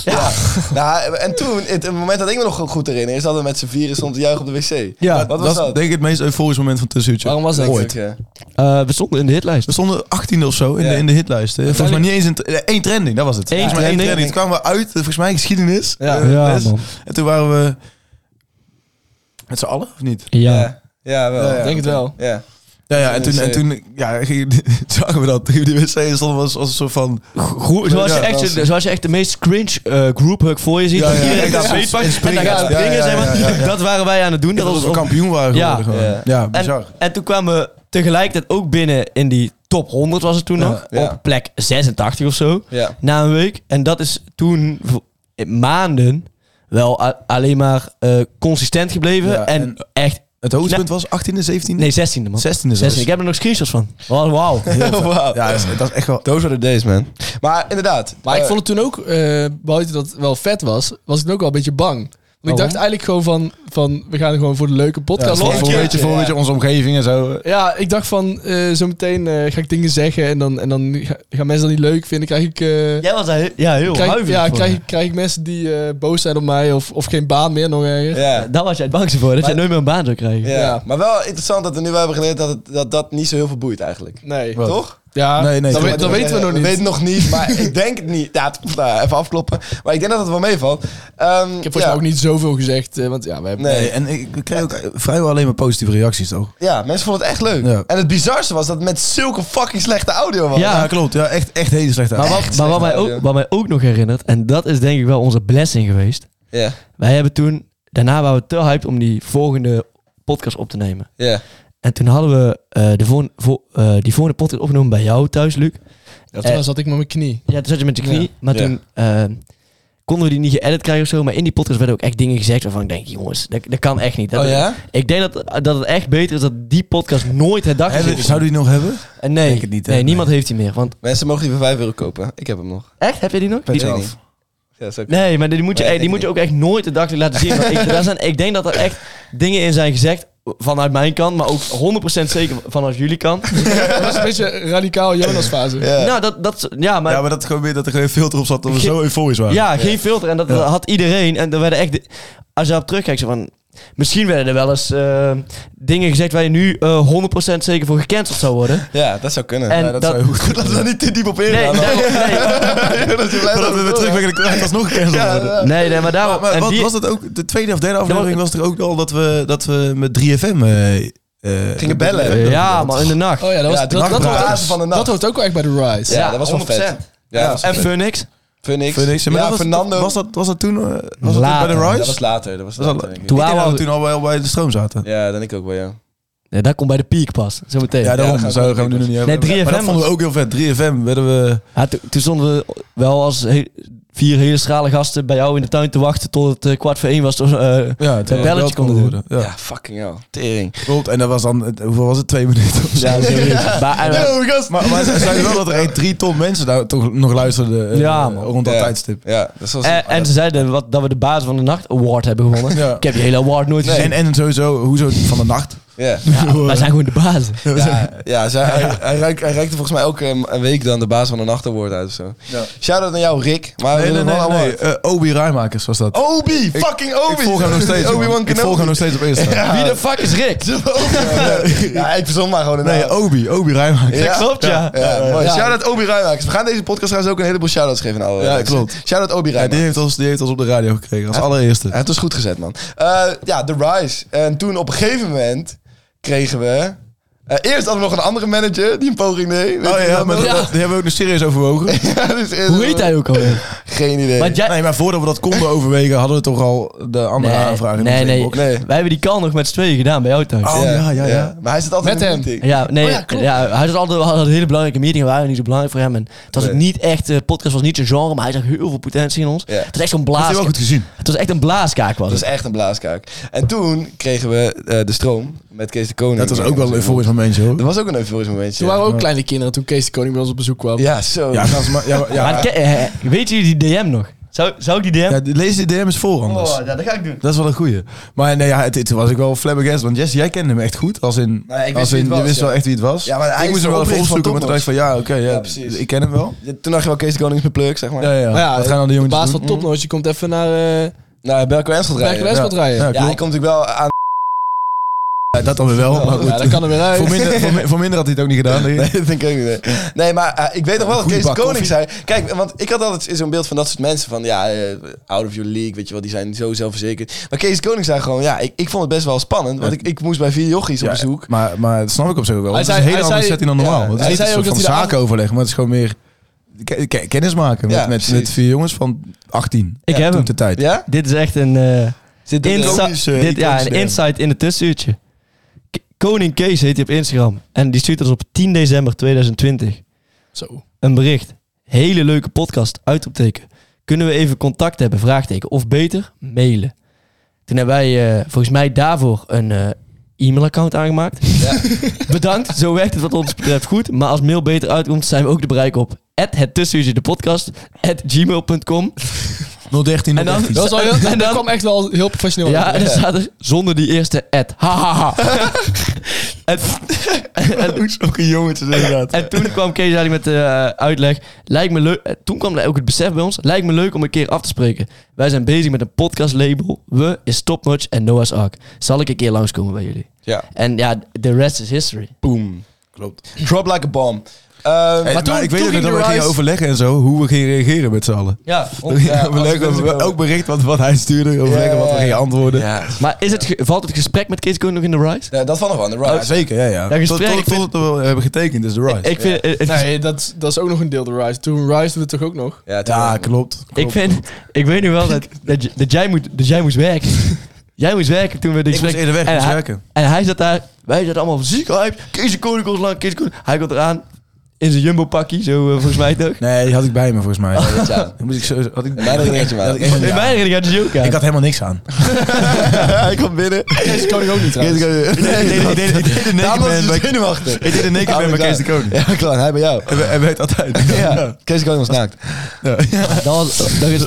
[SPEAKER 1] Ja. Nou, en toen, het, het moment dat ik me nog goed herinner, is dat we met z'n vieren stonden te juichen op de wc.
[SPEAKER 4] Ja,
[SPEAKER 1] wat
[SPEAKER 3] dat
[SPEAKER 1] was
[SPEAKER 3] is
[SPEAKER 1] dat?
[SPEAKER 3] denk ik het meest euforisch moment van Tussenuurtje.
[SPEAKER 5] Waarom was dat?
[SPEAKER 3] Ooit.
[SPEAKER 1] Ja.
[SPEAKER 4] Eh, we stonden in de hitlijst.
[SPEAKER 3] We stonden 18 of zo in,
[SPEAKER 1] Ja.
[SPEAKER 3] de, in de hitlijst. hè. Volgens mij niet eens in t- eh, één trending, dat was het.
[SPEAKER 4] Eén
[SPEAKER 3] Volgens mij één
[SPEAKER 4] trending.
[SPEAKER 3] trending. Toen kwamen we uit, eh, volgens mij geschiedenis.
[SPEAKER 1] Ja.
[SPEAKER 3] eh,
[SPEAKER 4] Ja,
[SPEAKER 3] les.
[SPEAKER 4] man.
[SPEAKER 3] En toen waren we met z'n allen, of niet?
[SPEAKER 4] Ja.
[SPEAKER 1] Ja. Ja, wel. Ja,
[SPEAKER 5] Ik denk het wel.
[SPEAKER 1] Ja.
[SPEAKER 3] Ja, ja en toen, en
[SPEAKER 1] wc.
[SPEAKER 3] toen ja, ging- zagen we dat. Gingen we die wc en stonden we als, als een soort van...
[SPEAKER 4] Groe- zoals, je
[SPEAKER 3] Ja,
[SPEAKER 4] echt,
[SPEAKER 3] dat is-
[SPEAKER 4] zoals je echt de meest cringe eh group hug voor je ziet.
[SPEAKER 3] Ja,
[SPEAKER 4] dat
[SPEAKER 3] ja,
[SPEAKER 4] iedereen
[SPEAKER 3] ja,
[SPEAKER 4] daar
[SPEAKER 3] ja,
[SPEAKER 4] beet
[SPEAKER 3] ja,
[SPEAKER 4] pakt
[SPEAKER 3] ja,
[SPEAKER 4] en dan
[SPEAKER 3] ja,
[SPEAKER 4] gaat
[SPEAKER 3] ja,
[SPEAKER 4] springen.
[SPEAKER 3] ja,
[SPEAKER 4] zeg maar.
[SPEAKER 3] ja, ja, ja.
[SPEAKER 4] Dat waren wij aan het doen. Dat
[SPEAKER 3] Dat
[SPEAKER 4] was
[SPEAKER 3] we
[SPEAKER 4] ons-
[SPEAKER 3] kampioen waren
[SPEAKER 4] Ja.
[SPEAKER 3] geworden gewoon.
[SPEAKER 1] Ja.
[SPEAKER 3] Ja, bizar.
[SPEAKER 4] en, en toen kwamen we tegelijkertijd ook binnen in die top 100 was het toen nog.
[SPEAKER 1] ja.
[SPEAKER 4] Op plek 86 of zo.
[SPEAKER 1] Ja.
[SPEAKER 4] Na een week. En dat is toen voor- in maanden wel a- alleen maar eh, consistent gebleven.
[SPEAKER 3] Ja,
[SPEAKER 4] en,
[SPEAKER 3] en-
[SPEAKER 4] echt...
[SPEAKER 3] het hoogtepunt was 18e, 17e?
[SPEAKER 4] Nee, 16e man.
[SPEAKER 3] 16e zelfs.
[SPEAKER 4] 16e. Ik heb er nog screenshots van. Wauw. wauw.
[SPEAKER 1] Wow.
[SPEAKER 3] Ja, dat is, dat is echt wel...
[SPEAKER 1] Those are the days, man. Maar inderdaad.
[SPEAKER 5] Maar ik
[SPEAKER 1] eh,
[SPEAKER 5] vond het toen ook, eh, buiten dat het wel vet was, was ik ook wel een beetje bang. Want ik dacht eigenlijk gewoon van, van, we gaan gewoon voor de leuke
[SPEAKER 3] Ja,
[SPEAKER 5] podcast.
[SPEAKER 3] voor,
[SPEAKER 5] Ja,
[SPEAKER 3] voor, een beetje, voor een beetje onze omgeving en zo.
[SPEAKER 5] ja, ik dacht van, eh zometeen eh, ga ik dingen zeggen en dan, en dan ga- gaan mensen dat niet leuk vinden. Krijg ik, eh,
[SPEAKER 4] Jij was daar he- ja, heel
[SPEAKER 5] krijg,
[SPEAKER 4] huiverig
[SPEAKER 5] ja,
[SPEAKER 4] voor.
[SPEAKER 5] krijg, ik- krijg ik mensen die eh, boos zijn op mij of, of geen baan meer nog ergens.
[SPEAKER 1] ja.
[SPEAKER 4] Daar was jij het bangste voor, dat jij
[SPEAKER 1] Maar-
[SPEAKER 4] nooit meer een baan zou krijgen.
[SPEAKER 1] Ja.
[SPEAKER 5] Ja.
[SPEAKER 1] maar wel interessant dat we nu wel hebben geleerd dat, het, dat dat niet zo heel veel boeit eigenlijk.
[SPEAKER 5] Nee.
[SPEAKER 3] Wat?
[SPEAKER 1] Toch? eh,
[SPEAKER 5] Ja,
[SPEAKER 3] Nee, nee,
[SPEAKER 5] dat,
[SPEAKER 3] toch.
[SPEAKER 5] we- dat weten we nog niet.
[SPEAKER 1] We weten nog niet, maar ik denk het niet. Ja, het- nou, even afkloppen. Maar ik denk dat het wel meevalt. Ehm,
[SPEAKER 5] Ik heb volgens mij ook niet zoveel gezegd, eh, want ja, we hebben...
[SPEAKER 1] Nee.
[SPEAKER 3] Nee, en ik ik kreeg ook eh, vrijwel alleen maar positieve reacties, toch?
[SPEAKER 1] Ja, mensen vonden het echt leuk.
[SPEAKER 3] Ja.
[SPEAKER 1] En het bizarste was dat het met zulke fucking slechte audio was.
[SPEAKER 4] Ja.
[SPEAKER 3] klopt. Ja, echt, echt hele slechte
[SPEAKER 4] Maar,
[SPEAKER 3] uitslag.
[SPEAKER 4] wat, maar wat, mij
[SPEAKER 1] audio.
[SPEAKER 4] ook, wat mij ook nog herinnert, en dat is denk ik wel onze blessing geweest.
[SPEAKER 1] Ja,
[SPEAKER 4] Wij hebben toen, daarna waren we te hyped om die volgende podcast op te nemen.
[SPEAKER 1] ja.
[SPEAKER 4] En toen hadden we eh, de volgende, vo- eh, die volgende podcast opgenomen bij jou thuis, Luc.
[SPEAKER 5] Ja,
[SPEAKER 3] Eh.
[SPEAKER 5] toen zat ik met mijn knie.
[SPEAKER 4] Ja, toen zat je met je knie.
[SPEAKER 5] Ja.
[SPEAKER 4] Maar
[SPEAKER 1] Ja.
[SPEAKER 4] toen eh, konden we die niet geëdit krijgen of zo. Maar in die podcast werden ook echt dingen gezegd waarvan ik denk, jongens, dat, dat kan echt niet. Dat-
[SPEAKER 1] Oh ja?
[SPEAKER 4] Ik denk dat, dat het echt beter is dat die podcast nooit herdacht is.
[SPEAKER 3] Hebben- Zouden die nog hebben?
[SPEAKER 4] En nee,
[SPEAKER 3] Denk het niet, hè?
[SPEAKER 4] nee, niemand heeft die meer. Want
[SPEAKER 1] Mensen mogen die voor 5 euro kopen. Ik heb hem nog.
[SPEAKER 4] echt, heb jij die nog?
[SPEAKER 1] Ik
[SPEAKER 4] Die-
[SPEAKER 1] weet niet. Ja, zo.
[SPEAKER 4] Nee, maar die moet je,
[SPEAKER 1] Nee,
[SPEAKER 4] eh, die
[SPEAKER 1] ik
[SPEAKER 4] moet je ook echt nooit de dag laten zien. Want ik, daar zijn, ik denk dat er echt dingen in zijn gezegd vanuit mijn kant, maar ook 100% zeker vanuit jullie kant.
[SPEAKER 5] Dat was een beetje radicaal Jonas fase.
[SPEAKER 1] Ja.
[SPEAKER 4] Nou, dat, dat, ja, maar,
[SPEAKER 3] ja,
[SPEAKER 4] ja,
[SPEAKER 3] maar dat, gewoon weer, dat er geen filter op zat dat we
[SPEAKER 4] Ge-
[SPEAKER 3] zo euforisch waren.
[SPEAKER 4] geen filter. En dat dat had iedereen. En er werden echt, de- als je daarop terugkijkt, zo van, misschien werden er wel eens eh, dingen gezegd waar je nu eh, 100% zeker voor gecanceld zou worden.
[SPEAKER 1] ja, dat zou kunnen.
[SPEAKER 4] En
[SPEAKER 1] Ja, dat
[SPEAKER 4] dat-
[SPEAKER 1] zou heel goed. Laten we daar niet te diep op ingaan.
[SPEAKER 4] Nee,
[SPEAKER 1] maar-
[SPEAKER 4] daarom- nee,
[SPEAKER 1] dat is blij
[SPEAKER 3] Maar dat we weer terug waren, dat was nog een
[SPEAKER 1] Ja, ja.
[SPEAKER 4] nee, nee, maar
[SPEAKER 3] Maar,
[SPEAKER 4] daarom.
[SPEAKER 3] maar
[SPEAKER 4] Oh, en
[SPEAKER 3] wat,
[SPEAKER 4] die-
[SPEAKER 3] was dat ook? De tweede of derde aflevering
[SPEAKER 4] Ja,
[SPEAKER 3] was er ook al dat we, dat we met 3FM... eh, eh,
[SPEAKER 1] Gingen bellen.
[SPEAKER 4] ja, maar in de nacht.
[SPEAKER 5] Oh ja, dat, was,
[SPEAKER 1] Ja,
[SPEAKER 5] dat,
[SPEAKER 1] de
[SPEAKER 5] dat,
[SPEAKER 1] nachtbraken
[SPEAKER 5] hoort,
[SPEAKER 1] van de nacht.
[SPEAKER 5] dat hoort ook wel echt bij de Rise.
[SPEAKER 1] Ja, dat was wel
[SPEAKER 4] 100%.
[SPEAKER 1] vet. Ja, dat was
[SPEAKER 4] En
[SPEAKER 1] vet.
[SPEAKER 4] Phoenix.
[SPEAKER 1] Phoenix.
[SPEAKER 3] Phoenix. Ja, maar
[SPEAKER 1] Ja,
[SPEAKER 3] dat was,
[SPEAKER 1] Fernando.
[SPEAKER 3] Was dat, was dat toen, eh, was dat
[SPEAKER 4] Later.
[SPEAKER 3] bij de
[SPEAKER 1] Ja,
[SPEAKER 3] Rise?
[SPEAKER 1] dat was later. Dat was
[SPEAKER 3] Was dat-
[SPEAKER 1] later, denk ik.
[SPEAKER 4] Toen
[SPEAKER 3] Ik denk dat
[SPEAKER 4] waren
[SPEAKER 3] we
[SPEAKER 4] we-
[SPEAKER 3] toen al wel bij de stroom zaten.
[SPEAKER 1] Ja, dan ik ook bij jou.
[SPEAKER 4] Nee, dat komt bij de peak pas. Zometeen.
[SPEAKER 3] Ja, daarom.
[SPEAKER 1] daar gaan we
[SPEAKER 3] Zo
[SPEAKER 1] het
[SPEAKER 3] gaan we nu nog niet
[SPEAKER 4] Nee,
[SPEAKER 3] hebben.
[SPEAKER 4] 3FM
[SPEAKER 3] Maar dat vonden we ook heel vet. 3FM werden we...
[SPEAKER 4] Ja, to- toen stonden we wel als he- vier hele schrale gasten bij jou in de tuin te wachten tot het eh, kwart voor één was. Toen, eh,
[SPEAKER 3] Ja, het
[SPEAKER 4] belletje konden doen.
[SPEAKER 3] Ja.
[SPEAKER 1] Ja, fucking hell. Tering.
[SPEAKER 3] Klopt, en dat was dan, het- hoeveel was het? Twee minuten of zo.
[SPEAKER 4] ja, zoiets. maar, en, eh,
[SPEAKER 3] Maar, maar ze zeiden wel dat er echt drie ton mensen daar toch nog luisterden eh,
[SPEAKER 4] Ja, man.
[SPEAKER 3] rond dat
[SPEAKER 1] Ja.
[SPEAKER 3] tijdstip. Eh,
[SPEAKER 1] Ja, dat was...
[SPEAKER 4] en, en ze zeiden wat, dat we de baas van de nacht award hebben gewonnen.
[SPEAKER 3] Ja.
[SPEAKER 4] Ik heb die hele award nooit gezien.
[SPEAKER 3] En, en sowieso, hoezo van de nacht?
[SPEAKER 1] Ja.
[SPEAKER 4] Ja, wij zijn gewoon de baas.
[SPEAKER 1] Ja, ja, zij- hij, hij, reik- hij reikte volgens mij ook een, een week dan de baas van een achterwoord uit of zo. Shout-out naar jou, Rick. Maar
[SPEAKER 3] Nee,
[SPEAKER 1] we
[SPEAKER 3] nee,
[SPEAKER 1] willen
[SPEAKER 3] nee.
[SPEAKER 1] wel
[SPEAKER 3] nee,
[SPEAKER 1] een
[SPEAKER 3] eh, Obi Rijmakers was dat.
[SPEAKER 1] award. Obi! Fucking Obi!
[SPEAKER 3] ik volg hem nog steeds. man.
[SPEAKER 1] Obi-Wan
[SPEAKER 3] ik volg hem
[SPEAKER 1] Kenobi.
[SPEAKER 3] nog steeds op Insta.
[SPEAKER 4] Wie de fuck is Rick?
[SPEAKER 1] Ja, ik verzon maar gewoon een
[SPEAKER 3] Nee,
[SPEAKER 1] naam.
[SPEAKER 3] Obi, Obi Rijmakers.
[SPEAKER 1] Ja.
[SPEAKER 4] Dat klopt, ja.
[SPEAKER 1] Ja, mooi. Shout-out Obi Rijmakers. We gaan deze podcast trouwens ook een heleboel shout-outs geven aan alle
[SPEAKER 3] Ja,
[SPEAKER 1] mensen.
[SPEAKER 3] klopt.
[SPEAKER 1] Shout-out Obi
[SPEAKER 3] Ja, die,
[SPEAKER 1] Rijmakers.
[SPEAKER 3] heeft ons, die heeft ons op de radio gekregen, als
[SPEAKER 1] Ja.
[SPEAKER 3] allereerste.
[SPEAKER 1] Ja, het was goed gezet, man. Eh, ja, The Rise. En toen op een gegeven moment kregen we... eh, eerst hadden we nog een andere manager die een poging deed. Weet
[SPEAKER 3] Oh
[SPEAKER 1] je
[SPEAKER 3] ja,
[SPEAKER 1] dat
[SPEAKER 3] maar
[SPEAKER 1] nog?
[SPEAKER 3] dat- die hebben we ook nog serieus overwogen.
[SPEAKER 1] Ja, dus eerst-
[SPEAKER 4] Hoe heet hij ook alweer?
[SPEAKER 1] Geen idee.
[SPEAKER 4] Want jij,
[SPEAKER 3] Nee, maar voordat we dat konden overwegen, hadden we toch al de andere
[SPEAKER 4] Nee,
[SPEAKER 3] aanvragen in
[SPEAKER 4] nee,
[SPEAKER 3] onze
[SPEAKER 4] nee.
[SPEAKER 3] inbox.
[SPEAKER 1] Nee.
[SPEAKER 4] wij hebben die call nog met z'n tweeën gedaan bij jou thuis.
[SPEAKER 3] Oh, ja, ja, ja.
[SPEAKER 1] Maar hij zit altijd
[SPEAKER 5] Met
[SPEAKER 1] in
[SPEAKER 5] hem.
[SPEAKER 1] een meeting.
[SPEAKER 4] Ja, nee,
[SPEAKER 5] Oh ja,
[SPEAKER 4] ja,
[SPEAKER 5] klopt.
[SPEAKER 4] hij had altijd, we hadden een hele belangrijke meeting, we waren niet zo belangrijk voor hem. En het was ook
[SPEAKER 1] Nee.
[SPEAKER 4] niet echt, de podcast was niet zijn genre, maar hij zag heel veel potentie in ons.
[SPEAKER 1] Ja.
[SPEAKER 4] Het was echt zo'n
[SPEAKER 3] Dat is
[SPEAKER 4] blaas.
[SPEAKER 3] wel goed gezien.
[SPEAKER 4] Het was echt een blaaskaak was
[SPEAKER 1] Dat is
[SPEAKER 4] het.
[SPEAKER 1] echt een blaaskaak. En toen kregen we eh, de stroom met Kees de Koning.
[SPEAKER 3] Dat was ook wel een euforisch momentje, hoor.
[SPEAKER 1] Dat was ook een euforisch momentje.
[SPEAKER 5] Toen waren we ook kleine kinderen toen Kees de Koning bij ons op bezoek kwam.
[SPEAKER 1] Ja, zo.
[SPEAKER 3] Ja, gaan ze maar, ja, ja,
[SPEAKER 4] Maar ke- eh, weet jullie die DM nog? Zou, zou ik die DM?
[SPEAKER 3] Ja, lees die DM's voor anders.
[SPEAKER 4] ja, dat ga ik doen.
[SPEAKER 3] Oh, Dat is wel een goeie. Maar nee, ja, het, het was ik wel flabbergast. Want Jesse, jij kende hem echt goed. Als in,
[SPEAKER 1] Nou, ik wist
[SPEAKER 3] als
[SPEAKER 1] wie
[SPEAKER 3] in
[SPEAKER 1] het was,
[SPEAKER 3] je wist
[SPEAKER 1] ja.
[SPEAKER 3] wel echt wie het was.
[SPEAKER 1] Ja, maar hij
[SPEAKER 3] ik
[SPEAKER 1] is
[SPEAKER 3] moest
[SPEAKER 1] de
[SPEAKER 3] hem wel even
[SPEAKER 1] oprichter van
[SPEAKER 3] opzoeken. Maar toen dacht ik van, ja, oké, ja,
[SPEAKER 1] Ja, precies.
[SPEAKER 3] ik ken hem wel.
[SPEAKER 1] Ja, Toen dacht je wel Kees de Koning is mijn pluk, zeg maar.
[SPEAKER 3] Ja, ja.
[SPEAKER 5] Maar ja,
[SPEAKER 3] Wat gaan dan de
[SPEAKER 5] de
[SPEAKER 3] jongens
[SPEAKER 5] baas
[SPEAKER 3] doen? Mhm.
[SPEAKER 5] van Topnotch komt even naar eh
[SPEAKER 1] Nou, Belko Enschel
[SPEAKER 5] Bergen
[SPEAKER 1] rijden.
[SPEAKER 5] West wat rijden.
[SPEAKER 3] Ja,
[SPEAKER 5] Ja,
[SPEAKER 1] Ja, hij
[SPEAKER 3] klopt.
[SPEAKER 1] komt natuurlijk wel aan...
[SPEAKER 3] Ja, dat dan weer wel. Maar goed,
[SPEAKER 5] dat kan er weer uit.
[SPEAKER 3] voor, minder, voor, mi- voor minder had hij het ook niet gedaan. denk ik.
[SPEAKER 1] Nee, dat denk ik ook niet. nee. Nee, maar eh, ik weet nog wel dat
[SPEAKER 3] Goeie
[SPEAKER 1] Kees de
[SPEAKER 3] bak
[SPEAKER 1] Koning zei... Kijk, want ik had altijd zo'n beeld van dat soort mensen van... Ja, eh, out of your league, weet je wel, die zijn zo zelfverzekerd. Maar Kees de Koning zei gewoon... Ja, ik, ik vond het best wel spannend, want ik, ik moest bij vier jochies op
[SPEAKER 3] Ja,
[SPEAKER 1] bezoek.
[SPEAKER 3] Maar, maar dat snap ik op zich ook wel.
[SPEAKER 5] Hij
[SPEAKER 3] Hij zei,
[SPEAKER 5] zei-
[SPEAKER 3] het is een hele
[SPEAKER 5] hij
[SPEAKER 3] andere
[SPEAKER 5] zei-
[SPEAKER 3] setting dan normaal.
[SPEAKER 1] ja,
[SPEAKER 3] Want het
[SPEAKER 5] hij
[SPEAKER 3] is niet
[SPEAKER 5] zei
[SPEAKER 3] een
[SPEAKER 5] ook
[SPEAKER 3] soort
[SPEAKER 5] dat
[SPEAKER 3] van
[SPEAKER 5] hij de
[SPEAKER 3] zakenoverleg, maar het is gewoon meer ke- ke- kennis maken met,
[SPEAKER 1] Ja,
[SPEAKER 3] met, met
[SPEAKER 1] precies.
[SPEAKER 3] vier jongens van 18.
[SPEAKER 4] Ik heb
[SPEAKER 3] Toen
[SPEAKER 4] hem.
[SPEAKER 3] de tijd.
[SPEAKER 1] Ja?
[SPEAKER 4] Dit is echt een, eh
[SPEAKER 1] Zit dit
[SPEAKER 4] insi-
[SPEAKER 1] ook iets, eh,
[SPEAKER 4] dit, ja,
[SPEAKER 1] iconisch
[SPEAKER 4] een
[SPEAKER 1] in?
[SPEAKER 4] insight in het tussenuurtje. K- Koning Kees heet hij op Instagram. En die stuurt ons op 10 december 2020
[SPEAKER 5] Zo.
[SPEAKER 4] een bericht. Hele leuke podcast, uitroepteken. Kunnen we even contact hebben, vraagteken. Of beter, mailen. Toen hebben wij eh, volgens mij daarvoor een eh, e-mailaccount aangemaakt. Bedankt, zo werkt het wat ons betreft goed. Maar als mail beter uitkomt, zijn we ook te bereiken op het tussenuurtje de podcast, at gmail.com.
[SPEAKER 3] 013,
[SPEAKER 4] En dan-
[SPEAKER 3] 013.
[SPEAKER 5] Dat, was wel heel, dat
[SPEAKER 4] En dan-
[SPEAKER 5] kwam echt wel heel professioneel
[SPEAKER 4] Ja,
[SPEAKER 5] uit.
[SPEAKER 4] en dan
[SPEAKER 3] dus-
[SPEAKER 4] staat er zonder die eerste ad. Hahaha. en, en,
[SPEAKER 1] Ook een jongetje, inderdaad.
[SPEAKER 4] en toen kwam Kees eigenlijk met de eh, uitleg. Lijkt me leuk. eh, Toen kwam er ook het besef bij ons. Lijkt me leuk om een keer af te spreken. Wij zijn bezig met een podcastlabel. We is Topnotch en Noah's Ark. Zal ik een keer langskomen bij jullie?
[SPEAKER 1] Ja.
[SPEAKER 4] En ja, the rest is history.
[SPEAKER 1] Boom. Klopt. Drop like a bomb. Ehm,
[SPEAKER 3] Hey,
[SPEAKER 5] Maar
[SPEAKER 3] Eh, maar
[SPEAKER 5] toen-
[SPEAKER 3] ik weet
[SPEAKER 5] toen
[SPEAKER 3] ook nog dat
[SPEAKER 5] ging de
[SPEAKER 3] we gingen
[SPEAKER 5] rise-
[SPEAKER 3] overleggen en zo, hoe we gingen reageren met z'n allen.
[SPEAKER 4] Ja.
[SPEAKER 3] We gingen overleggen,
[SPEAKER 1] als
[SPEAKER 3] we
[SPEAKER 1] mensen komen.
[SPEAKER 3] ook bericht wat, wat hij stuurde, overleggen
[SPEAKER 1] Ja,
[SPEAKER 3] wat we
[SPEAKER 1] ja,
[SPEAKER 3] gingen antwoorden. Ja,
[SPEAKER 1] ja.
[SPEAKER 4] Maar is het ge- valt het gesprek met Kees Koen nog in de rise?
[SPEAKER 1] Ja, dat van nog wel. De Rise.
[SPEAKER 3] zeker, ja, ja.
[SPEAKER 4] Ja,
[SPEAKER 3] tot,
[SPEAKER 4] gesprek,
[SPEAKER 3] tot,
[SPEAKER 4] ik vind-
[SPEAKER 3] tot we hebben getekend, is de rise.
[SPEAKER 4] Ik vind, het- het-
[SPEAKER 5] Nee, dat, dat is ook nog een deel de Rise. Toen Rise doet het toch ook nog?
[SPEAKER 1] Ja, toen-
[SPEAKER 3] ja, klopt.
[SPEAKER 4] ik, vind, ik weet nu wel dat, dat, j- dat, jij, moet, dat jij moest werken. jij moest werken toen we dit
[SPEAKER 3] Ik moest
[SPEAKER 4] gesprek...
[SPEAKER 3] eerder weg, ik
[SPEAKER 4] en
[SPEAKER 3] moest
[SPEAKER 4] hij-
[SPEAKER 3] werken.
[SPEAKER 4] En hij zat daar, wij zaten allemaal ziek hype. Kees de Koning komt lang, Kees de Koning. Hij komt eraan in zijn jumbo pakkie, zo eh, volgens mij toch?
[SPEAKER 3] Nee, die had ik bij me volgens mij.
[SPEAKER 1] Ja.
[SPEAKER 3] Dan Moest ik zo, had ik,
[SPEAKER 1] Mij er een eentje maken.
[SPEAKER 3] had ik, echt-
[SPEAKER 4] In mijn herinnering had hij ook aan.
[SPEAKER 3] ik had helemaal niks aan.
[SPEAKER 1] ik kwam binnen.
[SPEAKER 5] Kees de Koning ook niet trouwens.
[SPEAKER 3] de
[SPEAKER 1] Daarom was hij
[SPEAKER 3] naked
[SPEAKER 1] zenuwachtig.
[SPEAKER 3] ik dus deed een naked
[SPEAKER 1] Ja,
[SPEAKER 3] man bij
[SPEAKER 1] klaar.
[SPEAKER 3] Kees de Koning.
[SPEAKER 1] Ja, klaar. Hij bij jou.
[SPEAKER 3] En hij weet altijd.
[SPEAKER 1] Ja. Kees de Koning was naakt.
[SPEAKER 3] Ja.
[SPEAKER 4] Dat was, dat is-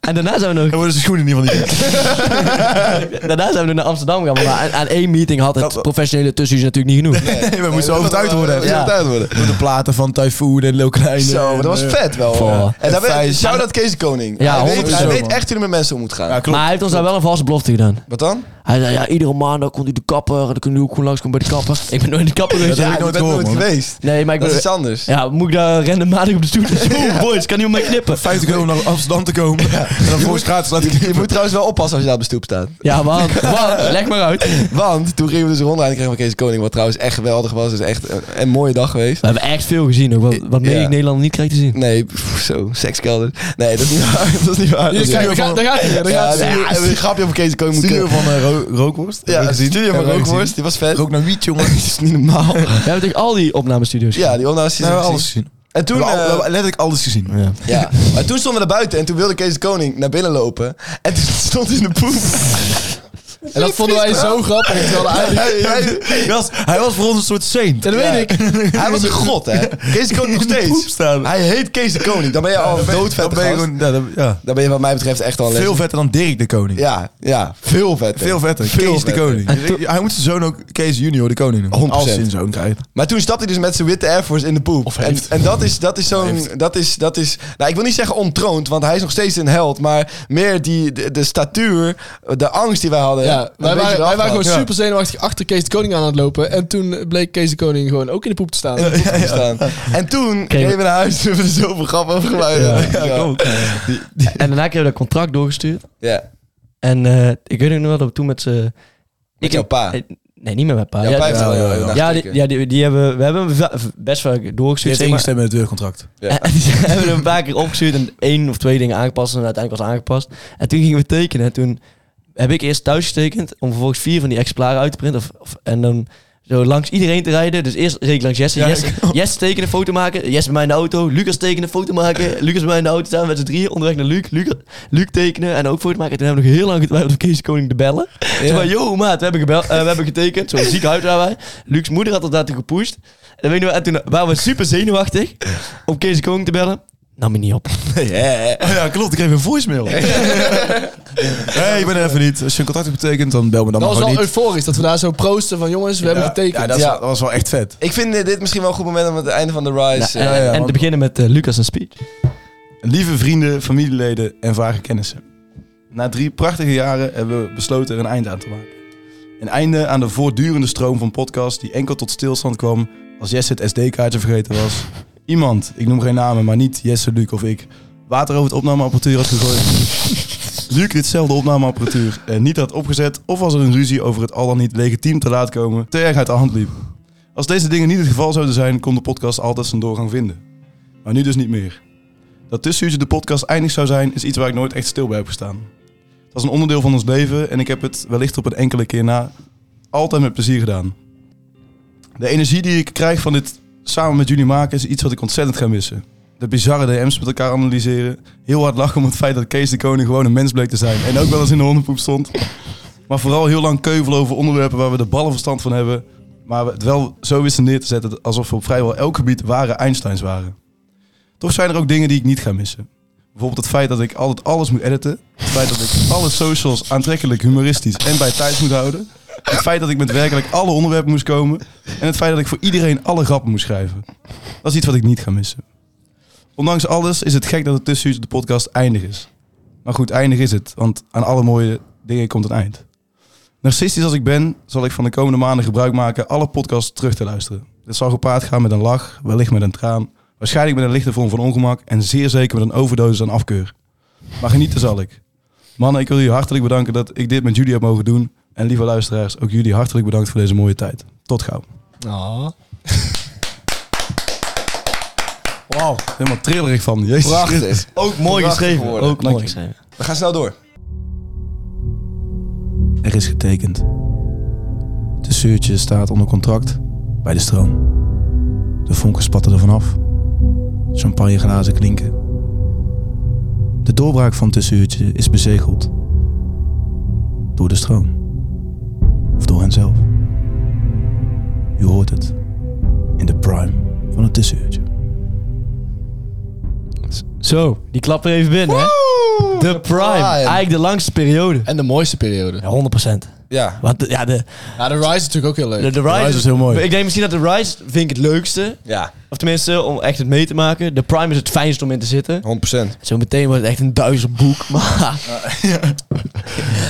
[SPEAKER 4] en daarna zijn we
[SPEAKER 3] Dan
[SPEAKER 4] nog,
[SPEAKER 3] worden zijn schoenen in ieder geval niet.
[SPEAKER 4] daarna zijn we nog naar Amsterdam gegaan. Maar aan, aan één meeting had het professionele tussenuurtje natuurlijk niet genoeg.
[SPEAKER 3] Nee, we moesten overtuigd
[SPEAKER 1] We
[SPEAKER 3] worden.
[SPEAKER 1] moesten
[SPEAKER 3] Ja.
[SPEAKER 1] overtuigd worden.
[SPEAKER 3] Met de platen van Typhoon en Lil Kleine.
[SPEAKER 1] Zo, maar dat was
[SPEAKER 3] en, eh,
[SPEAKER 1] vet wel.
[SPEAKER 4] Vol.
[SPEAKER 1] Ja. En daar
[SPEAKER 3] Vijs.
[SPEAKER 1] weet, shout-out Kees de Koning.
[SPEAKER 4] Ja,
[SPEAKER 1] hij weet,
[SPEAKER 4] 100%
[SPEAKER 1] hij
[SPEAKER 3] zo,
[SPEAKER 1] weet
[SPEAKER 3] man.
[SPEAKER 1] echt hoe hij met mensen om moet gaan.
[SPEAKER 3] Ja, klopt.
[SPEAKER 4] Maar hij heeft ons daar wel een valse belofte gedaan.
[SPEAKER 1] Wat dan?
[SPEAKER 4] Hij zei, ja, iedere maandag komt hij de kapper. En dan kunnen jullie ook gewoon langskomen bij de kapper. Ik ben nooit in de kapper geweest.
[SPEAKER 3] heb ik
[SPEAKER 1] je
[SPEAKER 3] nooit
[SPEAKER 1] bent
[SPEAKER 3] gehoord,
[SPEAKER 1] nooit
[SPEAKER 3] man.
[SPEAKER 1] geweest.
[SPEAKER 4] Nee, maar ik
[SPEAKER 1] Dat is
[SPEAKER 4] ben...
[SPEAKER 1] iets anders.
[SPEAKER 4] Ja, moet ik daar randommatig op de stoel? Oh, boys, kan iemand mij knippen?
[SPEAKER 3] 50 euro om naar Amsterdam te komen. En dan voor straat laat ik
[SPEAKER 1] Je moet trouwens wel oppassen als je daar op de stoep staat.
[SPEAKER 4] Ja, want, want, leg maar uit. We
[SPEAKER 1] Want toen gingen we dus een rondleiding krijgen van Kees de Koning. Wat trouwens echt geweldig was. Het is echt een, een mooie dag geweest.
[SPEAKER 4] hebben echt veel gezien ook, wat, wat mede
[SPEAKER 1] Ja.
[SPEAKER 4] ik Nederland niet krijgt te zien.
[SPEAKER 1] Nee, pff, zo, sekskelder. Nee, dat is niet waar. Dat is niet waar.
[SPEAKER 5] Hier,
[SPEAKER 1] Dat is
[SPEAKER 5] kijk,
[SPEAKER 1] niet
[SPEAKER 5] daar
[SPEAKER 1] waar.
[SPEAKER 5] gaat- daar gaat hij weer, daar
[SPEAKER 1] Ja,
[SPEAKER 5] gaat
[SPEAKER 1] nee,
[SPEAKER 5] hij
[SPEAKER 1] we
[SPEAKER 5] weer.
[SPEAKER 1] hebben een grapje over Kees de Koning moeten
[SPEAKER 3] Studio
[SPEAKER 1] kunnen.
[SPEAKER 3] van eh, ro- Rookworst. Heb je
[SPEAKER 1] Ja,
[SPEAKER 3] gezien?
[SPEAKER 1] studio van
[SPEAKER 3] Heb je
[SPEAKER 1] Rookworst.
[SPEAKER 3] gezien?
[SPEAKER 1] Die was vet.
[SPEAKER 3] Rook naar wiet, jongen.
[SPEAKER 1] Dat is niet normaal.
[SPEAKER 4] We hebben natuurlijk al die opnamestudio's
[SPEAKER 1] Ja, die ondanks
[SPEAKER 3] Nou, we hebben alles gezien.
[SPEAKER 1] En toen,
[SPEAKER 3] we hebben al- we
[SPEAKER 1] eh,
[SPEAKER 3] hebben letterlijk alles gezien.
[SPEAKER 4] Ja.
[SPEAKER 1] ja. maar toen stonden we naar buiten en toen wilde Kees de Koning naar binnen lopen. En toen stond hij in de poep.
[SPEAKER 5] En dat vonden wij zo grappig. Terwijl hij eigenlijk...
[SPEAKER 1] Hij- hij-
[SPEAKER 3] Hij was, hij was voor ons een soort saint.
[SPEAKER 5] En dat weet ik.
[SPEAKER 1] Hij was een god, hè? Kees de Koning nog
[SPEAKER 3] In de poep
[SPEAKER 1] steeds.
[SPEAKER 3] staan.
[SPEAKER 1] Hij heet Kees de Koning. Dan ben je al
[SPEAKER 3] Dan
[SPEAKER 1] doodvet.
[SPEAKER 3] ben je gewoon- ja, dan- ja.
[SPEAKER 1] Dan ben je wat mij betreft echt al een
[SPEAKER 3] Veel
[SPEAKER 1] legend.
[SPEAKER 3] vetter dan Dirk de Koning.
[SPEAKER 1] Ja, ja, veel vet.
[SPEAKER 3] Veel vetter. Kees de Koning. Hij moet zijn zoon ook Kees Junior de Koning noemen.
[SPEAKER 1] 100%.
[SPEAKER 3] Als hij een zoon krijgt.
[SPEAKER 1] Maar toen stapte hij dus met zijn witte Air Force in de poep. en,
[SPEAKER 3] heeft.
[SPEAKER 1] en dat is, dat is zo'n. Dat is, dat is, nou, ik wil niet zeggen ontroond, want hij is nog steeds een held. Maar meer die, de, de statuur, de angst die wij hadden.
[SPEAKER 5] Ja,
[SPEAKER 1] een
[SPEAKER 5] wij,
[SPEAKER 1] beetje
[SPEAKER 5] waren,
[SPEAKER 1] eraf
[SPEAKER 5] wij waren gewoon
[SPEAKER 1] gehad.
[SPEAKER 5] super zenuwachtig achter Kees de Koning aan aan het lopen. En toen bleek Kees de Koning gewoon ook in de poep te staan.
[SPEAKER 1] Ja, ja, ja. Staan. En toen
[SPEAKER 4] Kreeg-
[SPEAKER 1] reden we naar huis en hebben we er zoveel grap over gemaakt. Ja, ja.
[SPEAKER 4] En daarna kregen we dat contract doorgestuurd.
[SPEAKER 1] ja.
[SPEAKER 4] En eh, ik weet ook nog wel dat we toen met z'n...
[SPEAKER 1] Met jouw pa.
[SPEAKER 4] eh, Nee, niet meer met pa.
[SPEAKER 1] Ja,
[SPEAKER 4] Ja,
[SPEAKER 1] Pijp wel, eh. ja, ja.
[SPEAKER 4] ja, die, ja, die, die hebben, we hebben hem va- best vaak
[SPEAKER 3] Je hebt
[SPEAKER 4] doorgestuurd. zeg maar.
[SPEAKER 3] ingestemd met het deurcontract.
[SPEAKER 4] En die hebben hem een paar keer opgestuurd en één of twee dingen aangepast. En uiteindelijk was het aangepast. En toen gingen we tekenen. En toen heb ik eerst thuis getekend om vervolgens vier van die exemplaren uit te printen. Of, of- en dan zo langs iedereen te rijden. Dus eerst reed ik langs Jesse.
[SPEAKER 3] Ja,
[SPEAKER 4] Jesse, Jesse tekenen, foto maken. Jesse bij mij in de auto. Lucas tekenen, foto maken. Lucas bij mij in de auto staan met z'n drieën. Onderweg naar Luc. Luc, Luc tekenen en ook foto maken. En toen hebben we nog heel lang getwijfeld om Kees de Koning te bellen. Toen van, yo maat, we hebben, gebeld, eh, we hebben getekend. Zo'n ziekenhuis waren wij. Lucs moeder had ons daartoe gepusht. En, dan weet je nog- en toen waren we super zenuwachtig om Kees de Koning te bellen. Nam hij niet op.
[SPEAKER 3] ja, klopt. Ik kreeg een voicemail. Nee, ik ben er even niet. Als je een contract hebt betekend, dan bel me dan
[SPEAKER 5] Dat
[SPEAKER 3] maar
[SPEAKER 5] was wel
[SPEAKER 3] gewoon niet.
[SPEAKER 5] euforisch dat we daar zo proosten van jongens, we hebben getekend.
[SPEAKER 3] Ja, dat, is-
[SPEAKER 1] Ja.
[SPEAKER 3] dat was wel echt vet.
[SPEAKER 1] Ik vind eh, dit misschien wel een goed moment om het einde van de Rise...
[SPEAKER 4] en,
[SPEAKER 1] eh,
[SPEAKER 3] ja,
[SPEAKER 4] en
[SPEAKER 3] want-
[SPEAKER 4] te beginnen met eh, Lucas een speech.
[SPEAKER 3] Lieve vrienden, familieleden en vage kennissen. Na drie prachtige jaren hebben we besloten er een einde aan te maken. Een einde aan de voortdurende stroom van podcasts die enkel tot stilstand kwam als Jesse het SD-kaartje vergeten was. Iemand, ik noem geen namen, maar niet Jesse, Luc of ik, water over het opnameapparatuur had gegooid. Luc ditzelfde opnameapparatuur en niet had opgezet of was er een ruzie over het al dan niet legitiem te laat komen te erg uit de hand liep. Als deze dingen niet het geval zouden zijn, kon de podcast altijd zijn doorgang vinden. Maar nu dus niet meer. Dat tussenuurtje de podcast eindig zou zijn, is iets waar ik nooit echt stil bij heb gestaan. Het was een onderdeel van ons leven en ik heb het wellicht op een enkele keer na altijd met plezier gedaan. De energie die ik krijg van dit samen met jullie maken is iets wat ik ontzettend ga missen. De bizarre DM's met elkaar analyseren. Heel hard lachen om het feit dat Kees de Koning gewoon een mens bleek te zijn. En ook wel eens in de hondenpoep stond. Maar vooral heel lang keuvelen over onderwerpen waar we de ballen verstand van hebben. Maar we het wel zo wisten neer te zetten alsof we op vrijwel elk gebied ware Einsteins waren. Toch zijn er ook dingen die ik niet ga missen. Bijvoorbeeld het feit dat ik altijd alles moet editen. Het feit dat ik alle socials aantrekkelijk, humoristisch en bij tijd moet houden. Het feit dat ik met werkelijk alle onderwerpen moest komen. En het feit dat ik voor iedereen alle grappen moest schrijven. Dat is iets wat ik niet ga missen. Ondanks alles is het gek dat het tussen de podcast eindig is. Maar goed, eindig is het, want aan alle mooie dingen komt een eind. Narcistisch als ik ben, zal ik van de komende maanden gebruik maken alle podcasts terug te luisteren. Dit zal gepaard gaan met een lach, wellicht met een traan, Waarschijnlijk met een lichte vorm van ongemak en zeer zeker met een overdosis aan afkeur. Maar genieten zal ik. Mannen, ik wil jullie hartelijk bedanken dat ik dit met jullie heb mogen doen. En lieve luisteraars, ook jullie hartelijk bedankt voor deze mooie tijd. Tot gauw.
[SPEAKER 5] Ah.
[SPEAKER 3] Wauw. Helemaal trillerig van. Jezus.
[SPEAKER 1] Prachtig.
[SPEAKER 4] Ook mooi
[SPEAKER 1] Prachtig
[SPEAKER 4] geschreven.
[SPEAKER 1] geworden.
[SPEAKER 4] Ook
[SPEAKER 3] Dank
[SPEAKER 4] mooi
[SPEAKER 3] je.
[SPEAKER 4] geschreven.
[SPEAKER 1] We gaan snel door.
[SPEAKER 3] Er is getekend. De zuurtje staat onder contract bij de stroom. De vonken spatten er vanaf. Champagneglazen klinken. De doorbraak van tussenuurtje is bezegeld. Door de stroom. Of door henzelf. U hoort het. In de prime van het tussenuurtje.
[SPEAKER 4] Zo, die klap er even binnen, hè? De prime. Eigenlijk de langste periode.
[SPEAKER 5] En de mooiste periode.
[SPEAKER 4] Ja, 100%.
[SPEAKER 1] Ja.
[SPEAKER 4] Want de- ja, de,
[SPEAKER 5] Ja, de Rise is natuurlijk ook heel leuk.
[SPEAKER 4] de, de Rise,
[SPEAKER 3] is heel mooi.
[SPEAKER 4] Ik denk misschien dat de Rise vind ik het leukste.
[SPEAKER 1] Ja,
[SPEAKER 4] Of tenminste, om echt het mee te maken. De Prime is het fijnst om in te zitten.
[SPEAKER 1] 100%.
[SPEAKER 4] Zo meteen wordt het echt een duizendboek. Maar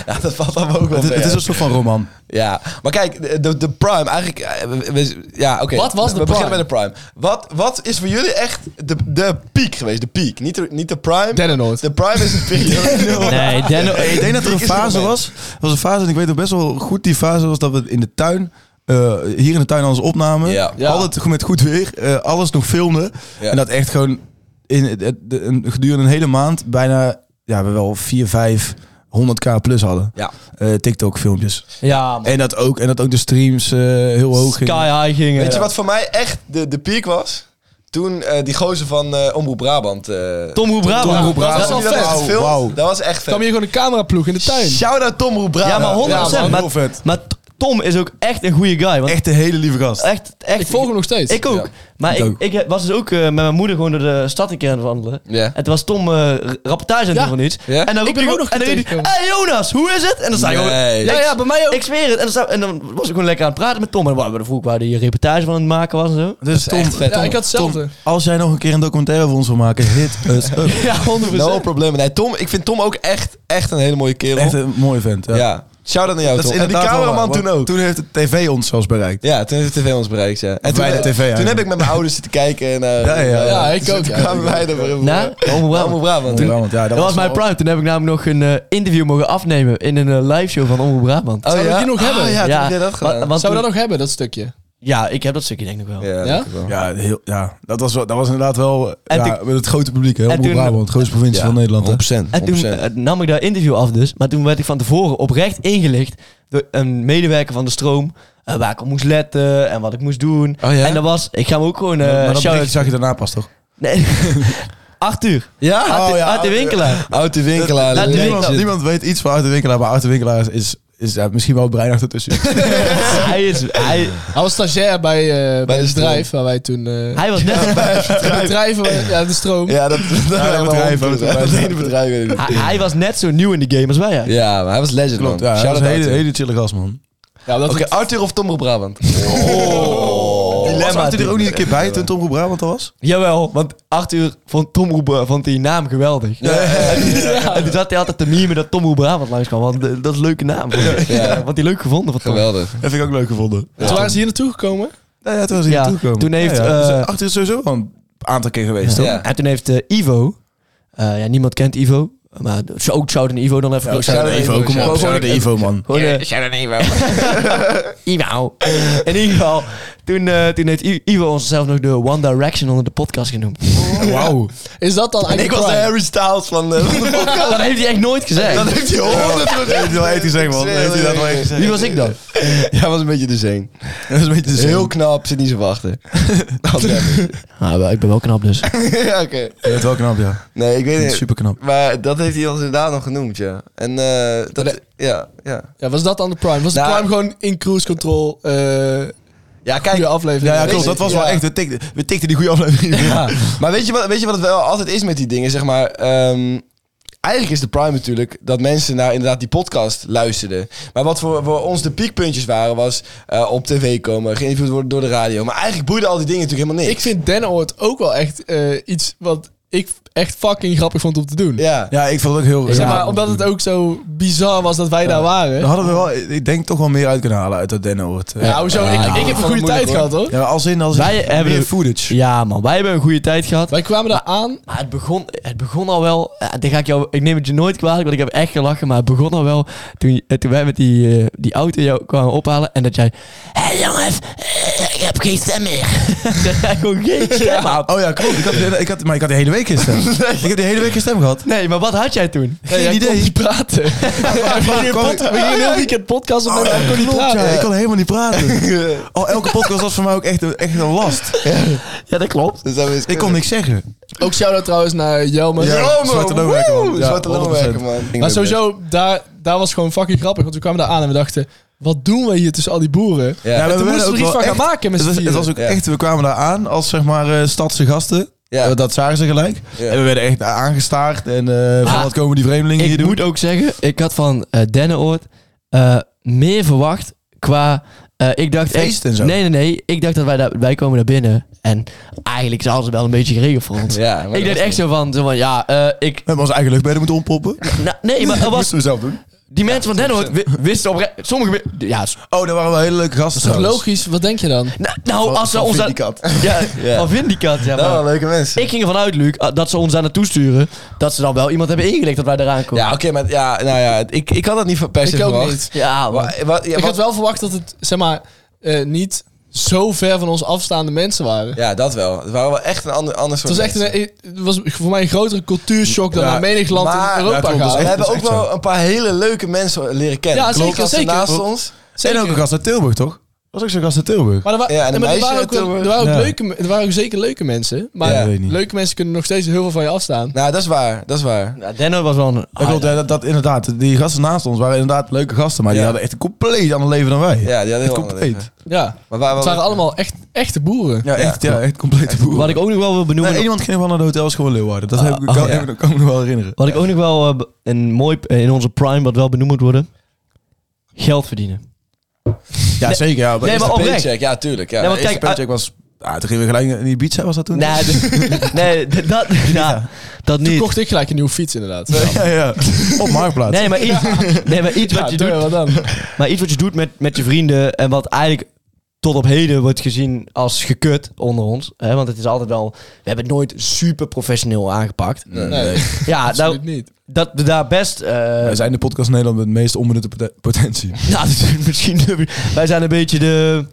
[SPEAKER 1] Ja, dat valt dan ook wel
[SPEAKER 3] Het,
[SPEAKER 1] mee,
[SPEAKER 3] het
[SPEAKER 1] hè?
[SPEAKER 3] is een soort van roman.
[SPEAKER 1] Ja, maar kijk, de, de Prime, eigenlijk... eh, we- we- ja, oké.
[SPEAKER 5] Wat was de
[SPEAKER 1] We beginnen bij
[SPEAKER 5] Prime?
[SPEAKER 1] de Prime. Wat, wat is voor jullie echt de, de piek geweest? De piek, niet de, niet de Prime.
[SPEAKER 5] Dennenoord.
[SPEAKER 1] De Prime is een piek.
[SPEAKER 4] nee, Denno,
[SPEAKER 3] Ik denk dat er een fase was. Er was een fase, en ik weet ook best wel goed die fase was dat we in de tuin. eh, hier in de tuin alles opnamen.
[SPEAKER 1] Ja.
[SPEAKER 5] Ja.
[SPEAKER 3] Altijd goed- met goed weer. eh, alles nog filmden.
[SPEAKER 1] Ja.
[SPEAKER 3] En dat echt gewoon in, het- het- de- een- gedurende een hele maand bijna ja, we wel 4, 5, 100k plus hadden.
[SPEAKER 1] Ja.
[SPEAKER 3] Eh, TikTok filmpjes.
[SPEAKER 4] Ja, man.
[SPEAKER 3] En dat ook, en dat ook de streams eh, heel hoog gingen.
[SPEAKER 4] Sky High gingen.
[SPEAKER 1] Weet je wat voor mij echt de, de piek was? Toen eh, die gozer van eh Omroep Brabant... eh,
[SPEAKER 4] Tom Hoe Brabant.
[SPEAKER 5] Tom Hoe Brabant.
[SPEAKER 1] Dat
[SPEAKER 5] Dat
[SPEAKER 1] was wel
[SPEAKER 5] is wel vet.
[SPEAKER 1] vet.
[SPEAKER 3] Wauw.
[SPEAKER 1] Dat was echt
[SPEAKER 5] kwam
[SPEAKER 1] vet.
[SPEAKER 5] hier gewoon een cameraploeg in de tuin.
[SPEAKER 1] Shout-out Tom Roep
[SPEAKER 4] Ja,
[SPEAKER 1] Brabant.
[SPEAKER 4] maar 100%.
[SPEAKER 3] Ja, man,
[SPEAKER 4] maar,
[SPEAKER 3] heel vet.
[SPEAKER 4] maar T- Tom is ook echt een goede guy. Want echt,
[SPEAKER 3] Echt een hele lieve gast.
[SPEAKER 4] echt,
[SPEAKER 5] Ik volg hem nog steeds.
[SPEAKER 4] Ik ook.
[SPEAKER 1] Ja.
[SPEAKER 4] Maar
[SPEAKER 3] Ik
[SPEAKER 4] ik,
[SPEAKER 3] ook.
[SPEAKER 4] ik, was dus ook eh, met mijn moeder gewoon door de stad een keer aan het wandelen.
[SPEAKER 1] Ja.
[SPEAKER 4] En toen was Tom eh, r- rapportage aan het
[SPEAKER 5] Ja.
[SPEAKER 4] doen van iets.
[SPEAKER 1] Ja.
[SPEAKER 4] En dan
[SPEAKER 5] Ik
[SPEAKER 4] roep
[SPEAKER 5] ben
[SPEAKER 4] ik
[SPEAKER 5] ook nog
[SPEAKER 4] en dan riep hij,
[SPEAKER 5] getegengekomen.
[SPEAKER 4] hey Jonas, hoe is het? En dan zei ik gewoon,
[SPEAKER 1] Nee.
[SPEAKER 5] Ja, ja, bij mij ook.
[SPEAKER 4] ik zweer het. En dan, sta- en dan was ik gewoon lekker aan het praten met Tom. En dan vroeg ik waar die reportage van aan het maken was en zo.
[SPEAKER 3] Dus Tom,
[SPEAKER 1] echt vet.
[SPEAKER 5] ja, ik had hetzelfde.
[SPEAKER 3] als jij nog een keer een documentaire voor ons wil maken, hit us up.
[SPEAKER 4] Ja, 100%.
[SPEAKER 1] No probleem. Nee, Tom, ik vind Tom ook echt, echt een hele mooie kerel.
[SPEAKER 3] Echt een mooie vent.
[SPEAKER 1] ja. Shout-out naar jou,
[SPEAKER 3] eh, Dat is
[SPEAKER 1] Tom. En die
[SPEAKER 3] inderdaad wel
[SPEAKER 1] cameraman
[SPEAKER 3] waar,
[SPEAKER 1] toen
[SPEAKER 3] want
[SPEAKER 1] ook.
[SPEAKER 3] Toen heeft de tv ons zelfs bereikt.
[SPEAKER 1] Ja, toen heeft de tv ons bereikt, ja. En toen, eh,
[SPEAKER 3] wij de TV
[SPEAKER 1] toen heb
[SPEAKER 3] eigenlijk.
[SPEAKER 1] ik met mijn ouders zitten kijken naar...
[SPEAKER 3] Ja, ja,
[SPEAKER 5] Ja,
[SPEAKER 1] eh,
[SPEAKER 5] ik ook.
[SPEAKER 1] Toen
[SPEAKER 5] ja.
[SPEAKER 1] kwamen wij er weer
[SPEAKER 4] Na? Omroep Brabant.
[SPEAKER 1] Allemaal Nou, Brabant.
[SPEAKER 3] Ja, want ja,
[SPEAKER 4] Dat was mijn prime. Toen heb ik namelijk nog een eh, interview mogen afnemen in een eh, live liveshow van Omroep Brabant.
[SPEAKER 1] Oh,
[SPEAKER 5] Zou dat die nog hebben?
[SPEAKER 1] Ah, ja, toen heb jij dat gedaan.
[SPEAKER 4] wa-
[SPEAKER 5] Zou
[SPEAKER 4] want
[SPEAKER 5] we
[SPEAKER 4] toen-
[SPEAKER 5] dat nog hebben, dat stukje?
[SPEAKER 4] Ja, ik heb dat stukje denk ik nog wel.
[SPEAKER 1] Ja,
[SPEAKER 5] Ja?
[SPEAKER 1] dat wel.
[SPEAKER 3] Ja, heel, ja dat, was wel, dat was inderdaad wel
[SPEAKER 4] En
[SPEAKER 3] ja, met het grote publiek. Hè,
[SPEAKER 4] en
[SPEAKER 3] Omroep
[SPEAKER 4] toen-
[SPEAKER 3] Brabant, grootste provincie
[SPEAKER 1] Ja,
[SPEAKER 3] van Nederland. hè.
[SPEAKER 1] 100%.
[SPEAKER 4] En toen
[SPEAKER 1] 100%.
[SPEAKER 4] eh, nam ik dat interview af dus. Maar toen werd ik van tevoren oprecht ingelicht door een medewerker van de stroom. eh, waar ik op moest letten en wat ik moest doen.
[SPEAKER 1] Oh ja?
[SPEAKER 4] En dat was, ik ga hem ook gewoon eh
[SPEAKER 3] maar dat berichtje
[SPEAKER 4] shout-out...
[SPEAKER 3] zag je daarna pas, toch?
[SPEAKER 4] Nee. Arthur.
[SPEAKER 1] Ja?
[SPEAKER 4] Arthur,
[SPEAKER 3] Oh ja,
[SPEAKER 4] Arthur
[SPEAKER 3] Arthur.
[SPEAKER 4] Winkelaar.
[SPEAKER 1] Oud de winkelaar.
[SPEAKER 4] Dat- dat-
[SPEAKER 1] legend.
[SPEAKER 3] Niemand, niemand weet iets van Arthur Winkelaar, maar Arthur Winkelaar is, is, is ja, misschien wel het brein achter tussen.
[SPEAKER 4] hij, is, hij,
[SPEAKER 5] Hij was stagiair bij, eh, bij
[SPEAKER 1] de
[SPEAKER 5] het bedrijf waar wij toen... eh
[SPEAKER 4] hij was net...
[SPEAKER 5] het bedrijf, eh, ja, de stroom.
[SPEAKER 1] Ja, dat, dat,
[SPEAKER 3] dat bedrijf, dat bedrijf.
[SPEAKER 1] Dat ene bedrijf. weet ik
[SPEAKER 4] Hij,
[SPEAKER 1] niet.
[SPEAKER 4] hij was net zo nieuw in de game als wij. eigenlijk.
[SPEAKER 1] Ja, maar hij was legend,
[SPEAKER 3] Klopt,
[SPEAKER 1] man.
[SPEAKER 3] ja, hij
[SPEAKER 1] Shout-out
[SPEAKER 3] was een hele,
[SPEAKER 1] Arthur.
[SPEAKER 3] hele chille gast, man.
[SPEAKER 5] Ja, omdat
[SPEAKER 1] Oké,
[SPEAKER 5] het-
[SPEAKER 1] Arthur of Tom op Brabant?
[SPEAKER 3] Was Oh, Arthur er
[SPEAKER 4] natuurlijk.
[SPEAKER 3] ook niet een keer bij toen Tom Brabant al was?
[SPEAKER 4] Jawel, want Arthur vond Tom Roeber, vond die naam geweldig. En toen zat hij altijd te meme dat Tom Roeber Brabant langs kwam, want eh, dat is een leuke naam. Ja, want die leuk gevonden van Tom.
[SPEAKER 1] Geweldig.
[SPEAKER 3] Dat vind ik ook leuk gevonden.
[SPEAKER 5] Toen waren ze hier naartoe gekomen.
[SPEAKER 3] Nou ja, toen was hij
[SPEAKER 4] Ja,
[SPEAKER 3] hier toegekomen.
[SPEAKER 4] toen heeft,
[SPEAKER 3] Ja, ja. Dus,
[SPEAKER 4] eh,
[SPEAKER 3] eh, Arthur is sowieso wel een aantal keer geweest, toch?
[SPEAKER 1] Ja.
[SPEAKER 4] En toen heeft eh, Ivo, eh, ja, niemand kent Ivo, maar ook shout aan Ivo dan even.
[SPEAKER 1] shout-out
[SPEAKER 3] Shout-out Oh, Ivo, kom op. Shout-out Ivo, man.
[SPEAKER 4] Gewoon, eh, Ivo. In ieder geval, toen, eh, toen heeft I- Ivo onszelf nog de One Direction onder de podcast genoemd.
[SPEAKER 3] Wauw.
[SPEAKER 5] Is dat dan
[SPEAKER 1] Ik
[SPEAKER 5] eigenlijk
[SPEAKER 1] was de
[SPEAKER 5] Prime?
[SPEAKER 1] Harry Styles van eh, de, van de podcast.
[SPEAKER 4] Dat heeft hij echt nooit gezegd.
[SPEAKER 1] heeft hij honderd procent.
[SPEAKER 3] Dat heeft hij wel echt gezegd, man. Dat heeft hij dat wel echt gezegd.
[SPEAKER 4] Wie was ik dan?
[SPEAKER 1] Ja, was een beetje de zing.
[SPEAKER 3] Dat is een beetje te
[SPEAKER 1] Heel knap, zit niet zo wachten.
[SPEAKER 4] Ah, ik ben wel knap dus.
[SPEAKER 1] ja, oké.
[SPEAKER 3] Dat is wel knap, ja.
[SPEAKER 1] Nee, ik weet niet.
[SPEAKER 3] Super knap.
[SPEAKER 1] Maar dat heeft hij ons inderdaad nog genoemd, ja. En eh, dat, ja, ja.
[SPEAKER 5] Ja, was dat dan de Prime? Was
[SPEAKER 1] Nou,
[SPEAKER 5] de Prime gewoon in cruise control? eh
[SPEAKER 1] Ja, kijk.
[SPEAKER 5] goede aflevering.
[SPEAKER 3] Ja, ja, klopt.
[SPEAKER 1] Deze-
[SPEAKER 3] Dat was
[SPEAKER 1] ja.
[SPEAKER 3] wel echt. We tikten, we tikten die goede aflevering.
[SPEAKER 1] Ja. Maar weet je, wat, weet je wat het wel altijd is met die dingen? Zeg maar, ehm, eigenlijk is de prime natuurlijk dat mensen naar inderdaad die podcast luisterden. Maar wat voor, voor ons de piekpuntjes waren, was eh, op tv komen, geïnterviewd worden door de radio. Maar eigenlijk boeiden al die dingen natuurlijk helemaal niks.
[SPEAKER 5] Ik vind Dennenoord ook wel echt eh, iets wat ik echt fucking grappig vond om te doen.
[SPEAKER 1] Ja.
[SPEAKER 3] Ja, ik vond het ook heel...
[SPEAKER 5] Zeg
[SPEAKER 3] ja,
[SPEAKER 5] maar, omdat het ook zo bizar was dat wij daar
[SPEAKER 3] Dan
[SPEAKER 5] waren.
[SPEAKER 3] hadden we wel, ik denk, toch wel meer uit kunnen halen uit dat Dennenhoort.
[SPEAKER 5] Ja, hoezo? ik, ik heb een goede tijd gehad hoor.
[SPEAKER 3] Ja, als in, als in,
[SPEAKER 4] Wij hebben
[SPEAKER 3] meer
[SPEAKER 4] de-
[SPEAKER 3] footage.
[SPEAKER 4] Ja man, wij hebben een goede tijd gehad.
[SPEAKER 5] Wij kwamen daar aan.
[SPEAKER 4] Maar het begon, het begon al wel. eh, Dan ga ik, jou, ik neem het je nooit kwalijk, want ik heb echt gelachen. Maar het begon al wel toen, eh, toen wij met die, eh, die auto jou kwamen ophalen. En dat jij. Hé jongens, eh, ik heb geen stem meer. dat jij gewoon geen stem had.
[SPEAKER 3] Oh ja, klopt. Ik had, ik had, maar ik had de hele week geen stem. Ik heb de hele week geen stem gehad.
[SPEAKER 4] Nee, maar wat had jij toen?
[SPEAKER 3] Geen
[SPEAKER 5] jij kon
[SPEAKER 3] idee.
[SPEAKER 5] niet praten. we gingen een
[SPEAKER 3] Kwam
[SPEAKER 5] pod-
[SPEAKER 3] ik-
[SPEAKER 5] we gingen een heel weekend podcast op
[SPEAKER 3] Oh,
[SPEAKER 5] en ik kon niet
[SPEAKER 3] klopt,
[SPEAKER 5] praten.
[SPEAKER 3] ja. Ik kon helemaal niet praten. Oh, elke podcast was voor mij ook echt een, echt een last.
[SPEAKER 4] Ja, dat klopt.
[SPEAKER 1] Dus dat is-
[SPEAKER 3] Ik kon niks zeggen.
[SPEAKER 5] Ook shout-out trouwens naar Jelmer.
[SPEAKER 1] Ja,
[SPEAKER 3] Ja,
[SPEAKER 1] Zwarte
[SPEAKER 3] zwarte
[SPEAKER 1] loonwerker,
[SPEAKER 3] loonwerker, man.
[SPEAKER 1] man.
[SPEAKER 3] Ja,
[SPEAKER 1] Zwarte
[SPEAKER 3] 100%.
[SPEAKER 1] loonwerker, man.
[SPEAKER 5] Maar sowieso, daar, daar was gewoon fucking grappig. Want we kwamen daar aan en we dachten, wat doen we hier tussen al die boeren?
[SPEAKER 1] Ja,
[SPEAKER 3] Ja,
[SPEAKER 5] En
[SPEAKER 3] we
[SPEAKER 5] toen
[SPEAKER 3] werden
[SPEAKER 5] moesten
[SPEAKER 3] ook
[SPEAKER 5] we er iets
[SPEAKER 3] wel
[SPEAKER 5] van gaan
[SPEAKER 3] echt-
[SPEAKER 5] maken met
[SPEAKER 3] Het
[SPEAKER 5] z'n
[SPEAKER 3] was, het
[SPEAKER 5] vieren.
[SPEAKER 3] was ook
[SPEAKER 1] Ja.
[SPEAKER 3] echt, we kwamen daar aan als zeg maar eh, stadse gasten.
[SPEAKER 1] Ja.
[SPEAKER 3] Eh, dat zagen ze gelijk.
[SPEAKER 1] Ja.
[SPEAKER 3] En we werden echt aangestaard. En eh, van
[SPEAKER 4] Ah,
[SPEAKER 3] wat komen die vreemdelingen hier
[SPEAKER 4] Ik
[SPEAKER 3] doen?
[SPEAKER 4] moet ook zeggen, ik had van eh Dennenoord eh, meer verwacht qua... eh, ik dacht echt-
[SPEAKER 3] Feest en zo.
[SPEAKER 4] Nee, nee, nee. Ik dacht dat wij, daar, wij komen naar binnen. En eigenlijk is alles wel een beetje geregeld voor ons.
[SPEAKER 1] Ja, maar
[SPEAKER 4] ik
[SPEAKER 1] dat
[SPEAKER 4] dacht
[SPEAKER 1] was
[SPEAKER 4] echt zo van, zo van ja, eh, ik,
[SPEAKER 3] We hebben onze eigen luchtbedden moeten ompoppen. Dat
[SPEAKER 4] Nou, nee, maar er was,
[SPEAKER 3] moesten we zelf doen.
[SPEAKER 4] die mensen van Denhoort wi- wisten oprecht... Sommige... wi- Ja, s-
[SPEAKER 3] Oh, daar waren wel hele leuke gasten
[SPEAKER 5] Toch
[SPEAKER 3] trouwens.
[SPEAKER 5] logisch, wat denk je dan?
[SPEAKER 4] nou, nou, als ze
[SPEAKER 1] Van
[SPEAKER 4] ons... aan-
[SPEAKER 1] Vindicat.
[SPEAKER 4] Ja,
[SPEAKER 1] Ja. Nou,
[SPEAKER 4] van Vindicat, ja.
[SPEAKER 1] Dat
[SPEAKER 4] maar
[SPEAKER 1] waren leuke mensen.
[SPEAKER 4] Ik ging ervan uit, Luc, ah, dat ze ons daar naartoe sturen... dat ze dan wel iemand hebben ingelicht dat wij eraan komen.
[SPEAKER 1] Ja, oké, maar ja, nou ja, ik, ik had dat niet per se
[SPEAKER 5] Ik ook
[SPEAKER 1] verwacht.
[SPEAKER 5] niet.
[SPEAKER 4] Ja, want-
[SPEAKER 1] Wa- wa- ja,
[SPEAKER 5] ik
[SPEAKER 1] wa-
[SPEAKER 5] had wel verwacht dat het, zeg maar, eh, niet zo ver van ons afstaande mensen waren.
[SPEAKER 1] ja, dat wel. Het waren wel echt een ander, ander
[SPEAKER 5] Het
[SPEAKER 1] soort
[SPEAKER 5] was echt
[SPEAKER 1] mensen.
[SPEAKER 5] een, het was voor mij een grotere cultuurshock dan
[SPEAKER 3] Ja,
[SPEAKER 5] naar menig land
[SPEAKER 1] maar-
[SPEAKER 5] in Europa
[SPEAKER 3] ja, klopt, dat is
[SPEAKER 5] gaat.
[SPEAKER 1] We
[SPEAKER 3] echt-
[SPEAKER 1] hebben ook
[SPEAKER 3] zo.
[SPEAKER 1] wel een paar hele leuke mensen leren kennen.
[SPEAKER 5] Ja,
[SPEAKER 1] Klopt.
[SPEAKER 5] zeker,
[SPEAKER 1] Gasten
[SPEAKER 5] zeker.
[SPEAKER 1] naast ons.
[SPEAKER 3] En ook een gast uit Tilburg, toch? Was ook zo'n gast uit Tilburg.
[SPEAKER 5] Maar er, wa-
[SPEAKER 1] Ja, en een
[SPEAKER 5] nee, maar er
[SPEAKER 1] meisje
[SPEAKER 5] waren
[SPEAKER 1] uit
[SPEAKER 5] ook, wel-
[SPEAKER 1] Tilburg.
[SPEAKER 5] er waren ook
[SPEAKER 3] Ja.
[SPEAKER 5] leuke, er waren ook zeker leuke mensen. Maar
[SPEAKER 1] Ja,
[SPEAKER 3] weet ik niet.
[SPEAKER 5] leuke mensen kunnen nog steeds heel veel van je afstaan.
[SPEAKER 1] Nou, dat is waar. Dat is waar.
[SPEAKER 4] Ja, Denhoort was wel een...
[SPEAKER 3] Dat klopt, Ah, ja, dat, dat inderdaad. Die gasten naast ons waren inderdaad leuke gasten, maar die
[SPEAKER 1] Ja.
[SPEAKER 3] hadden echt een compleet ander leven dan wij.
[SPEAKER 1] Ja, die hadden heel ander
[SPEAKER 3] compleet.
[SPEAKER 1] leven.
[SPEAKER 5] Ja,
[SPEAKER 1] Maar waar
[SPEAKER 5] het waren allemaal echt, echte boeren.
[SPEAKER 3] Ja, echt, ja, echt compleet boeren.
[SPEAKER 4] Wat ik ook nog wel wil benoemen...
[SPEAKER 3] nee, iemand ging van naar de hotels gewoon Leeuwarden. Dat heb ik,
[SPEAKER 4] oh,
[SPEAKER 3] kan,
[SPEAKER 4] ja.
[SPEAKER 3] heb ik- kan ik me nog wel herinneren.
[SPEAKER 4] wat ik ook nog wel eh, be- een mooi eh, in onze prime wat wel benoemd moet worden... geld verdienen.
[SPEAKER 3] Ja, zeker. Ja,
[SPEAKER 4] Nee, maar
[SPEAKER 1] Eerste
[SPEAKER 4] oprecht.
[SPEAKER 1] paycheck, ja, tuurlijk. Ja.
[SPEAKER 4] Nee, maar
[SPEAKER 1] Eerste
[SPEAKER 4] kijk,
[SPEAKER 1] paycheck was
[SPEAKER 3] Ah, toen gingen we gelijk in Ibiza, was dat toen?
[SPEAKER 4] Nee, dus- nee d- dat, ja, dat
[SPEAKER 5] Toen
[SPEAKER 4] niet.
[SPEAKER 5] kocht ik gelijk een nieuwe fiets inderdaad.
[SPEAKER 3] ja, ja. Op Marktplaats.
[SPEAKER 4] Nee, maar iets, nee, maar iets
[SPEAKER 5] Ja,
[SPEAKER 4] wat je
[SPEAKER 5] doe
[SPEAKER 4] doet
[SPEAKER 5] je wat dan?
[SPEAKER 4] Maar iets wat je doet met, met je vrienden en wat eigenlijk tot op heden wordt gezien als gekut onder ons. Hè? Want het is altijd wel... We hebben het nooit super professioneel aangepakt.
[SPEAKER 1] Nee.
[SPEAKER 5] Nee,
[SPEAKER 4] Ja, nou,
[SPEAKER 5] absoluut niet.
[SPEAKER 4] dat we daar best... eh,
[SPEAKER 3] Wij zijn de podcast in Nederland met het meest onbenutte poten- potentie.
[SPEAKER 4] nou, dat is misschien... Wij zijn een beetje de...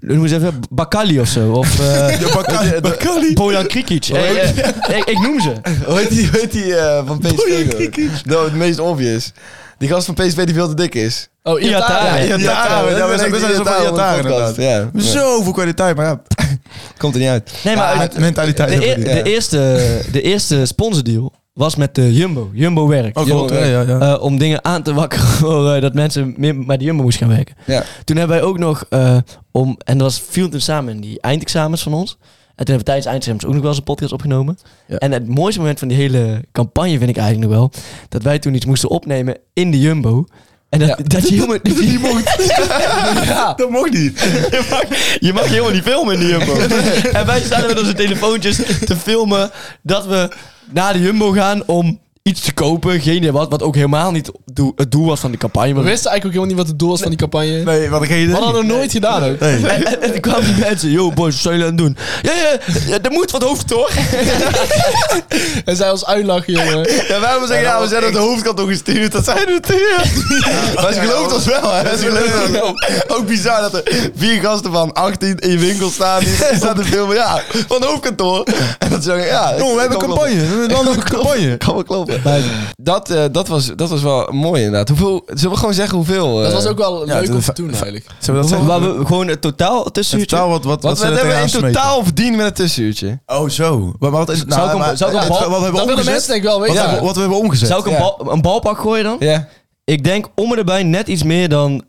[SPEAKER 4] Noem eens even Bakali of zo. Of eh
[SPEAKER 3] Bakali.
[SPEAKER 4] Bojan Krikic.
[SPEAKER 5] Oh,
[SPEAKER 4] Eh, eh, ik, ik noem ze.
[SPEAKER 1] Hoe heet die, hoe heet die eh, van PSV? ook? Nou, het meest obvious. Die gast van PSV die veel te dik is.
[SPEAKER 5] Oh,
[SPEAKER 4] Iataren.
[SPEAKER 5] Iataren.
[SPEAKER 3] Ja, Iataren, ja, we zijn- we zijn zo van Iataren inderdaad.
[SPEAKER 1] Ja,
[SPEAKER 3] Zoveel kwaliteit, maar ja,
[SPEAKER 1] komt er niet uit.
[SPEAKER 4] Nee, maar... het-
[SPEAKER 3] het- Ah, mentaliteit.
[SPEAKER 4] de,
[SPEAKER 3] hebben we
[SPEAKER 4] e-
[SPEAKER 3] niet.
[SPEAKER 4] de eerste, de eerste sponsordeal was met de Jumbo. Jumbo Werk.
[SPEAKER 3] Oh, klopt, ja, ja, ja.
[SPEAKER 4] e- Eh, om dingen aan te wakkeren voor, eh, dat mensen meer bij de Jumbo moesten gaan werken.
[SPEAKER 1] Ja.
[SPEAKER 4] Toen hebben wij ook nog eh, om, en dat was, viel toen samen in die eindexamens van ons. En toen hebben we tijdens eindexamens ook nog wel eens een podcast opgenomen.
[SPEAKER 1] Ja.
[SPEAKER 4] En het mooiste moment van die hele campagne vind ik eigenlijk nog wel, dat wij toen iets moesten opnemen in de Jumbo. En dat, dat je helemaal niet ja.
[SPEAKER 3] Dat mocht niet.
[SPEAKER 4] Je mag, je mag helemaal niet filmen in de Jumbo. en wij staan er met onze telefoontjes te filmen dat we naar de Jumbo gaan om iets te kopen. Geen idee wat, wat ook helemaal niet doe- het doel was van de campagne.
[SPEAKER 5] We
[SPEAKER 4] Maar
[SPEAKER 5] wisten eigenlijk ook helemaal niet wat het doel was van die campagne.
[SPEAKER 3] Nee, wat ik geen idee.
[SPEAKER 5] We hadden het nooit gedaan ook.
[SPEAKER 4] en, en, en toen kwamen die mensen, yo boys, wat zijn jullie aan het doen? Ja, ja, ja, er moet wat hoofd toch?
[SPEAKER 5] En zij ons uitlachen, jongen.
[SPEAKER 1] Ja, waarom zeggen ja, we zijn op de hoofdkant nog gestuurd? Dat zijn we natuurlijk. Maar ze gelooft ons wel,
[SPEAKER 3] Oh,
[SPEAKER 1] hè? Ze gelooft ons wel. Ook bizar dat er vier gasten van 18 in je winkel staan. Die staan te filmen, ja, van het hoofdkantoor. En dat ze zeggen, ja...
[SPEAKER 3] Jongen, we hebben een
[SPEAKER 1] kan wel-
[SPEAKER 3] campagne. We hebben een landelijke campagne.
[SPEAKER 1] Kan wel kloppen. dat, eh, dat, was, dat was wel mooi inderdaad. Hoeveel, zullen we gewoon zeggen hoeveel... eh,
[SPEAKER 5] Dat was ook wel
[SPEAKER 3] ja,
[SPEAKER 5] leuk om
[SPEAKER 3] dat-
[SPEAKER 5] te doen, eigenlijk.
[SPEAKER 3] Zullen we dat
[SPEAKER 4] Waar
[SPEAKER 3] zeggen?
[SPEAKER 4] we gewoon het totaal tussen
[SPEAKER 3] In totaal wat, wat,
[SPEAKER 1] Wat, we
[SPEAKER 3] zullen
[SPEAKER 1] hebben in
[SPEAKER 3] tegenaan smeten?
[SPEAKER 1] totaal verdiend met het tussenuurtje.
[SPEAKER 3] Oh, zo. Maar wat is het? Nou,
[SPEAKER 4] Zou ik hem-
[SPEAKER 3] maar-
[SPEAKER 4] zou ik hem
[SPEAKER 3] het-
[SPEAKER 4] bal-
[SPEAKER 3] Wat we hebben
[SPEAKER 5] Dat willen mensen
[SPEAKER 3] omgezet?
[SPEAKER 5] denk ik wel
[SPEAKER 3] Wat,
[SPEAKER 5] weten.
[SPEAKER 3] we,
[SPEAKER 5] Ja.
[SPEAKER 3] wat we hebben omgezet.
[SPEAKER 4] Zou ik een,
[SPEAKER 1] Ja.
[SPEAKER 4] bal, een balpak gooien dan?
[SPEAKER 1] Ja.
[SPEAKER 4] Ik denk om en erbij net iets meer dan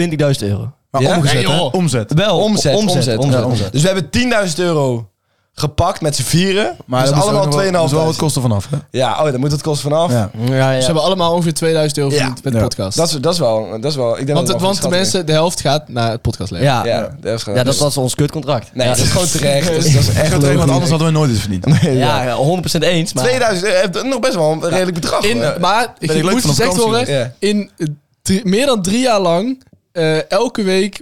[SPEAKER 4] 20.000 euro.
[SPEAKER 3] Maar
[SPEAKER 1] Ja?
[SPEAKER 3] omgezet,
[SPEAKER 5] Nee,
[SPEAKER 3] hè?
[SPEAKER 5] joh.
[SPEAKER 3] Omzet.
[SPEAKER 4] Wel,
[SPEAKER 1] Omzet, omzet, omzet,
[SPEAKER 4] omzet,
[SPEAKER 3] omzet.
[SPEAKER 1] Dus we hebben 10.000 euro gepakt met z'n vieren.
[SPEAKER 3] Dus
[SPEAKER 1] Maar dat is allemaal 2,5
[SPEAKER 3] wel wat kosten vanaf, hè?
[SPEAKER 1] Ja, oh, daar moet het kosten vanaf.
[SPEAKER 3] Ja.
[SPEAKER 4] Ja, ja.
[SPEAKER 5] Ze hebben allemaal ongeveer 2000 euro verdiend met de
[SPEAKER 3] Ja.
[SPEAKER 5] podcast.
[SPEAKER 1] Dat, is, dat, is wel, dat is wel... Ik denk
[SPEAKER 5] want
[SPEAKER 1] dat
[SPEAKER 5] het,
[SPEAKER 1] wel
[SPEAKER 5] want de
[SPEAKER 1] een schatting
[SPEAKER 5] mensen, de helft gaat naar het podcastleven.
[SPEAKER 4] ja.
[SPEAKER 1] is. Ja, dat is gewoon...
[SPEAKER 4] Ja, dat was ons kutcontract.
[SPEAKER 1] Nee,
[SPEAKER 4] ja.
[SPEAKER 1] dat is gewoon terecht. Dat is, dat is echt
[SPEAKER 3] Echt leuk,
[SPEAKER 1] leuk.
[SPEAKER 3] want anders hadden we nooit iets verdiend.
[SPEAKER 4] Ja, ja, 100% eens. Maar
[SPEAKER 1] 2000, eh, eh, nog best wel een redelijk bedrag.
[SPEAKER 5] In,
[SPEAKER 1] hoor. Ja.
[SPEAKER 5] maar
[SPEAKER 3] ik
[SPEAKER 5] ik
[SPEAKER 3] leuk
[SPEAKER 5] moet
[SPEAKER 3] van op
[SPEAKER 5] gezegd
[SPEAKER 3] vakantie
[SPEAKER 5] worden,
[SPEAKER 1] geweest.
[SPEAKER 5] in eh, drie- meer dan drie jaar lang, eh, elke week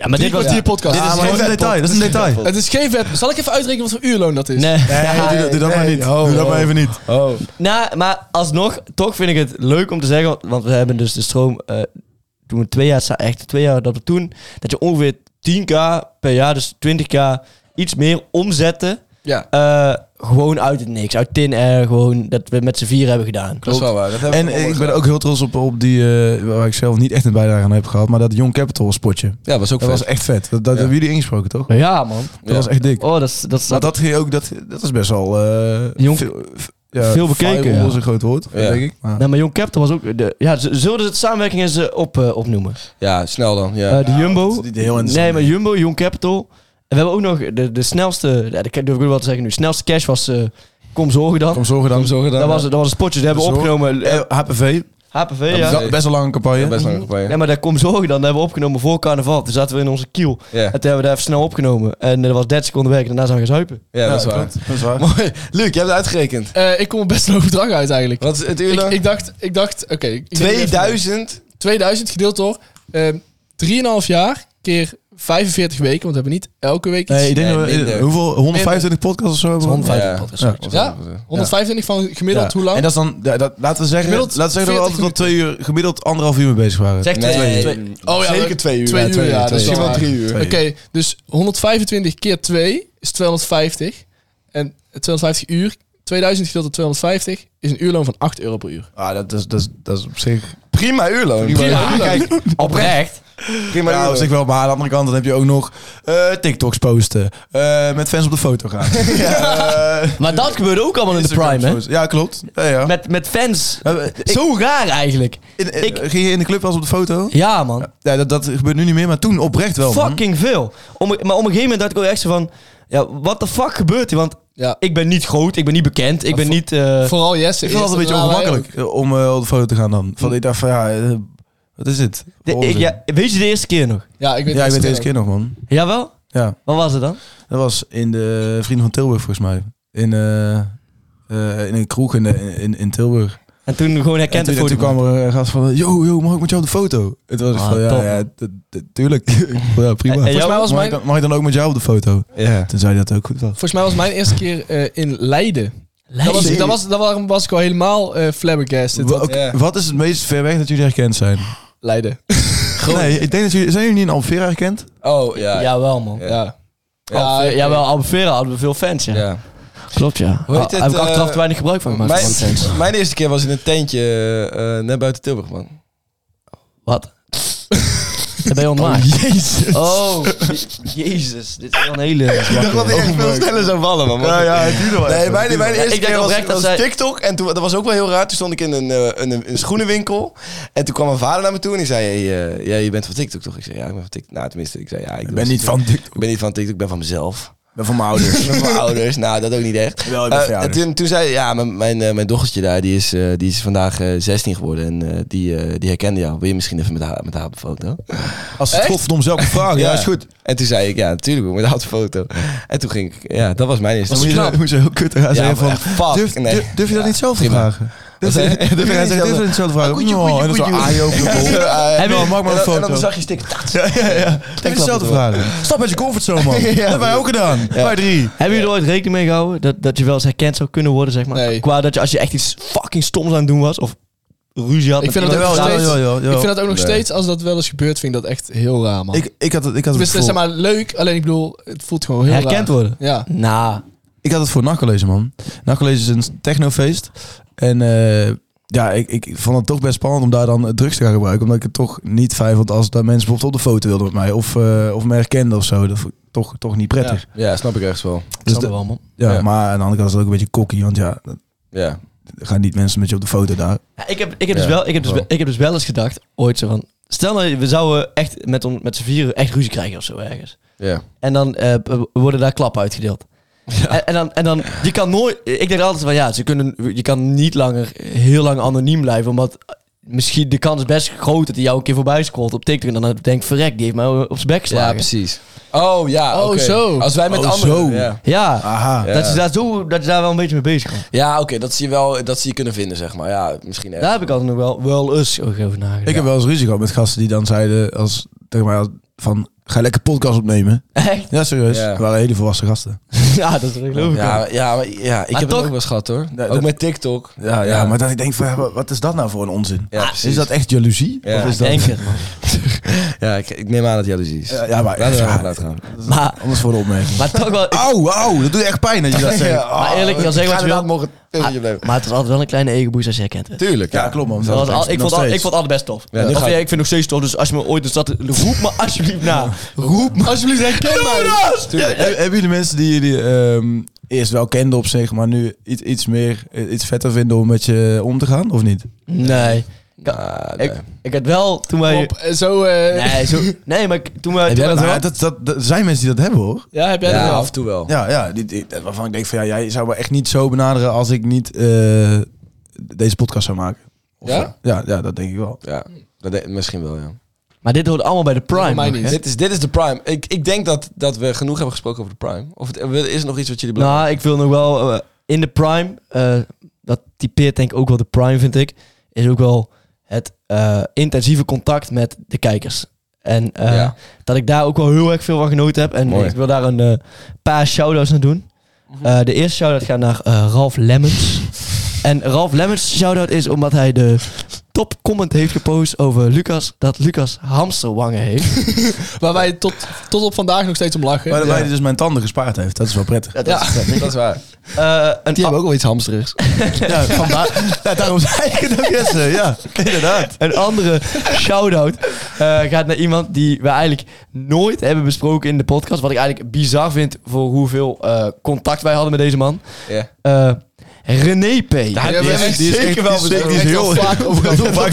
[SPEAKER 4] Ja, maar
[SPEAKER 5] drie
[SPEAKER 4] dit was
[SPEAKER 5] kwartier podcast.
[SPEAKER 3] Ah,
[SPEAKER 5] Het
[SPEAKER 3] maar
[SPEAKER 5] is
[SPEAKER 3] dat is een
[SPEAKER 5] geen vet
[SPEAKER 3] detail, dat is een detail.
[SPEAKER 5] pod- Het is geen vet. Zal ik even uitrekenen wat voor uurloon dat is?
[SPEAKER 4] Nee,
[SPEAKER 3] Nee, doe dat- doe dat maar niet. Doe dat maar even niet.
[SPEAKER 1] Oh.
[SPEAKER 4] nou, maar alsnog, toch vind ik het leuk om te zeggen, want- want we hebben dus de stroom, eh, toen we twee jaar, sta- echt twee jaar dat we toen, dat je ongeveer 10k per jaar, dus 20k, iets meer omzetten,
[SPEAKER 5] Ja.
[SPEAKER 4] eh, gewoon uit het niks, uit tin air, gewoon dat we met z'n vier hebben gedaan.
[SPEAKER 1] Dat is wel waar. Dat hebben we
[SPEAKER 3] En ik
[SPEAKER 1] allemaal
[SPEAKER 3] ben ook heel trots op, op die, eh, waar ik zelf niet echt een bijdrage aan heb gehad, maar dat Young Capital spotje.
[SPEAKER 1] gedaan. Ja, was ook
[SPEAKER 3] Dat was
[SPEAKER 1] vet.
[SPEAKER 3] echt vet. Dat, dat hebben jullie ingesproken, toch?
[SPEAKER 4] Ja, man.
[SPEAKER 3] Dat was echt dik.
[SPEAKER 4] Oh, dat is, dat is
[SPEAKER 3] Maar dat, ging ook, dat, dat is best wel... eh,
[SPEAKER 4] Young-
[SPEAKER 3] veel, v- ja,
[SPEAKER 4] veel bekeken,
[SPEAKER 3] viral
[SPEAKER 4] ja.
[SPEAKER 3] is een groot woord,
[SPEAKER 1] Ja.
[SPEAKER 3] denk ik. Maar-
[SPEAKER 4] Nou, maar Young Capital was ook... De, ja, z- zullen we de samenwerking eens eh, op, eh, opnoemen?
[SPEAKER 1] Ja, snel dan. Ja.
[SPEAKER 4] Eh, de Jumbo.
[SPEAKER 3] dat is niet heel interessant.
[SPEAKER 4] nee, maar Jumbo, Young Capital. En we hebben ook nog de, de snelste... Ja, dat durf ik ook wel te zeggen nu. snelste cash was... eh, kom zorgen dan.
[SPEAKER 3] Kom zorgen dan.
[SPEAKER 1] zorgen dan.
[SPEAKER 4] dat, was, dat was een spotje. Dat hebben we
[SPEAKER 3] Zorg.
[SPEAKER 4] opgenomen. eh,
[SPEAKER 3] Eh, HPV,
[SPEAKER 4] HPV,
[SPEAKER 3] Dat
[SPEAKER 4] ja.
[SPEAKER 3] is best wel lang een campagne.
[SPEAKER 1] best lang campagne.
[SPEAKER 4] Nee, maar daar kom zorgen dan. Dat hebben we opgenomen voor carnaval. Toen zaten we in onze kiel.
[SPEAKER 1] Ja,
[SPEAKER 4] En toen hebben we daar even snel opgenomen. En eh, dat was 30 seconden werk. en Daarna zijn we gaan zuipen.
[SPEAKER 1] ja, dat is waar.
[SPEAKER 3] klopt. Dat is waar.
[SPEAKER 1] Mooi. Luc, je hebt het uitgerekend.
[SPEAKER 5] Eh, ik kom er best een hoog bedrag uit eigenlijk.
[SPEAKER 1] Wat is het
[SPEAKER 5] Ik,
[SPEAKER 1] uurloon?
[SPEAKER 5] ik dacht, ik dacht oké. ik- ik denk even-
[SPEAKER 1] 2000.
[SPEAKER 5] 2000 gedeeld door ehm 3,5 jaar keer 45 weken, want we hebben niet elke week iets.
[SPEAKER 3] Nee, ik denk
[SPEAKER 1] Nee,
[SPEAKER 3] dat we,
[SPEAKER 1] minder.
[SPEAKER 3] eh, hoeveel? 125 podcasts of zo hebben we?
[SPEAKER 4] 150
[SPEAKER 1] Ja.
[SPEAKER 4] podcast.
[SPEAKER 3] Ja.
[SPEAKER 5] Ja? 125 van gemiddeld, hoe lang?
[SPEAKER 3] En dat is dan, ja, dat, laten we zeggen,
[SPEAKER 5] Gemiddeld
[SPEAKER 3] laten we zeggen dat we altijd wel
[SPEAKER 5] 40
[SPEAKER 3] twee uur, gemiddeld anderhalf uur mee bezig waren.
[SPEAKER 4] Zeg
[SPEAKER 1] Nee,
[SPEAKER 4] twee.
[SPEAKER 5] Oh ja,
[SPEAKER 1] zeker
[SPEAKER 5] dat-
[SPEAKER 1] twee uur.
[SPEAKER 5] twee uur, ja, dat is
[SPEAKER 1] Misschien
[SPEAKER 5] wel
[SPEAKER 1] wel
[SPEAKER 5] waar.
[SPEAKER 1] drie uur.
[SPEAKER 5] Oké, dus 125 keer 2 is 250. En 250 uur, 2000 gedeeld door 250 is een uurloon van 8 euro per uur.
[SPEAKER 3] Ah, dat, is, dat, is, dat is op zich...
[SPEAKER 1] Prima uurloon.
[SPEAKER 5] Prima uurloon.
[SPEAKER 4] Oprecht.
[SPEAKER 1] Prima
[SPEAKER 3] Ja, op zich
[SPEAKER 1] uurloon.
[SPEAKER 3] wel, maar aan de andere kant dan heb je ook nog eh, TikToks posten, eh, met fans op de foto gaan. ja, eh,
[SPEAKER 4] Maar dat gebeurde ook allemaal in de
[SPEAKER 3] Instagram
[SPEAKER 4] prime, hè?
[SPEAKER 3] posten. Ja, klopt. Ja, ja.
[SPEAKER 4] Met, met fans.
[SPEAKER 3] Eh, eh, Ah. ik-
[SPEAKER 4] Zo raar eigenlijk.
[SPEAKER 3] in- eh,
[SPEAKER 4] ik-
[SPEAKER 3] ging je in de club wel eens op de foto?
[SPEAKER 4] Ja, man.
[SPEAKER 3] Ja, dat, dat gebeurt nu niet meer, maar toen oprecht wel, man.
[SPEAKER 4] fucking veel. Om, maar op een gegeven moment dacht ik ook echt zo van... Ja, wat de fuck gebeurt hier? Want
[SPEAKER 5] Ja.
[SPEAKER 4] ik ben niet groot, ik ben niet bekend, ik ben niet... eh,
[SPEAKER 5] Vooral Jesse.
[SPEAKER 3] Ik vind het altijd een beetje ongemakkelijk eh, om eh, op de foto te gaan dan. Van, ik dacht van, ja, eh, wat is dit?
[SPEAKER 4] de- ik-
[SPEAKER 3] Onzin.
[SPEAKER 4] ja, weet je de eerste keer nog?
[SPEAKER 5] Ja, ik weet
[SPEAKER 3] Ja, ik
[SPEAKER 5] het
[SPEAKER 3] weet
[SPEAKER 5] niet.
[SPEAKER 3] deze keer nog, man.
[SPEAKER 4] Jawel?
[SPEAKER 3] Ja.
[SPEAKER 4] Wat was het dan?
[SPEAKER 3] Dat was in de Vrienden van Tilburg volgens mij. In, eh, eh, in een kroeg in, de- in, in Tilburg.
[SPEAKER 4] En toen gewoon herkend
[SPEAKER 3] en
[SPEAKER 4] de
[SPEAKER 3] toen,
[SPEAKER 4] foto.
[SPEAKER 3] toen kwam er eh, een gast van, yo, yo, mag ik met jou op de foto? Het was ik
[SPEAKER 4] Ah,
[SPEAKER 3] van,
[SPEAKER 4] top.
[SPEAKER 3] ja, ja tu- tu- tuurlijk. ja, prima.
[SPEAKER 4] En- en
[SPEAKER 3] Volgens
[SPEAKER 4] jou?
[SPEAKER 3] mij was mag, ik dan, mag ik dan ook met jou op de foto?
[SPEAKER 1] Ja.
[SPEAKER 3] Toen zei hij dat ook goed was.
[SPEAKER 5] Volgens mij was mijn eerste keer eh, in Leiden. Dat was,
[SPEAKER 4] Leiden.
[SPEAKER 5] dat was, dat was, was ik al helemaal eh flabbergasted.
[SPEAKER 3] Wa-
[SPEAKER 5] Wat,
[SPEAKER 3] ook-
[SPEAKER 1] ja.
[SPEAKER 3] Wat is het meest ver weg dat jullie herkend zijn?
[SPEAKER 5] Leiden.
[SPEAKER 3] Nee, ik denk dat jullie... Zijn jullie niet in Almere herkend?
[SPEAKER 1] Oh, ja.
[SPEAKER 4] Jawel, man.
[SPEAKER 1] Ja.
[SPEAKER 5] Ja.
[SPEAKER 4] Ja, ja, jawel, Albufeira hadden we veel fans, ja.
[SPEAKER 1] Ja.
[SPEAKER 4] Klopt, ja.
[SPEAKER 1] Hoe heet
[SPEAKER 4] Ah,
[SPEAKER 1] het,
[SPEAKER 4] heb ik achteraf
[SPEAKER 1] eh,
[SPEAKER 4] te weinig gebruik van gemaakt.
[SPEAKER 1] Mijn,
[SPEAKER 4] van fans.
[SPEAKER 1] mijn eerste keer was in een tentje eh, net buiten Tilburg, man.
[SPEAKER 4] Wat? Dat ben je ontmaakt. Oh, jezus. Oh, jezus. Dit is wel een hele... Oh
[SPEAKER 1] echt veel sneller zou vallen, man.
[SPEAKER 3] Ja, ja, het duurde wel
[SPEAKER 1] Nee,
[SPEAKER 3] even.
[SPEAKER 1] mijn, mijn
[SPEAKER 4] Ik
[SPEAKER 1] eerste
[SPEAKER 4] denk
[SPEAKER 1] keer was,
[SPEAKER 4] oprecht dat
[SPEAKER 1] was
[SPEAKER 4] zij-
[SPEAKER 1] TikTok. En toen, dat was ook wel heel raar. Toen stond ik in een, eh, een, een schoenenwinkel. En toen kwam mijn vader naar me toe en die zei... Hey, eh, ja, je bent van TikTok, toch? Ik zei, ja, ik ben van TikTok. Nou, tenminste, ik zei, ja, ik
[SPEAKER 3] Ik
[SPEAKER 1] doe
[SPEAKER 3] ben
[SPEAKER 1] dat
[SPEAKER 3] niet
[SPEAKER 1] zo-
[SPEAKER 3] van... Ik
[SPEAKER 1] Ik ben niet van TikTok, ik ben van mezelf.
[SPEAKER 3] ben van mijn ouders.
[SPEAKER 1] Ik ben van mijn ouders. Nou, dat ook niet echt.
[SPEAKER 3] Wel, ik ben
[SPEAKER 1] Eh,
[SPEAKER 3] van je
[SPEAKER 1] en
[SPEAKER 3] ouders.
[SPEAKER 1] toen, toen zei ja, mijn, mijn, eh, mijn dochtertje daar, die is, eh, die is vandaag eh, 16 geworden. En eh, die, eh, die herkende jou. Wil je misschien even met haar, met haar op een foto?
[SPEAKER 3] Als ze het godverdomme zelf vragen, ja,
[SPEAKER 1] Ja.
[SPEAKER 3] is goed.
[SPEAKER 1] En toen zei ik, ja, natuurlijk, wil ik met haar op een foto. En toen ging ik, ja, dat was mijn eerste.
[SPEAKER 3] Dan moet je, dan moet je heel kut
[SPEAKER 1] Ja,
[SPEAKER 3] eraan zeggen
[SPEAKER 1] maar
[SPEAKER 3] van...
[SPEAKER 1] echt, fuck,
[SPEAKER 3] durf,
[SPEAKER 1] nee.
[SPEAKER 3] durf- durf je dat
[SPEAKER 1] Ja,
[SPEAKER 3] niet zelf te
[SPEAKER 1] prima.
[SPEAKER 3] vragen? Durf je
[SPEAKER 1] zei-
[SPEAKER 3] durf je dat
[SPEAKER 1] durf je
[SPEAKER 3] niet zelf- durf je dat niet zelf te vragen? Oh, en dan zo aaien over de bol.
[SPEAKER 1] Heb
[SPEAKER 4] Hebben jullie-
[SPEAKER 3] maak maar een
[SPEAKER 1] En dan
[SPEAKER 3] foto.
[SPEAKER 1] zag je stikken.
[SPEAKER 3] Ja, ja, ja. Denk dezelfde vragen. Stap uit je comfortzone, man. Dat hebben wij ook gedaan. Wij drie.
[SPEAKER 4] Hebben jullie er ooit rekening mee gehouden dat, dat je wel eens herkend zou kunnen worden, zeg maar?
[SPEAKER 5] Nee.
[SPEAKER 4] Qua dat je als je echt iets fucking stoms aan het doen was, of ruzie had...
[SPEAKER 5] Ik
[SPEAKER 4] met
[SPEAKER 5] vind dat
[SPEAKER 4] iemand-
[SPEAKER 3] Jawel,
[SPEAKER 5] ook nog steeds-
[SPEAKER 3] jawel, jawel, jawel.
[SPEAKER 5] Ik vind dat ook nog
[SPEAKER 1] Nee.
[SPEAKER 5] steeds, als dat wel eens gebeurt, vind ik dat echt heel raar, man.
[SPEAKER 3] Ik, ik, had het, ik, had het
[SPEAKER 5] Tenminste, Dus, eh, zeg
[SPEAKER 3] voor,
[SPEAKER 5] maar leuk, alleen ik bedoel, het voelt gewoon heel raar.
[SPEAKER 4] herkend worden.
[SPEAKER 5] Ja.
[SPEAKER 4] Nou,
[SPEAKER 3] ik had het voor Nachtcollege, man. Nachtcollege is een technofeest. En eh, ja, ik, ik vond het toch best spannend om daar dan eh, drugs te gaan gebruiken. Omdat ik het toch niet fijn vond als dat mensen bijvoorbeeld op de foto wilden met mij. Of, eh, of me herkenden of zo. Dat vond ik toch, toch niet prettig. Dus
[SPEAKER 1] Ja, snap ik echt wel.
[SPEAKER 4] dat is
[SPEAKER 3] de-
[SPEAKER 4] wel, man.
[SPEAKER 3] ja,
[SPEAKER 1] Ja.
[SPEAKER 3] Maar aan de andere kant is het ook een beetje kokkie. Want ja, dan
[SPEAKER 1] Ja.
[SPEAKER 3] gaan niet mensen met je op de foto daar.
[SPEAKER 4] Ja, Ik heb, ik, heb
[SPEAKER 1] Ja,
[SPEAKER 4] dus wel, ik, heb dus,
[SPEAKER 1] wel.
[SPEAKER 4] wel- ik heb dus wel eens gedacht, ooit zo van... Stel nou, we zouden echt met, on, met z'n vieren echt ruzie krijgen of zo ergens.
[SPEAKER 1] Ja.
[SPEAKER 4] En dan eh, b- worden daar klappen uitgedeeld. En, en, dan, en dan, je kan nooit... Ik denk altijd van, ja, ze kunnen, je kan niet langer, heel lang anoniem blijven, omdat... Misschien de kans is best groot dat hij jou een keer voorbij scrolt op TikTok. En dan denkt, verrek, die heeft mij op zijn bek
[SPEAKER 1] Ja,
[SPEAKER 4] geslagen. Ja,
[SPEAKER 1] precies. Oh, ja,
[SPEAKER 5] Oh,
[SPEAKER 1] oké.
[SPEAKER 5] zo.
[SPEAKER 1] Als wij met
[SPEAKER 3] Oh,
[SPEAKER 1] anderen...
[SPEAKER 3] zo.
[SPEAKER 1] Ja,
[SPEAKER 3] Aha.
[SPEAKER 1] Ah, Ja.
[SPEAKER 4] Dat, je daar zo, dat je daar wel een beetje mee bezig kan.
[SPEAKER 1] Ja, oké, dat zie je wel, dat zie je kunnen vinden, zeg maar. Ja, misschien echt.
[SPEAKER 4] Daar heb ik altijd nog wel, wel eens over nagedacht.
[SPEAKER 3] Ik heb wel eens ruzie gehad met gasten die dan zeiden als, zeg maar, van ga lekker podcast opnemen.
[SPEAKER 4] Echt?
[SPEAKER 3] Ja, serieus.
[SPEAKER 1] Ja.
[SPEAKER 3] We waren hele volwassen gasten.
[SPEAKER 4] Ja, dat geloof ik ook.
[SPEAKER 1] Ja, ja, maar- ja, ik
[SPEAKER 4] Maar
[SPEAKER 1] heb
[SPEAKER 4] toch-
[SPEAKER 1] het ook wel eens gehad, hoor. ook
[SPEAKER 3] dat-
[SPEAKER 1] met TikTok.
[SPEAKER 3] Ja, ja, maar dat ik denk, van, ja, wa- wat is dat nou voor een onzin?
[SPEAKER 1] Ja, precies.
[SPEAKER 3] is dat echt jaloezie?
[SPEAKER 1] Ja.
[SPEAKER 3] Of is
[SPEAKER 4] Ik
[SPEAKER 3] dat...
[SPEAKER 4] denk het, man.
[SPEAKER 1] Ja, ik, ik neem aan dat jaloezie is.
[SPEAKER 3] Ja, ja, maar
[SPEAKER 1] Laten we
[SPEAKER 3] ja,
[SPEAKER 1] erop laten gaan.
[SPEAKER 4] Maar,
[SPEAKER 3] anders voor de opmerking.
[SPEAKER 4] maar toch wel... ik-
[SPEAKER 3] Auw, auw, dat doet echt pijn dat je dat zegt. Ah, Ja,
[SPEAKER 4] maar
[SPEAKER 1] ah,
[SPEAKER 4] eerlijk, je kan zeggen wat je wil.
[SPEAKER 1] mogen filmpje
[SPEAKER 4] Ah, maar het is altijd wel een kleine egoboes als je herkent werd.
[SPEAKER 1] Tuurlijk, ja.
[SPEAKER 3] klopt man.
[SPEAKER 4] Dat was al-
[SPEAKER 3] Nog
[SPEAKER 4] ik, vond al, ik
[SPEAKER 3] steeds.
[SPEAKER 4] vond het altijd best tof.
[SPEAKER 1] Ja, nu
[SPEAKER 4] Of
[SPEAKER 1] ga
[SPEAKER 4] ja,
[SPEAKER 1] ik-
[SPEAKER 4] ik vind het nog steeds tof, dus als je me ooit in de stad... Roep me alsjeblieft na. Roep me.
[SPEAKER 5] Alsjeblieft, herken mij.
[SPEAKER 4] Jonas!
[SPEAKER 3] Ja, he- hebben jullie mensen die jullie ehm, eerst wel kenden op zich, maar nu iets, iets meer, eh, iets vetter vinden om met je om te gaan, of niet?
[SPEAKER 4] Nee.
[SPEAKER 1] Ah, nee.
[SPEAKER 4] Ik, ik had wel, toen wij...
[SPEAKER 5] Op, eh, zo, eh,
[SPEAKER 4] Nee, zo, nee maar ik- toen wij...
[SPEAKER 3] Heb jij
[SPEAKER 4] toen
[SPEAKER 3] dat, wel? Nou,
[SPEAKER 4] Nou, wij-
[SPEAKER 3] dat, dat, dat- er zijn mensen die dat hebben hoor.
[SPEAKER 5] ja, heb jij dat
[SPEAKER 1] Ja,
[SPEAKER 5] wel?
[SPEAKER 1] af en toe wel.
[SPEAKER 3] Ja, ja die, die- waarvan ik denk van ja, jij zou me echt niet zo benaderen als ik niet eh, deze podcast zou maken. Of,
[SPEAKER 5] Ja?
[SPEAKER 3] eh, ja? Ja, dat denk ik wel.
[SPEAKER 1] Ja, dat de- misschien wel, ja.
[SPEAKER 4] Maar dit hoort allemaal bij de prime.
[SPEAKER 5] Voor mij
[SPEAKER 4] man.
[SPEAKER 5] niet.
[SPEAKER 1] Dit is, dit is de prime. Ik, ik denk dat, dat we genoeg hebben gesproken over de prime. Of het- is er nog iets wat jullie belangrijk
[SPEAKER 4] Nou, ik wil nog wel eh, in de prime, eh, dat typeert denk ik ook wel de prime, vind ik, is ook wel het eh, intensieve contact met de kijkers. En eh,
[SPEAKER 1] Ja.
[SPEAKER 4] dat ik daar ook wel heel erg veel van genoten heb. En
[SPEAKER 1] Mooi.
[SPEAKER 4] ik wil daar een eh, paar shout-outs naar doen. Eh, de eerste shout-out gaat naar eh, Ralf Lemmens. en Ralf Lemmens shout-out is omdat hij de top comment heeft gepost over Lucas, dat Lucas hamsterwangen heeft.
[SPEAKER 5] Waar wij tot, tot op vandaag nog steeds om lachen.
[SPEAKER 3] Maar
[SPEAKER 5] Ja.
[SPEAKER 3] dat hij dus mijn tanden gespaard heeft, dat is wel prettig.
[SPEAKER 4] Dat
[SPEAKER 5] Ja.
[SPEAKER 4] is vet.
[SPEAKER 1] Nou, Dat is waar.
[SPEAKER 4] Eh, een
[SPEAKER 5] Die hebben ook wel iets hamsterigs.
[SPEAKER 3] Ja, vandaar, ja, daarom zei ik het ook Jesse. Ja, inderdaad.
[SPEAKER 4] Een andere shout-out eh, gaat naar iemand die we eigenlijk nooit hebben besproken in de podcast. Wat ik eigenlijk bizar vind voor hoeveel eh, contact wij hadden met deze man.
[SPEAKER 1] Ja.
[SPEAKER 4] Eh, René P.
[SPEAKER 5] hebben we echt
[SPEAKER 3] die is
[SPEAKER 5] zeker
[SPEAKER 3] echt-
[SPEAKER 5] wel
[SPEAKER 3] die is- die is
[SPEAKER 5] besproken.
[SPEAKER 3] heel
[SPEAKER 5] Echt wel vaak over gehad.
[SPEAKER 3] Heel vaak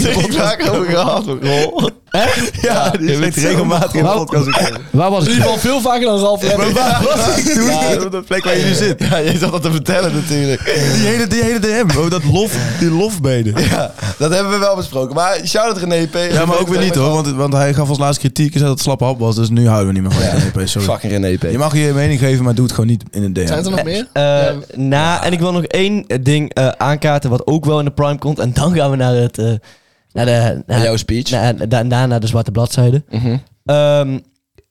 [SPEAKER 3] in de podcast.
[SPEAKER 4] Echt?
[SPEAKER 3] Ja, die
[SPEAKER 1] je
[SPEAKER 3] zit
[SPEAKER 1] bent zo-
[SPEAKER 3] regelmatig in de
[SPEAKER 4] Wauw.
[SPEAKER 3] podcast. ook.
[SPEAKER 4] Waar was
[SPEAKER 5] In
[SPEAKER 4] ik?
[SPEAKER 5] ieder geval veel vaker dan Ralf Lemmers.
[SPEAKER 3] Waar was ik toen? Op de plek waar je nu zit.
[SPEAKER 1] Ja, je zat dat te vertellen natuurlijk.
[SPEAKER 3] Die hele, die hele DM, oh, dat lof, die lofbeden.
[SPEAKER 1] Ja, dat hebben we wel besproken. Maar shout-out René P.
[SPEAKER 3] Ja, maar ook weer niet hoor, want, want hij gaf ons laatst kritiek en zei dat het slappe hap was. Dus nu houden we niet meer van je NEP, sorry.
[SPEAKER 1] Fucking René P.
[SPEAKER 3] Je mag je mening geven, maar doe het gewoon niet in een DM.
[SPEAKER 5] Zijn het er nog meer?
[SPEAKER 4] Eh,
[SPEAKER 5] Ja.
[SPEAKER 4] na, en ik wil nog één eh, ding eh, aankaarten wat ook wel in de prime komt. En dan gaan we naar het... eh, naar de, naar,
[SPEAKER 1] Naar jouw speech.
[SPEAKER 4] na- na- daarna naar de zwarte bladzijde.
[SPEAKER 1] Mhm.
[SPEAKER 4] Ehm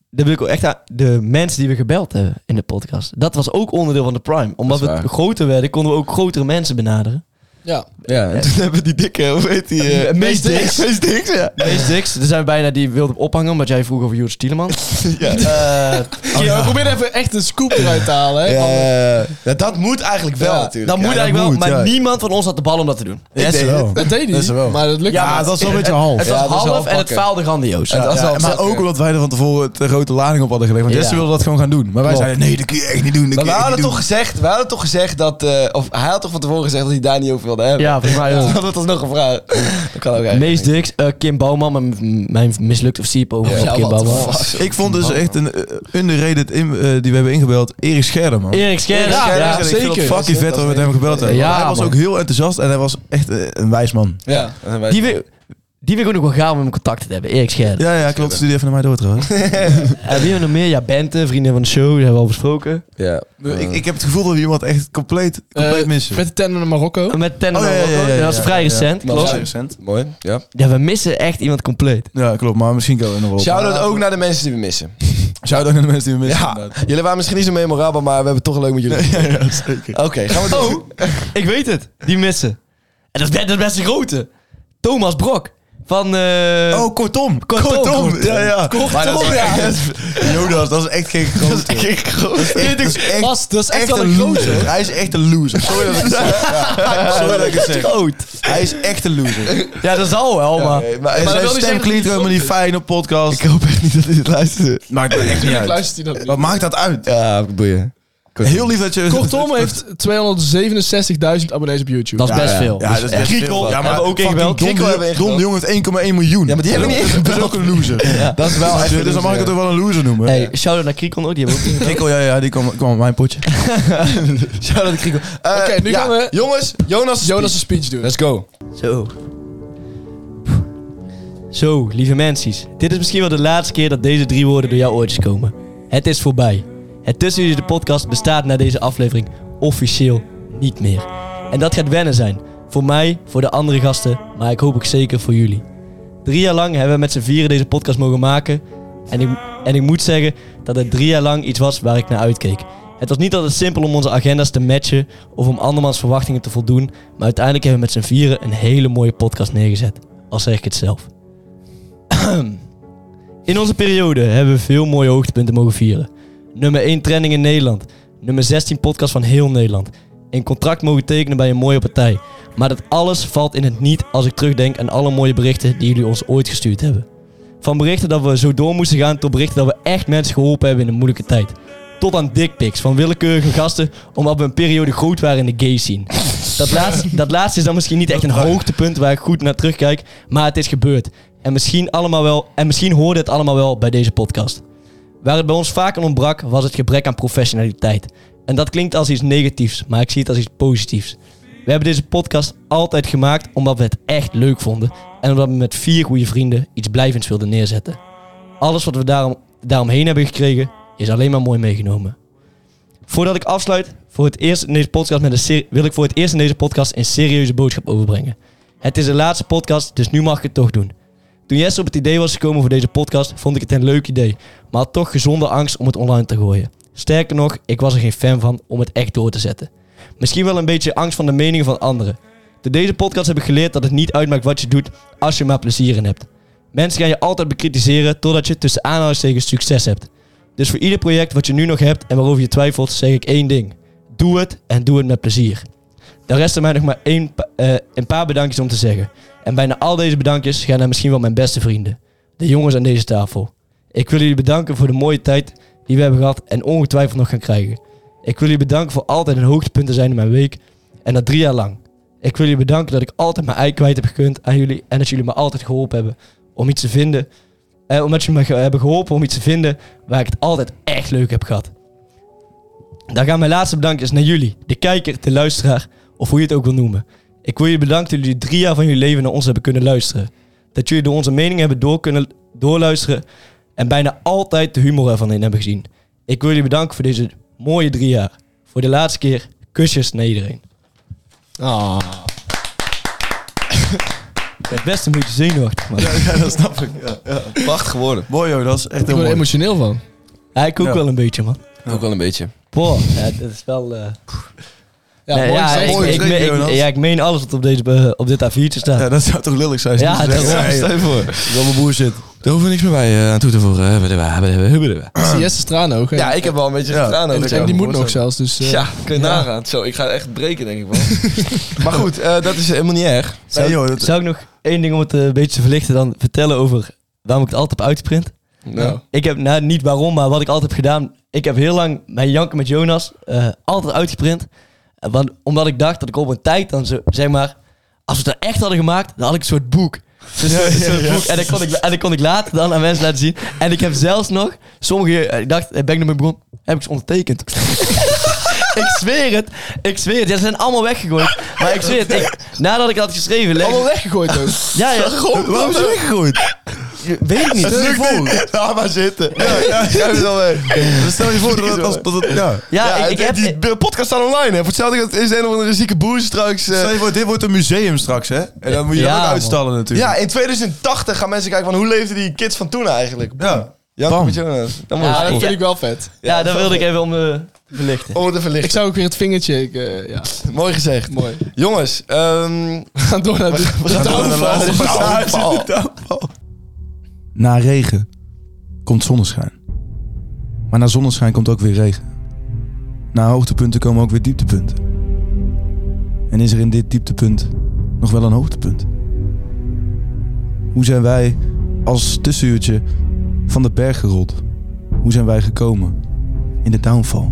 [SPEAKER 4] dan wil ik ook echt aan de mensen die we gebeld hebben in de podcast. Dat was ook onderdeel van de prime. Omdat
[SPEAKER 1] Dat
[SPEAKER 4] we
[SPEAKER 1] is waar.
[SPEAKER 4] groter werden, konden we ook grotere mensen benaderen.
[SPEAKER 3] Oh,
[SPEAKER 5] Ja.
[SPEAKER 1] Ja, en toen hebben we die dikke, hoe heet die? eh, Mees
[SPEAKER 4] Mees Dix.
[SPEAKER 1] Mees Dix, ja.
[SPEAKER 4] Mees Dix, er zijn bijna die wilde ophangen, omdat jij vroeg over Joris Tieleman.
[SPEAKER 1] Ja.
[SPEAKER 4] Eh,
[SPEAKER 5] Ja, we proberen even echt een scoop eruit te halen. Hè? Want-
[SPEAKER 1] Ja, ja, dat moet eigenlijk wel
[SPEAKER 5] Ja,
[SPEAKER 1] natuurlijk.
[SPEAKER 4] dat
[SPEAKER 1] Ja,
[SPEAKER 4] moet eigenlijk wel,
[SPEAKER 3] moet,
[SPEAKER 4] maar
[SPEAKER 3] ja.
[SPEAKER 4] niemand van ons had de bal om dat te doen.
[SPEAKER 3] Ja,
[SPEAKER 1] deed
[SPEAKER 3] ze wel.
[SPEAKER 5] eh, Dat deed
[SPEAKER 3] Dat
[SPEAKER 5] hij,
[SPEAKER 3] is wel.
[SPEAKER 5] maar dat lukt
[SPEAKER 3] Ja, dat was wel een beetje half.
[SPEAKER 4] Het
[SPEAKER 1] Ja,
[SPEAKER 4] was
[SPEAKER 1] dat is wel
[SPEAKER 4] half en het
[SPEAKER 1] pakken.
[SPEAKER 4] faalde grandioos.
[SPEAKER 1] Ja, dat is
[SPEAKER 3] Ja,
[SPEAKER 1] wel
[SPEAKER 3] maar
[SPEAKER 1] zakken.
[SPEAKER 3] ook omdat wij er van tevoren het grote lading op hadden gelegd. Want
[SPEAKER 4] Ja.
[SPEAKER 3] Jesse wilde dat gewoon gaan doen. Maar wij
[SPEAKER 4] Klopt.
[SPEAKER 3] zeiden, nee, dat kun je echt niet doen. Dat
[SPEAKER 1] Maar
[SPEAKER 3] kun
[SPEAKER 1] we
[SPEAKER 3] je echt
[SPEAKER 1] hadden,
[SPEAKER 3] niet
[SPEAKER 1] toch gezegd, we hadden toch gezegd dat... eh, of hij had toch van tevoren gezegd dat hij daar niet over wilde hebben?
[SPEAKER 4] Ja, volgens mij
[SPEAKER 1] Dat
[SPEAKER 4] ook.
[SPEAKER 1] had het alsnog gevraagd. Dat kan ook eigenlijk.
[SPEAKER 4] Mees Dix, eh, Kim Bouwman, mijn, mijn mislukte siep over
[SPEAKER 1] Ja,
[SPEAKER 4] Kim
[SPEAKER 1] what the
[SPEAKER 4] Bouwman.
[SPEAKER 1] fuck.
[SPEAKER 3] doen. Ik vond dus echt een eh, underrated in, eh, die we hebben ingebeld, Erik Scherder, man.
[SPEAKER 4] Erik Scherder.
[SPEAKER 1] Ja,
[SPEAKER 4] Ja,
[SPEAKER 1] ja,
[SPEAKER 3] Ik vind
[SPEAKER 1] zeker.
[SPEAKER 3] het Fucking vet dat we met hem gebeld hebben.
[SPEAKER 4] Ja,
[SPEAKER 3] hij was
[SPEAKER 4] man.
[SPEAKER 3] ook heel enthousiast en hij was echt eh, een wijs man.
[SPEAKER 1] Ja. dat zijn wij.
[SPEAKER 4] Die, wil- die wil ik ook nog wel gaaf om hem contact te hebben. Erik Scherder.
[SPEAKER 3] Ja, ja, klopt. Studeer even naar mij door trouwens.
[SPEAKER 4] En wie hebben we nog meer? Ja, Bente, vrienden van de show, die hebben we al besproken.
[SPEAKER 1] Ja. eh,
[SPEAKER 3] ik, ik heb het gevoel dat we iemand echt compleet, compleet
[SPEAKER 5] Eh,
[SPEAKER 3] missen.
[SPEAKER 5] Met de tender naar Marokko.
[SPEAKER 4] Met Ten
[SPEAKER 3] Oh, ja, ja, ja, ja,
[SPEAKER 4] dat is
[SPEAKER 3] ja,
[SPEAKER 4] vrij
[SPEAKER 3] ja.
[SPEAKER 4] recent.
[SPEAKER 1] Maar
[SPEAKER 4] klopt.
[SPEAKER 1] ja.
[SPEAKER 3] recent.
[SPEAKER 1] Mooi, ja.
[SPEAKER 4] Ja, we missen echt iemand compleet.
[SPEAKER 3] Ja, klopt. Maar misschien kan we nog wel.
[SPEAKER 1] Shout-out ook naar de mensen die we missen.
[SPEAKER 3] Shout-out naar de mensen die we missen.
[SPEAKER 1] Ja, jullie waren misschien niet zo memorabel, maar we hebben het toch leuk met jullie.
[SPEAKER 3] Ja, ja, zeker.
[SPEAKER 1] Oké, gaan we door.
[SPEAKER 4] Oh, ik weet het. Die missen. En dat is, be- dat is best een grote. Thomas Brok. Van... eh,
[SPEAKER 3] Oh, kortom.
[SPEAKER 4] Kortom.
[SPEAKER 3] Ja, ja. Maar dat is
[SPEAKER 1] ja.
[SPEAKER 3] echt- Jonas, dat is echt geen grote.
[SPEAKER 1] Ik- ik-
[SPEAKER 3] Dat is echt,
[SPEAKER 5] Gast, dat is echt,
[SPEAKER 3] echt
[SPEAKER 5] wel
[SPEAKER 3] een
[SPEAKER 5] een grote.
[SPEAKER 3] loser. Hij is echt een loser. Sorry dat ik het zeg. Ja. Sorry dat ik het zeg.
[SPEAKER 4] Groot.
[SPEAKER 3] Hij is echt een loser.
[SPEAKER 4] Ja, dat zal wel, maar...
[SPEAKER 1] Oké, maar-
[SPEAKER 3] En
[SPEAKER 1] maar
[SPEAKER 3] zijn
[SPEAKER 1] dat wil niet
[SPEAKER 3] stem
[SPEAKER 1] zeggen-
[SPEAKER 3] klinkt helemaal niet fijn op podcast.
[SPEAKER 1] Ik hoop echt niet dat hij het luistert.
[SPEAKER 3] Maakt me echt niet
[SPEAKER 5] Ik
[SPEAKER 3] uit.
[SPEAKER 5] luister die dat
[SPEAKER 3] Wat
[SPEAKER 5] niet.
[SPEAKER 3] maakt dat uit?
[SPEAKER 1] Ja, boeien.
[SPEAKER 3] Heel lief dat je...
[SPEAKER 5] Kortom heeft 267.000 abonnees op YouTube.
[SPEAKER 4] Dat is best
[SPEAKER 3] Ja,
[SPEAKER 4] veel.
[SPEAKER 3] Ja, dat is echt
[SPEAKER 1] Griekel.
[SPEAKER 3] veel. Ja, maar
[SPEAKER 4] Hebben we ook
[SPEAKER 3] fucking
[SPEAKER 4] ingebeld.
[SPEAKER 3] Don de-
[SPEAKER 1] Griekel hebben we
[SPEAKER 3] Don de Jong heeft 1,1 miljoen.
[SPEAKER 1] Ja, maar die hebben we niet
[SPEAKER 3] Dat is ook een loser.
[SPEAKER 1] Dat is wel
[SPEAKER 3] Dus,
[SPEAKER 1] echt
[SPEAKER 3] dus dan mag ik het ook wel een loser noemen.
[SPEAKER 4] Hey, shout-out naar Kriekon ook. Die hebben we ook.
[SPEAKER 3] Griekel, ja, ja, die kwam, kwam op mijn potje.
[SPEAKER 1] Shout-out Grieko. Eh,
[SPEAKER 5] Oké, nu
[SPEAKER 1] ja,
[SPEAKER 5] gaan we-
[SPEAKER 1] Jongens, Jonas.
[SPEAKER 5] Jonas een speech doen.
[SPEAKER 1] Let's go.
[SPEAKER 4] Zo. Zo, lieve mensies. Dit is misschien wel de laatste keer dat deze drie woorden door jouw oortjes komen. Het is voorbij. Het Tussen Jullie de podcast bestaat na deze aflevering officieel niet meer. En dat gaat wennen zijn. Voor mij, voor de andere gasten, maar ik hoop ook zeker voor jullie. Drie jaar lang hebben we met z'n vieren deze podcast mogen maken. En ik, en ik moet zeggen dat het drie jaar lang iets was waar ik naar uitkeek. Het was niet altijd simpel om onze agenda's te matchen of om andermans verwachtingen te voldoen. Maar uiteindelijk hebben we met z'n vieren een hele mooie podcast neergezet. Al zeg ik het zelf. in onze periode hebben we veel mooie hoogtepunten mogen vieren. Nummer 1 trending in Nederland. Nummer 16 podcast van heel Nederland. Een contract mogen tekenen bij een mooie partij. Maar dat alles valt in het niet als ik terugdenk aan alle mooie berichten die jullie ons ooit gestuurd hebben. Van berichten dat we zo door moesten gaan tot berichten dat we echt mensen geholpen hebben in een moeilijke tijd. Tot aan dickpics van willekeurige gasten omdat we een periode groot waren in de gay scene. Dat laatste, dat laatste is dan misschien niet echt een hoogtepunt waar ik goed naar terugkijk, maar het is gebeurd. En misschien, allemaal wel, en misschien hoorde het allemaal wel bij deze podcast. Waar het bij ons vaak aan ontbrak, was het gebrek aan professionaliteit. En dat klinkt als iets negatiefs, maar ik zie het als iets positiefs. We hebben deze podcast altijd gemaakt omdat we het echt leuk vonden en omdat we met vier goede vrienden iets blijvends wilden neerzetten. Alles wat we daarom, daaromheen hebben gekregen is alleen maar mooi meegenomen. Voordat ik afsluit, voor het eerst in deze podcast met een ser- wil ik voor het eerst in deze podcast een serieuze boodschap overbrengen. Het is de laatste podcast, dus nu mag ik het toch doen. Toen Jesse op het idee was gekomen voor deze podcast, vond ik het een leuk idee, maar had toch gezonde angst om het online te gooien. Sterker nog, ik was er geen fan van om het echt door te zetten. Misschien wel een beetje angst van de meningen van anderen. Door deze podcast heb ik geleerd dat het niet uitmaakt wat je doet als je er maar plezier in hebt. Mensen gaan je altijd bekritiseren totdat je tussen aanhalingstekens succes hebt. Dus voor ieder project wat je nu nog hebt en waarover je twijfelt, zeg ik één ding. Doe het en doe het met plezier. Dan rest er mij nog maar één, pa- eh, een paar bedankjes om te zeggen. En bijna al deze bedankjes gaan naar misschien wel mijn beste vrienden. De jongens aan deze tafel. Ik wil jullie bedanken voor de mooie tijd die we hebben gehad en ongetwijfeld nog gaan krijgen. Ik wil jullie bedanken voor altijd een hoogtepunt te zijn in mijn week. En dat drie jaar lang. Ik wil jullie bedanken dat ik altijd mijn ei kwijt heb gekund aan jullie. En dat jullie me altijd geholpen hebben om iets te vinden. Eh, omdat jullie me ge- hebben geholpen om iets te vinden waar ik het altijd echt leuk heb gehad. Daar gaan mijn laatste bedankjes naar jullie, de kijker, de luisteraar of hoe je het ook wil noemen. Ik wil je bedanken dat jullie drie jaar van jullie leven naar ons hebben kunnen luisteren. Dat jullie door onze meningen hebben door kunnen doorluisteren en bijna altijd de humor ervan in hebben gezien. Ik wil jullie bedanken voor deze mooie drie jaar. Voor de laatste keer kusjes naar iedereen.
[SPEAKER 5] Ah.
[SPEAKER 4] Ik ben best een beetje zenuwachtig, maar
[SPEAKER 3] Ja, dat snap ik. Ja, ja.
[SPEAKER 1] Prachtig geworden.
[SPEAKER 3] Mooi joh, dat is echt
[SPEAKER 5] Ik
[SPEAKER 3] heel
[SPEAKER 5] word er
[SPEAKER 3] mooi.
[SPEAKER 5] emotioneel van.
[SPEAKER 4] ja, ik ook
[SPEAKER 3] Ja.
[SPEAKER 4] wel een beetje, man.
[SPEAKER 1] Ook wel een beetje.
[SPEAKER 4] Boah, ja, dat is wel... eh,
[SPEAKER 5] Ja,
[SPEAKER 4] nee,
[SPEAKER 5] mooi
[SPEAKER 4] ja,
[SPEAKER 5] gezegd.
[SPEAKER 4] ik,
[SPEAKER 3] Mooi
[SPEAKER 4] ik,
[SPEAKER 3] gezegd,
[SPEAKER 4] ik-
[SPEAKER 3] Jonas.
[SPEAKER 4] ja, ik meen alles wat op, deze, eh, op dit A4'tje staat.
[SPEAKER 3] Ja, dat zou toch lullig zijn?
[SPEAKER 4] Ja, dat is-
[SPEAKER 3] is
[SPEAKER 1] Stel je voor.
[SPEAKER 3] allemaal bullshit.
[SPEAKER 1] Daar hoeven we niks meer bij eh, aan toe te voegen. Hebben we, hebben we, hebben we, hebben
[SPEAKER 5] Ik zie Jesse Straanogen.
[SPEAKER 1] Ja, ik heb wel een beetje
[SPEAKER 3] Ja,
[SPEAKER 1] gedaan.
[SPEAKER 3] en
[SPEAKER 1] over
[SPEAKER 3] ik-
[SPEAKER 5] en die
[SPEAKER 1] jou.
[SPEAKER 5] moet nog zelfs, dus... eh,
[SPEAKER 1] Ja, kun je nagaan. Zo, ik ga echt breken, denk ik wel. maar goed, eh, dat is helemaal niet erg.
[SPEAKER 4] Zou,
[SPEAKER 3] Nee, joh, dat-
[SPEAKER 4] zou ik nog één ding om het eh, een beetje te verlichten dan vertellen over waarom ik het altijd heb uitgeprint?
[SPEAKER 1] Nou,
[SPEAKER 4] Ik heb, nou niet waarom, maar wat ik altijd heb gedaan. Ik heb heel lang mijn Janken met Jonas eh, altijd uitgeprint. Eh, Want, omdat ik dacht dat ik op een tijd dan zo, zeg maar, als we het er echt hadden gemaakt, dan had ik een soort boek. Dus een soort boek. En, dat kon ik, en dat kon ik later dan aan mensen laten zien. En ik heb zelfs nog, sommige, eh, ik dacht, eh, ben ik nog mee begonnen, heb ik ze ondertekend. ik zweer het, ik zweer het. Ja, ze zijn allemaal weggegooid. Maar ik zweer het, ik- nadat ik had geschreven, leg,
[SPEAKER 5] Allemaal weggegooid ook.
[SPEAKER 4] ja, ja,
[SPEAKER 3] Waarom is het weggegooid?
[SPEAKER 4] weet ik niet.
[SPEAKER 3] Stel je voor.
[SPEAKER 1] Ah,
[SPEAKER 3] Laat maar zitten. Ja, ja, jij bent al weg. Dan Stel je voor dat het... Als, dat het ja.
[SPEAKER 4] Ja, ik, ik heb...
[SPEAKER 1] die be- podcast staat online. Hè. Voor hetzelfde geld is een of andere zieke boer straks. eh,
[SPEAKER 3] Stel je voor, dit wordt een museum straks, hè? En dan moet je
[SPEAKER 4] Ja,
[SPEAKER 3] dat ook
[SPEAKER 4] man.
[SPEAKER 3] uitstallen natuurlijk.
[SPEAKER 1] ja, in 2080 gaan mensen kijken van hoe leefden die kids van toen eigenlijk?
[SPEAKER 3] ja.
[SPEAKER 1] Janko
[SPEAKER 3] Bam.
[SPEAKER 1] met Jonas. Dat moet
[SPEAKER 4] Ja,
[SPEAKER 1] je
[SPEAKER 5] dat
[SPEAKER 1] eens
[SPEAKER 5] vind
[SPEAKER 1] doen.
[SPEAKER 5] ik wel vet.
[SPEAKER 4] Ja, dat wilde ik even om eh, te verlichten.
[SPEAKER 1] Om het te verlichten.
[SPEAKER 5] Ik zou ook weer het vingertje... Ik, eh, ja,
[SPEAKER 1] Mooi gezegd.
[SPEAKER 5] mooi.
[SPEAKER 1] Jongens, ehm,
[SPEAKER 5] We gaan door naar de,
[SPEAKER 1] we gaan door naar de laatste
[SPEAKER 3] Taal.
[SPEAKER 1] passage.
[SPEAKER 6] Na regen komt zonneschijn. Maar na zonneschijn komt ook weer regen. Na hoogtepunten komen ook weer dieptepunten. En is er in dit dieptepunt nog wel een hoogtepunt? Hoe zijn wij als tussenuurtje van de berg gerold? Hoe zijn wij gekomen in de downfall?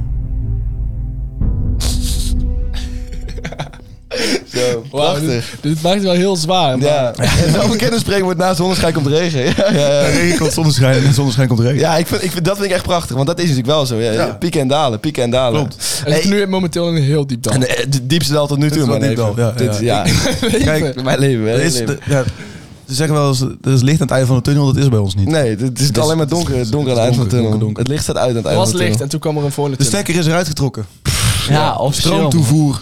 [SPEAKER 1] Zo,
[SPEAKER 5] Wauw,
[SPEAKER 1] prachtig.
[SPEAKER 5] dit, dit maakt het wel heel zwaar. maar-
[SPEAKER 1] Ja, en zo'n bekende spreekwoord na zonneschijn komt regen. Ja, ja, ja.
[SPEAKER 3] Regen komt Eh, zonneschijn en na zonneschijn komt regen.
[SPEAKER 1] Ja, ik vind, ik vind, dat vind ik echt prachtig, want dat is natuurlijk wel zo. Ja.
[SPEAKER 3] Ja.
[SPEAKER 1] Pieken en dalen, pieken en dalen.
[SPEAKER 3] Klopt.
[SPEAKER 5] Hij zit nu momenteel in een heel diep dal.
[SPEAKER 1] En eh, de diepste dal tot nu
[SPEAKER 3] Dit
[SPEAKER 1] toe,
[SPEAKER 3] is wel
[SPEAKER 1] man.
[SPEAKER 3] diep
[SPEAKER 1] even.
[SPEAKER 3] dal, ja,
[SPEAKER 1] Dit-
[SPEAKER 3] ja.
[SPEAKER 1] Kijk, mijn leven, mijn
[SPEAKER 3] Er is,
[SPEAKER 1] leven.
[SPEAKER 3] de- ja, ze zeggen wel eens, er is licht aan het einde van de tunnel, dat is bij ons niet.
[SPEAKER 1] Nee, het is
[SPEAKER 3] Het is-
[SPEAKER 1] alleen maar donker, donker aan het eind van de
[SPEAKER 3] donker,
[SPEAKER 1] tunnel.
[SPEAKER 3] donker, donker.
[SPEAKER 1] Het licht staat uit aan het
[SPEAKER 5] Er
[SPEAKER 1] eind
[SPEAKER 5] was
[SPEAKER 1] van de tunnel.
[SPEAKER 5] licht en toen kwam er een voorne
[SPEAKER 3] De
[SPEAKER 5] tunnel.
[SPEAKER 3] stekker is eruit getrokken.
[SPEAKER 4] Ja, of
[SPEAKER 3] Stroomtoevoer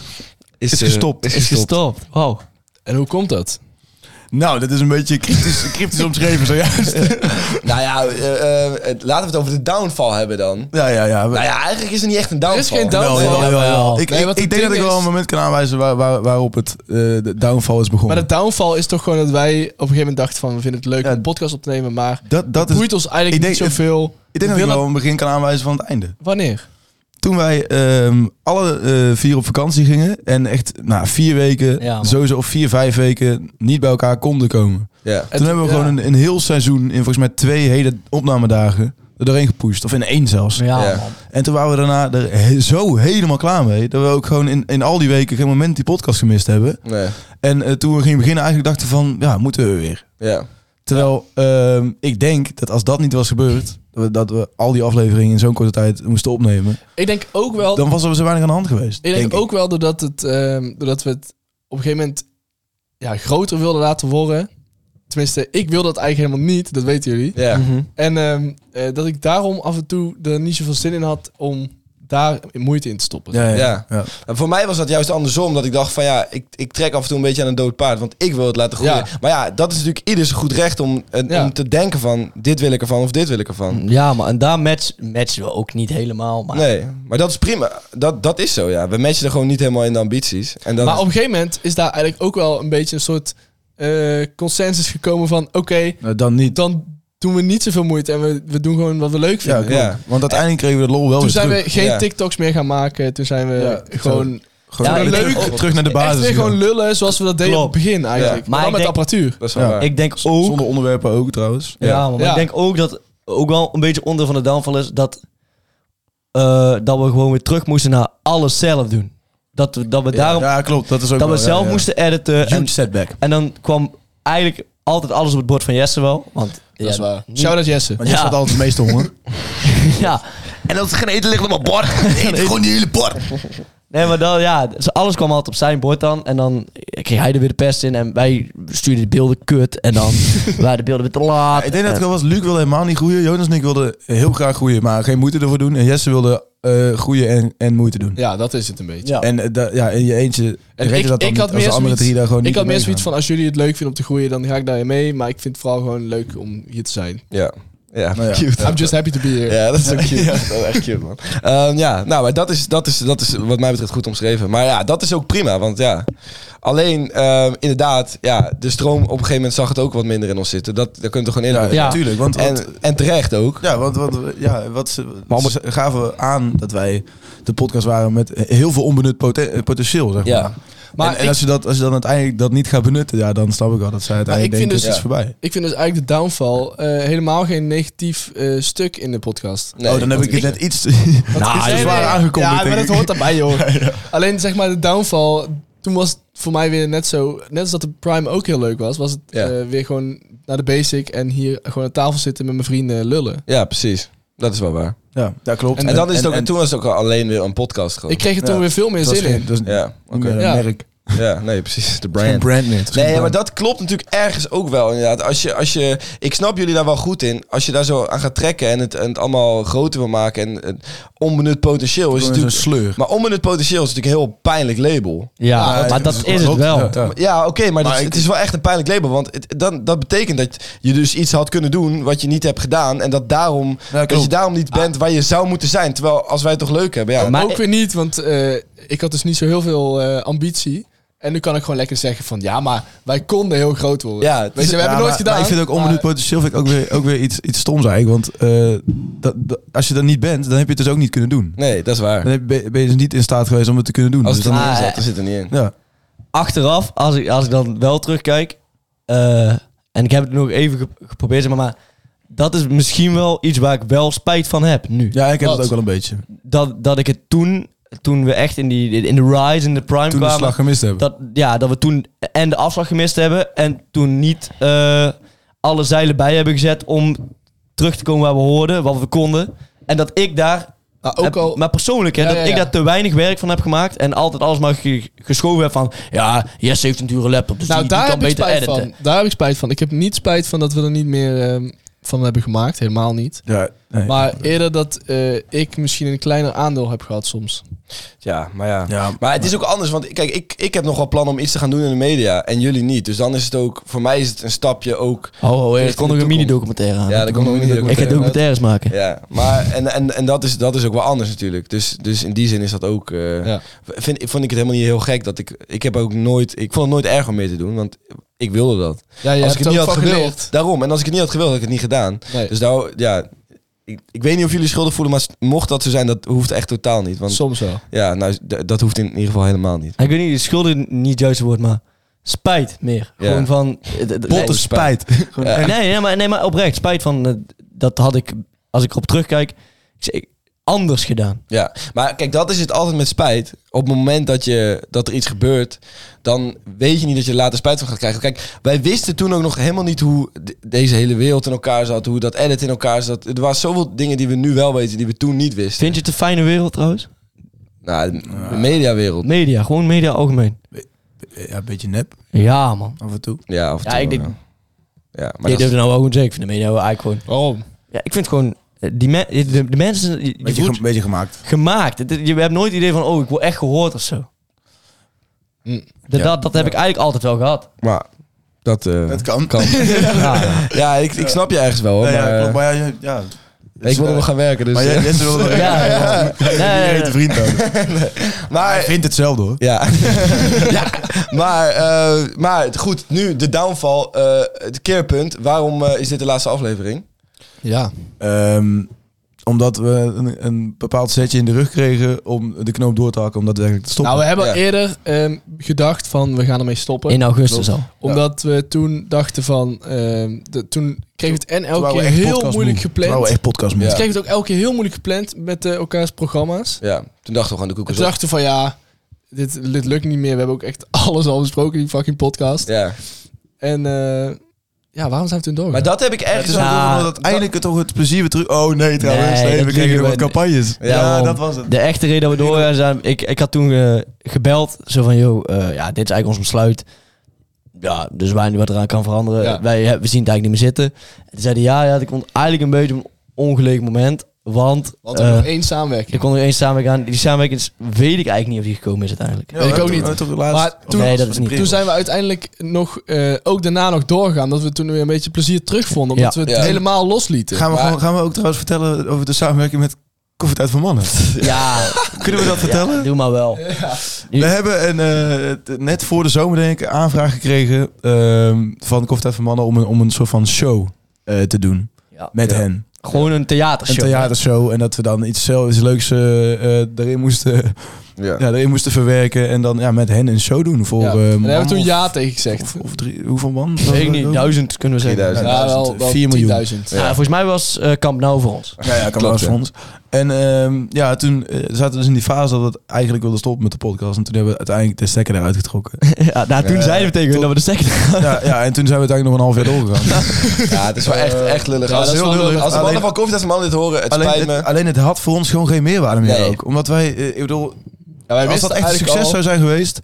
[SPEAKER 3] is,
[SPEAKER 1] eh,
[SPEAKER 3] gestopt.
[SPEAKER 4] Is gestopt. Wow.
[SPEAKER 5] En hoe komt dat?
[SPEAKER 3] Nou, dat is een beetje cryptisch, cryptisch omschreven zojuist.
[SPEAKER 1] Nou ja, eh, eh, het- laten we het over de downfall hebben dan.
[SPEAKER 3] Ja, ja, ja.
[SPEAKER 1] Nou ja, eigenlijk is het niet echt een downfall.
[SPEAKER 5] Er is geen
[SPEAKER 3] Wel,
[SPEAKER 5] downfall.
[SPEAKER 3] jawel,
[SPEAKER 4] ja,
[SPEAKER 3] jawel.
[SPEAKER 4] jawel.
[SPEAKER 3] Ik,
[SPEAKER 5] Nee,
[SPEAKER 3] ik-
[SPEAKER 5] wat
[SPEAKER 3] ik
[SPEAKER 5] het
[SPEAKER 3] denk dat
[SPEAKER 5] ding
[SPEAKER 3] ik wel
[SPEAKER 5] is-
[SPEAKER 3] een moment kan aanwijzen waar, waar, waarop het, eh, de downfall is begonnen.
[SPEAKER 5] Maar de downfall is toch gewoon dat wij op een gegeven moment dachten van... we vinden het leuk om een podcast op te nemen, maar...
[SPEAKER 3] dat, dat
[SPEAKER 5] het
[SPEAKER 3] is,
[SPEAKER 5] boeit ons eigenlijk
[SPEAKER 3] ik
[SPEAKER 5] niet
[SPEAKER 3] denk-
[SPEAKER 5] zoveel.
[SPEAKER 3] ik denk dat
[SPEAKER 5] We
[SPEAKER 3] ik wel
[SPEAKER 5] willen-
[SPEAKER 3] een begin kan aanwijzen van het einde.
[SPEAKER 5] Wanneer?
[SPEAKER 3] Toen wij ehm, alle eh, vier op vakantie gingen en echt na vier weken,
[SPEAKER 4] Ja, man.
[SPEAKER 3] sowieso of vier, vijf weken, niet bij elkaar konden komen.
[SPEAKER 1] Ja.
[SPEAKER 3] Toen hebben we
[SPEAKER 5] ja.
[SPEAKER 3] gewoon een, een heel seizoen, in volgens mij twee hele opnamedagen, er doorheen gepusht. Of in één zelfs.
[SPEAKER 4] Ja,
[SPEAKER 1] Ja.
[SPEAKER 4] man.
[SPEAKER 3] En toen waren we daarna er he- zo helemaal klaar mee. Dat we ook gewoon in, in al die weken geen moment die podcast gemist hebben.
[SPEAKER 1] Nee.
[SPEAKER 3] En eh, toen we gingen beginnen eigenlijk dachten we van, ja, moeten we weer.
[SPEAKER 1] Ja.
[SPEAKER 3] Terwijl ehm, ik denk dat als dat niet was gebeurd, dat we, dat we al die afleveringen in zo'n korte tijd moesten opnemen.
[SPEAKER 5] Ik denk ook wel...
[SPEAKER 3] Dan was er zo weinig aan de hand geweest.
[SPEAKER 5] Oh. ik denk, ook wel doordat, het, ehm, doordat we het op een gegeven moment ja, groter wilden laten worden. Tenminste, ik wilde dat eigenlijk helemaal niet. Dat weten jullie.
[SPEAKER 1] Ja.
[SPEAKER 5] En ehm, eh, dat ik daarom af en toe er niet zoveel zin in had om daar moeite in te stoppen.
[SPEAKER 3] Ja, ja,
[SPEAKER 1] Ja.
[SPEAKER 3] ja.
[SPEAKER 1] En voor mij was dat juist andersom. Dat ik dacht van ja, ik, ik trek af en toe een beetje aan een dood paard. Want ik wil het laten groeien.
[SPEAKER 5] Ja.
[SPEAKER 1] Maar ja, dat is natuurlijk ieder zijn goed recht om, en-
[SPEAKER 5] Ja.
[SPEAKER 1] om te denken van dit wil ik ervan of dit wil ik ervan.
[SPEAKER 4] Ja, maar en daar match, matchen we ook niet helemaal. Maar
[SPEAKER 1] Nee, maar dat is prima. Dat, dat is zo ja. We matchen er gewoon niet helemaal in de ambities. En dat
[SPEAKER 5] Maar op een gegeven moment is daar eigenlijk ook wel een beetje een soort eh, consensus gekomen van... Oké,
[SPEAKER 3] Nou, dan niet.
[SPEAKER 5] dan doen we niet zoveel moeite en we, we doen gewoon wat we leuk
[SPEAKER 3] Ja,
[SPEAKER 5] vinden.
[SPEAKER 3] klopt.
[SPEAKER 1] Ja.
[SPEAKER 3] Want uiteindelijk kregen we de lol wel
[SPEAKER 5] Toen
[SPEAKER 3] weer
[SPEAKER 5] zijn
[SPEAKER 3] terug.
[SPEAKER 5] we geen
[SPEAKER 1] Ja.
[SPEAKER 5] TikToks meer gaan maken. Toen zijn we
[SPEAKER 3] Ja,
[SPEAKER 5] gewoon
[SPEAKER 3] Gewoon
[SPEAKER 4] Ja,
[SPEAKER 3] weer
[SPEAKER 5] leuk.
[SPEAKER 3] terug, terug naar de
[SPEAKER 5] echt
[SPEAKER 3] basis.
[SPEAKER 5] weer gewoon
[SPEAKER 3] gegaan.
[SPEAKER 5] lullen zoals we dat deden
[SPEAKER 4] Klopt.
[SPEAKER 5] op het begin eigenlijk.
[SPEAKER 4] Ja.
[SPEAKER 5] Maar
[SPEAKER 4] Maar
[SPEAKER 5] dan met
[SPEAKER 4] ik denk-
[SPEAKER 5] apparatuur.
[SPEAKER 1] dat is wel
[SPEAKER 3] Ja.
[SPEAKER 1] waar.
[SPEAKER 4] ik denk ook...
[SPEAKER 3] Zonder onderwerpen ook trouwens.
[SPEAKER 4] ja, man, maar
[SPEAKER 5] Ja.
[SPEAKER 4] ik denk ook dat ook wel een beetje onder van de downfall is dat, eh, dat we gewoon weer terug moesten naar alles zelf doen. Dat we, dat we daarom...
[SPEAKER 3] ja, klopt. Dat is ook
[SPEAKER 4] dat we
[SPEAKER 3] wel, ja,
[SPEAKER 4] zelf
[SPEAKER 3] ja.
[SPEAKER 4] moesten editen. En,
[SPEAKER 3] Huge setback.
[SPEAKER 4] en dan kwam eigenlijk altijd alles op het bord van Jesse wel. Want ja,
[SPEAKER 1] is waar.
[SPEAKER 3] Hm.
[SPEAKER 4] niet-
[SPEAKER 5] Shout out Jesse.
[SPEAKER 6] Want jij
[SPEAKER 4] Ja.
[SPEAKER 6] staat altijd het meeste honger.
[SPEAKER 4] ja.
[SPEAKER 1] En als het geen eten ligt op mijn bord, eet gewoon die hele bord.
[SPEAKER 4] Nee, maar dan, ja, dus alles kwam altijd op zijn bord dan. En dan kreeg hij er weer de pest in. En wij stuurden de beelden kut. En dan waren de beelden weer te laat.
[SPEAKER 3] ik denk dat het wel was. Luc wilde helemaal niet groeien. Jonas en ik wilden heel graag groeien, maar geen moeite ervoor doen. En Jesse wilde eh, groeien en, en moeite doen.
[SPEAKER 5] Ja, dat is het een beetje.
[SPEAKER 4] Ja.
[SPEAKER 3] En eh, da- ja, in je eentje
[SPEAKER 5] En
[SPEAKER 3] reed
[SPEAKER 5] ik-
[SPEAKER 3] je dat dan
[SPEAKER 5] ik
[SPEAKER 3] niet, als
[SPEAKER 5] had
[SPEAKER 3] de
[SPEAKER 5] meer
[SPEAKER 3] andere
[SPEAKER 5] zoiets-
[SPEAKER 3] drie daar gewoon
[SPEAKER 5] Ik
[SPEAKER 3] niet
[SPEAKER 5] had
[SPEAKER 3] mee
[SPEAKER 5] meer zoiets
[SPEAKER 3] gaan.
[SPEAKER 5] van, als jullie het leuk vinden om te groeien, dan ga ik daarin mee. Maar ik vind het vooral gewoon leuk om hier te zijn.
[SPEAKER 1] Ja. Ja,
[SPEAKER 3] Nou ja.
[SPEAKER 1] cute.
[SPEAKER 5] I'm just happy to be here.
[SPEAKER 1] Ja, dat is ook cute. Dat is wel echt cute, man. Ehm, ja, nou, maar dat is, dat, is, dat is wat mij betreft goed omschreven. Maar ja, dat is ook prima, want ja... Alleen, ehm, inderdaad, ja, de stroom op een gegeven moment zag het ook wat minder in ons zitten. Dat, daar kunt u gewoon in.
[SPEAKER 3] Ja,
[SPEAKER 4] Ja.
[SPEAKER 3] natuurlijk. Want, want-
[SPEAKER 1] En, en terecht ook.
[SPEAKER 3] ja, want, want ja, wat ze, ze gaven aan dat wij de podcast waren met heel veel onbenut poten- eh, potentieel. Zeg maar.
[SPEAKER 1] Ja.
[SPEAKER 5] Maar
[SPEAKER 3] en en
[SPEAKER 5] ik-
[SPEAKER 3] als, je dat, als je dan uiteindelijk dat niet gaat benutten, ja, dan snap ik wel dat zij uiteindelijk
[SPEAKER 5] ik vind
[SPEAKER 3] denken, dus,
[SPEAKER 5] dus-
[SPEAKER 3] het is voorbij.
[SPEAKER 5] Ik vind dus eigenlijk de downfall eh, helemaal geen negatief eh, stuk in de podcast.
[SPEAKER 1] Nee,
[SPEAKER 3] oh, dan heb
[SPEAKER 1] want
[SPEAKER 3] ik het
[SPEAKER 5] ik-
[SPEAKER 3] net iets te
[SPEAKER 4] Nou,
[SPEAKER 3] te
[SPEAKER 5] nee,
[SPEAKER 3] zwaar
[SPEAKER 5] nee.
[SPEAKER 3] aangekondigd.
[SPEAKER 5] Ja, maar
[SPEAKER 3] denk
[SPEAKER 5] dat
[SPEAKER 3] ik.
[SPEAKER 5] hoort daarbij, joh. Alleen zeg maar de downfall. Toen was het voor mij weer net zo. Net als dat de Prime ook heel leuk was, was het
[SPEAKER 1] Ja.
[SPEAKER 5] eh, weer gewoon naar de basic en hier gewoon aan tafel zitten met mijn vrienden lullen.
[SPEAKER 1] Ja, precies. Dat is wel waar.
[SPEAKER 3] Ja, dat klopt.
[SPEAKER 1] En, dat is het ook, en toen was het ook al alleen weer een podcast gewoon.
[SPEAKER 5] Ik kreeg er toen
[SPEAKER 3] Ja.
[SPEAKER 5] weer veel meer
[SPEAKER 3] het was
[SPEAKER 5] zin in.
[SPEAKER 3] geen- het was
[SPEAKER 1] ja,
[SPEAKER 3] niet
[SPEAKER 1] oké.
[SPEAKER 3] meer een
[SPEAKER 5] Ja.
[SPEAKER 3] merk.
[SPEAKER 1] ja, nee, precies. De
[SPEAKER 3] Geen
[SPEAKER 1] brand.
[SPEAKER 3] brand meer. Het was geen
[SPEAKER 1] Nee, ja, maar
[SPEAKER 3] brand.
[SPEAKER 1] dat klopt natuurlijk ergens ook wel inderdaad. Als je, als je, ik snap jullie daar wel goed in. Als je daar zo aan gaat trekken en het, en het allemaal groter wil maken en het onbenut potentieel is
[SPEAKER 3] Gewoon
[SPEAKER 1] natuurlijk...
[SPEAKER 3] zo'n sleur.
[SPEAKER 1] Maar onbenut potentieel is natuurlijk een heel pijnlijk label.
[SPEAKER 4] Ja,
[SPEAKER 3] Ja,
[SPEAKER 4] maar dat is het
[SPEAKER 3] klopt.
[SPEAKER 4] wel.
[SPEAKER 3] Ja, ja.
[SPEAKER 1] Ja, oké, maar,
[SPEAKER 3] Maar
[SPEAKER 1] dat-
[SPEAKER 3] ik-
[SPEAKER 1] het is wel echt een pijnlijk label. Want het, dan, dat betekent dat je dus iets had kunnen doen wat je niet hebt gedaan. En dat, daarom, dat je
[SPEAKER 3] klopt. Ah.
[SPEAKER 1] daarom niet bent waar je zou moeten zijn. Terwijl als wij het toch leuk hebben, ja.
[SPEAKER 4] Maar
[SPEAKER 5] ook weer niet, want eh, ik had dus niet zo heel veel eh, ambitie. En nu kan ik gewoon lekker zeggen van ja, maar wij konden heel groot worden.
[SPEAKER 1] Ja, het
[SPEAKER 5] Weet
[SPEAKER 1] is-
[SPEAKER 5] je, we hebben
[SPEAKER 3] Ja,
[SPEAKER 5] nooit
[SPEAKER 3] maar-
[SPEAKER 5] gedaan.
[SPEAKER 3] Maar ik vind ook onbenut
[SPEAKER 5] maar-
[SPEAKER 3] potentieel vind ik ook weer, ook weer iets, iets stoms eigenlijk. Want eh, dat, dat- als je dat niet bent, dan heb je het dus ook niet kunnen doen.
[SPEAKER 1] Nee, dat is waar.
[SPEAKER 3] Dan heb- ben ben je dus niet in staat geweest om het te kunnen doen.
[SPEAKER 1] Als
[SPEAKER 3] Dus
[SPEAKER 1] het er niet
[SPEAKER 3] dan-
[SPEAKER 1] in
[SPEAKER 4] Maar-
[SPEAKER 1] zat, dan zit het er niet in.
[SPEAKER 3] ja.
[SPEAKER 4] achteraf, als ik, als ik dan wel terugkijk, eh, en ik heb het nog even ge- geprobeerd, zeg maar, maar dat is misschien wel iets waar ik wel spijt van heb nu.
[SPEAKER 3] ja, ik heb
[SPEAKER 5] Wat?
[SPEAKER 3] het ook wel een beetje.
[SPEAKER 4] Dat, dat ik het toen, toen we echt in, die, in de rise, in de prime
[SPEAKER 3] Toen de
[SPEAKER 4] kwamen,
[SPEAKER 3] slag gemist hebben.
[SPEAKER 4] dat, ja, dat we toen en de afslag gemist hebben en toen niet eh, alle zeilen bij hebben gezet om terug te komen waar we hoorden, wat we konden. En dat ik daar
[SPEAKER 5] Nou, ook
[SPEAKER 4] heb-
[SPEAKER 5] al,
[SPEAKER 4] maar persoonlijk, hè,
[SPEAKER 5] Ja,
[SPEAKER 4] dat
[SPEAKER 5] ja,
[SPEAKER 4] ik
[SPEAKER 5] ja.
[SPEAKER 4] daar te weinig werk van heb gemaakt en altijd alles maar ge- geschoven heb van, ja, Jesse heeft een dure laptop, dus
[SPEAKER 5] nou,
[SPEAKER 4] die, die
[SPEAKER 5] daar
[SPEAKER 4] kan
[SPEAKER 5] heb ik
[SPEAKER 4] beter
[SPEAKER 5] spijt
[SPEAKER 4] editen.
[SPEAKER 5] van. Daar heb ik spijt van. Ik heb niet spijt van dat we er niet meer ehm, van hebben gemaakt. Helemaal niet.
[SPEAKER 3] Ja, nee.
[SPEAKER 5] Maar eerder dat eh, ik misschien een kleiner aandeel heb gehad soms.
[SPEAKER 1] Ja, maar ja.
[SPEAKER 3] ja,
[SPEAKER 1] Maar het is ook anders, want kijk, ik, ik heb nog wel plan om iets te gaan doen in de media en jullie niet. Dus dan is het ook, voor mij is het een stapje ook.
[SPEAKER 4] Oh, oh, er
[SPEAKER 1] Richting
[SPEAKER 4] komt
[SPEAKER 1] de
[SPEAKER 4] nog een
[SPEAKER 1] toekomst.
[SPEAKER 4] mini-documentaire aan.
[SPEAKER 1] Ja, dat komt nog niet.
[SPEAKER 4] ik ga documentaires maken.
[SPEAKER 1] Ja, maar en, en, en dat, is, dat is ook wel anders natuurlijk. Dus, dus in die zin is dat ook. eh,
[SPEAKER 5] Ja.
[SPEAKER 1] vind, vond ik het helemaal niet heel gek dat ik. Ik heb ook nooit. Ik vond het nooit erg om mee te doen, want ik wilde dat.
[SPEAKER 5] Ja, je
[SPEAKER 1] als ik
[SPEAKER 5] hebt
[SPEAKER 1] het niet had
[SPEAKER 5] ook van
[SPEAKER 1] gewild.
[SPEAKER 5] geleerd.
[SPEAKER 1] Daarom. En als ik het niet had gewild, had ik het niet gedaan.
[SPEAKER 5] Nee.
[SPEAKER 1] Dus nou, ja. Ik, ik weet niet of jullie schuldig voelen, maar mocht dat zo zijn, dat hoeft echt totaal niet. Want
[SPEAKER 5] soms wel.
[SPEAKER 1] ja, nou, d- dat hoeft in ieder geval helemaal niet.
[SPEAKER 4] Ik weet niet, schuldig niet het juiste woord, maar spijt meer.
[SPEAKER 1] Ja.
[SPEAKER 4] Gewoon van... eh, d- d- nee,
[SPEAKER 3] botte spijt. Gewoon echt.
[SPEAKER 4] Nee, nee, maar, nee, maar oprecht, spijt van... eh, dat had ik, als ik erop terugkijk, ik zeg, ik- anders gedaan.
[SPEAKER 1] Ja, maar kijk, dat is het altijd met spijt. Op het moment dat, je, dat er iets gebeurt, dan weet je niet dat je er later spijt van gaat krijgen. Kijk, wij wisten toen ook nog helemaal niet hoe de- deze hele wereld in elkaar zat, hoe dat edit in elkaar zat. Er waren zoveel dingen die we nu wel weten, die we toen niet wisten.
[SPEAKER 4] Vind je het een fijne wereld trouwens?
[SPEAKER 1] Nou, de mediawereld.
[SPEAKER 4] Media, gewoon media algemeen.
[SPEAKER 3] Ja, een beetje nep
[SPEAKER 4] Ja, man.
[SPEAKER 3] af en toe.
[SPEAKER 1] Ja, of
[SPEAKER 4] Ja, ik denk...
[SPEAKER 1] Ja, maar
[SPEAKER 4] Je
[SPEAKER 1] dat is-
[SPEAKER 4] durft nou ook gewoon zeggen. Ik vind de media wel eigenlijk gewoon...
[SPEAKER 5] Waarom?
[SPEAKER 4] Ja, ik vind gewoon... eh, Die me- de, de mensen... Die, die
[SPEAKER 3] Beetje,
[SPEAKER 4] voelt-
[SPEAKER 3] ge- beetje gemaakt.
[SPEAKER 4] gemaakt. Het- Je hebt nooit het idee van, oh, ik word echt gehoord of zo.
[SPEAKER 5] Mm.
[SPEAKER 4] Dat,
[SPEAKER 1] Ja.
[SPEAKER 4] dat, dat heb ik eigenlijk altijd wel gehad.
[SPEAKER 1] maar dat... eh,
[SPEAKER 3] Dat kan.
[SPEAKER 4] Ja,
[SPEAKER 1] ja, ik, ik snap je ergens wel, hoor,
[SPEAKER 3] Ja,
[SPEAKER 1] maar,
[SPEAKER 3] ja, klopt.
[SPEAKER 1] eh,
[SPEAKER 3] Maar ja, ja, ja.
[SPEAKER 1] ik wil er nog gaan werken, dus...
[SPEAKER 3] Maar jij-
[SPEAKER 1] eh,
[SPEAKER 3] Jesse wil er
[SPEAKER 4] ja, ja. Nee, nee,
[SPEAKER 3] een
[SPEAKER 4] nee.
[SPEAKER 3] vriend nodig. Hij
[SPEAKER 1] maar
[SPEAKER 3] vindt hetzelfde hoor.
[SPEAKER 1] Ja, ja. Maar, eh, maar goed, nu de downfall, eh, het keerpunt. Waarom eh, is dit de laatste aflevering?
[SPEAKER 5] Ja.
[SPEAKER 3] Ehm, omdat we een, een bepaald setje in de rug kregen om de knoop door te hakken, om daadwerkelijk te stoppen.
[SPEAKER 5] Nou, we hebben
[SPEAKER 1] Ja.
[SPEAKER 5] eerder ehm, gedacht van we gaan ermee stoppen.
[SPEAKER 4] In augustus al.
[SPEAKER 5] omdat we toen dachten van... ehm, de, toen kreeg het en elke
[SPEAKER 3] Terwijl
[SPEAKER 5] keer
[SPEAKER 3] we echt
[SPEAKER 5] heel
[SPEAKER 3] podcast
[SPEAKER 5] moeilijk
[SPEAKER 3] moe.
[SPEAKER 5] gepland.
[SPEAKER 3] Terwijl we
[SPEAKER 5] Toen
[SPEAKER 3] echt podcast moeten.
[SPEAKER 1] Ja.
[SPEAKER 5] kreeg het ook elke keer heel moeilijk gepland met eh, elkaars programma's.
[SPEAKER 1] Ja, toen dachten we gewoon de
[SPEAKER 5] We
[SPEAKER 1] koekers op.
[SPEAKER 5] dachten van ja, dit, dit lukt niet meer. We hebben ook echt alles al besproken in die fucking podcast.
[SPEAKER 1] Ja,
[SPEAKER 5] En eh, Ja, waarom zijn we toen doorgegaan?
[SPEAKER 1] Maar dat heb ik
[SPEAKER 3] Het
[SPEAKER 1] ergens
[SPEAKER 3] is
[SPEAKER 1] wel
[SPEAKER 4] Ja,
[SPEAKER 1] door,
[SPEAKER 3] wel
[SPEAKER 1] omdat
[SPEAKER 3] dat eindelijk het toch het plezier weer terug... Oh nee, trouwens. Nee,
[SPEAKER 4] Nee, dat
[SPEAKER 3] we
[SPEAKER 4] liegen
[SPEAKER 3] kregen er
[SPEAKER 4] we
[SPEAKER 3] wat
[SPEAKER 4] niet.
[SPEAKER 3] campagnes. Ja,
[SPEAKER 4] Daarom.
[SPEAKER 3] dat was het.
[SPEAKER 4] De echte reden dat we doorgaan zijn... Ik, ik had toen eh, gebeld, zo van... Yo, eh, ja, dit is eigenlijk ons besluit. Ja, dus wij niet wat eraan kan veranderen.
[SPEAKER 5] Ja.
[SPEAKER 4] Wij, eh, we zien het eigenlijk niet meer zitten. En toen zeiden ja, ja, dat komt eigenlijk een beetje op een ongelegen moment. Want,
[SPEAKER 5] Want we hebben
[SPEAKER 4] eh,
[SPEAKER 5] nog één samenwerking.
[SPEAKER 4] ik kon er eens samenwerking aan. Die samenwerking is- weet ik eigenlijk niet of die gekomen is uiteindelijk.
[SPEAKER 5] Weet ik ook niet. Maar toen-
[SPEAKER 4] Nee, dat is niet.
[SPEAKER 5] Toen zijn we uiteindelijk nog, eh, ook daarna nog doorgegaan. Dat we toen weer een beetje plezier terugvonden. Omdat
[SPEAKER 4] Ja.
[SPEAKER 5] we het
[SPEAKER 1] Ja.
[SPEAKER 5] helemaal loslieten.
[SPEAKER 3] Gaan we,
[SPEAKER 5] Maar-
[SPEAKER 3] gewoon, gaan we ook trouwens vertellen over de samenwerking met Koffietijd voor Mannen?
[SPEAKER 4] Ja,
[SPEAKER 3] Kunnen we dat vertellen?
[SPEAKER 4] doe maar wel.
[SPEAKER 3] We hebben een, eh, t- net voor de zomer denk ik een aanvraag gekregen ehm, van Koffietijd voor Mannen om een, om een soort van show eh, te doen
[SPEAKER 4] Ja.
[SPEAKER 3] met
[SPEAKER 1] Ja.
[SPEAKER 3] hen.
[SPEAKER 4] Gewoon een
[SPEAKER 3] Een
[SPEAKER 4] theatershow.
[SPEAKER 3] theatershow en dat we dan iets, zelf- iets leuks eh, eh, erin, moesten,
[SPEAKER 1] Ja.
[SPEAKER 3] ja, erin moesten verwerken en dan ja, met hen een show doen voor...
[SPEAKER 5] Ja.
[SPEAKER 3] eh,
[SPEAKER 5] En daar
[SPEAKER 3] man
[SPEAKER 5] hebben we toen
[SPEAKER 3] of-
[SPEAKER 5] ja tegen gezegd.
[SPEAKER 3] Of, of drie, hoeveel man?
[SPEAKER 4] Weet ik niet, duizend kunnen we zeggen.
[SPEAKER 1] 3000.
[SPEAKER 5] nou, Ja, wel, wel
[SPEAKER 3] 4 miljoen.
[SPEAKER 5] 10.000.
[SPEAKER 4] Ja, volgens mij was eh, Kamp Nou voor ons.
[SPEAKER 3] Ja, ja,
[SPEAKER 1] Klopt,
[SPEAKER 3] Camera's
[SPEAKER 1] ja.
[SPEAKER 3] Fonds. En ehm, ja, toen eh, zaten we dus in die fase dat we het eigenlijk wilden stoppen met de podcast. En toen hebben we uiteindelijk de stekker eruit getrokken.
[SPEAKER 4] ja, nou, toen
[SPEAKER 1] Ja,
[SPEAKER 4] zeiden we tegen hun dat we de second
[SPEAKER 3] ja, ja, en toen zijn we uiteindelijk nog een half jaar doorgegaan.
[SPEAKER 1] Ja, het is wel echt, echt lullig.
[SPEAKER 5] Eh, ja,
[SPEAKER 1] als,
[SPEAKER 5] dat is wel lullig.
[SPEAKER 1] als de mannen
[SPEAKER 3] Alleen-
[SPEAKER 1] van Koffie dat mannen dit horen, het
[SPEAKER 3] alleen,
[SPEAKER 1] spijt me.
[SPEAKER 3] het, alleen het had voor ons gewoon geen meerwaarde meer
[SPEAKER 1] Nee.
[SPEAKER 3] ook. Omdat wij, eh, ik bedoel,
[SPEAKER 5] Ja, wij
[SPEAKER 3] als
[SPEAKER 5] wisten
[SPEAKER 3] dat echt een
[SPEAKER 5] eigenlijk
[SPEAKER 3] succes
[SPEAKER 5] al-
[SPEAKER 3] zou zijn geweest,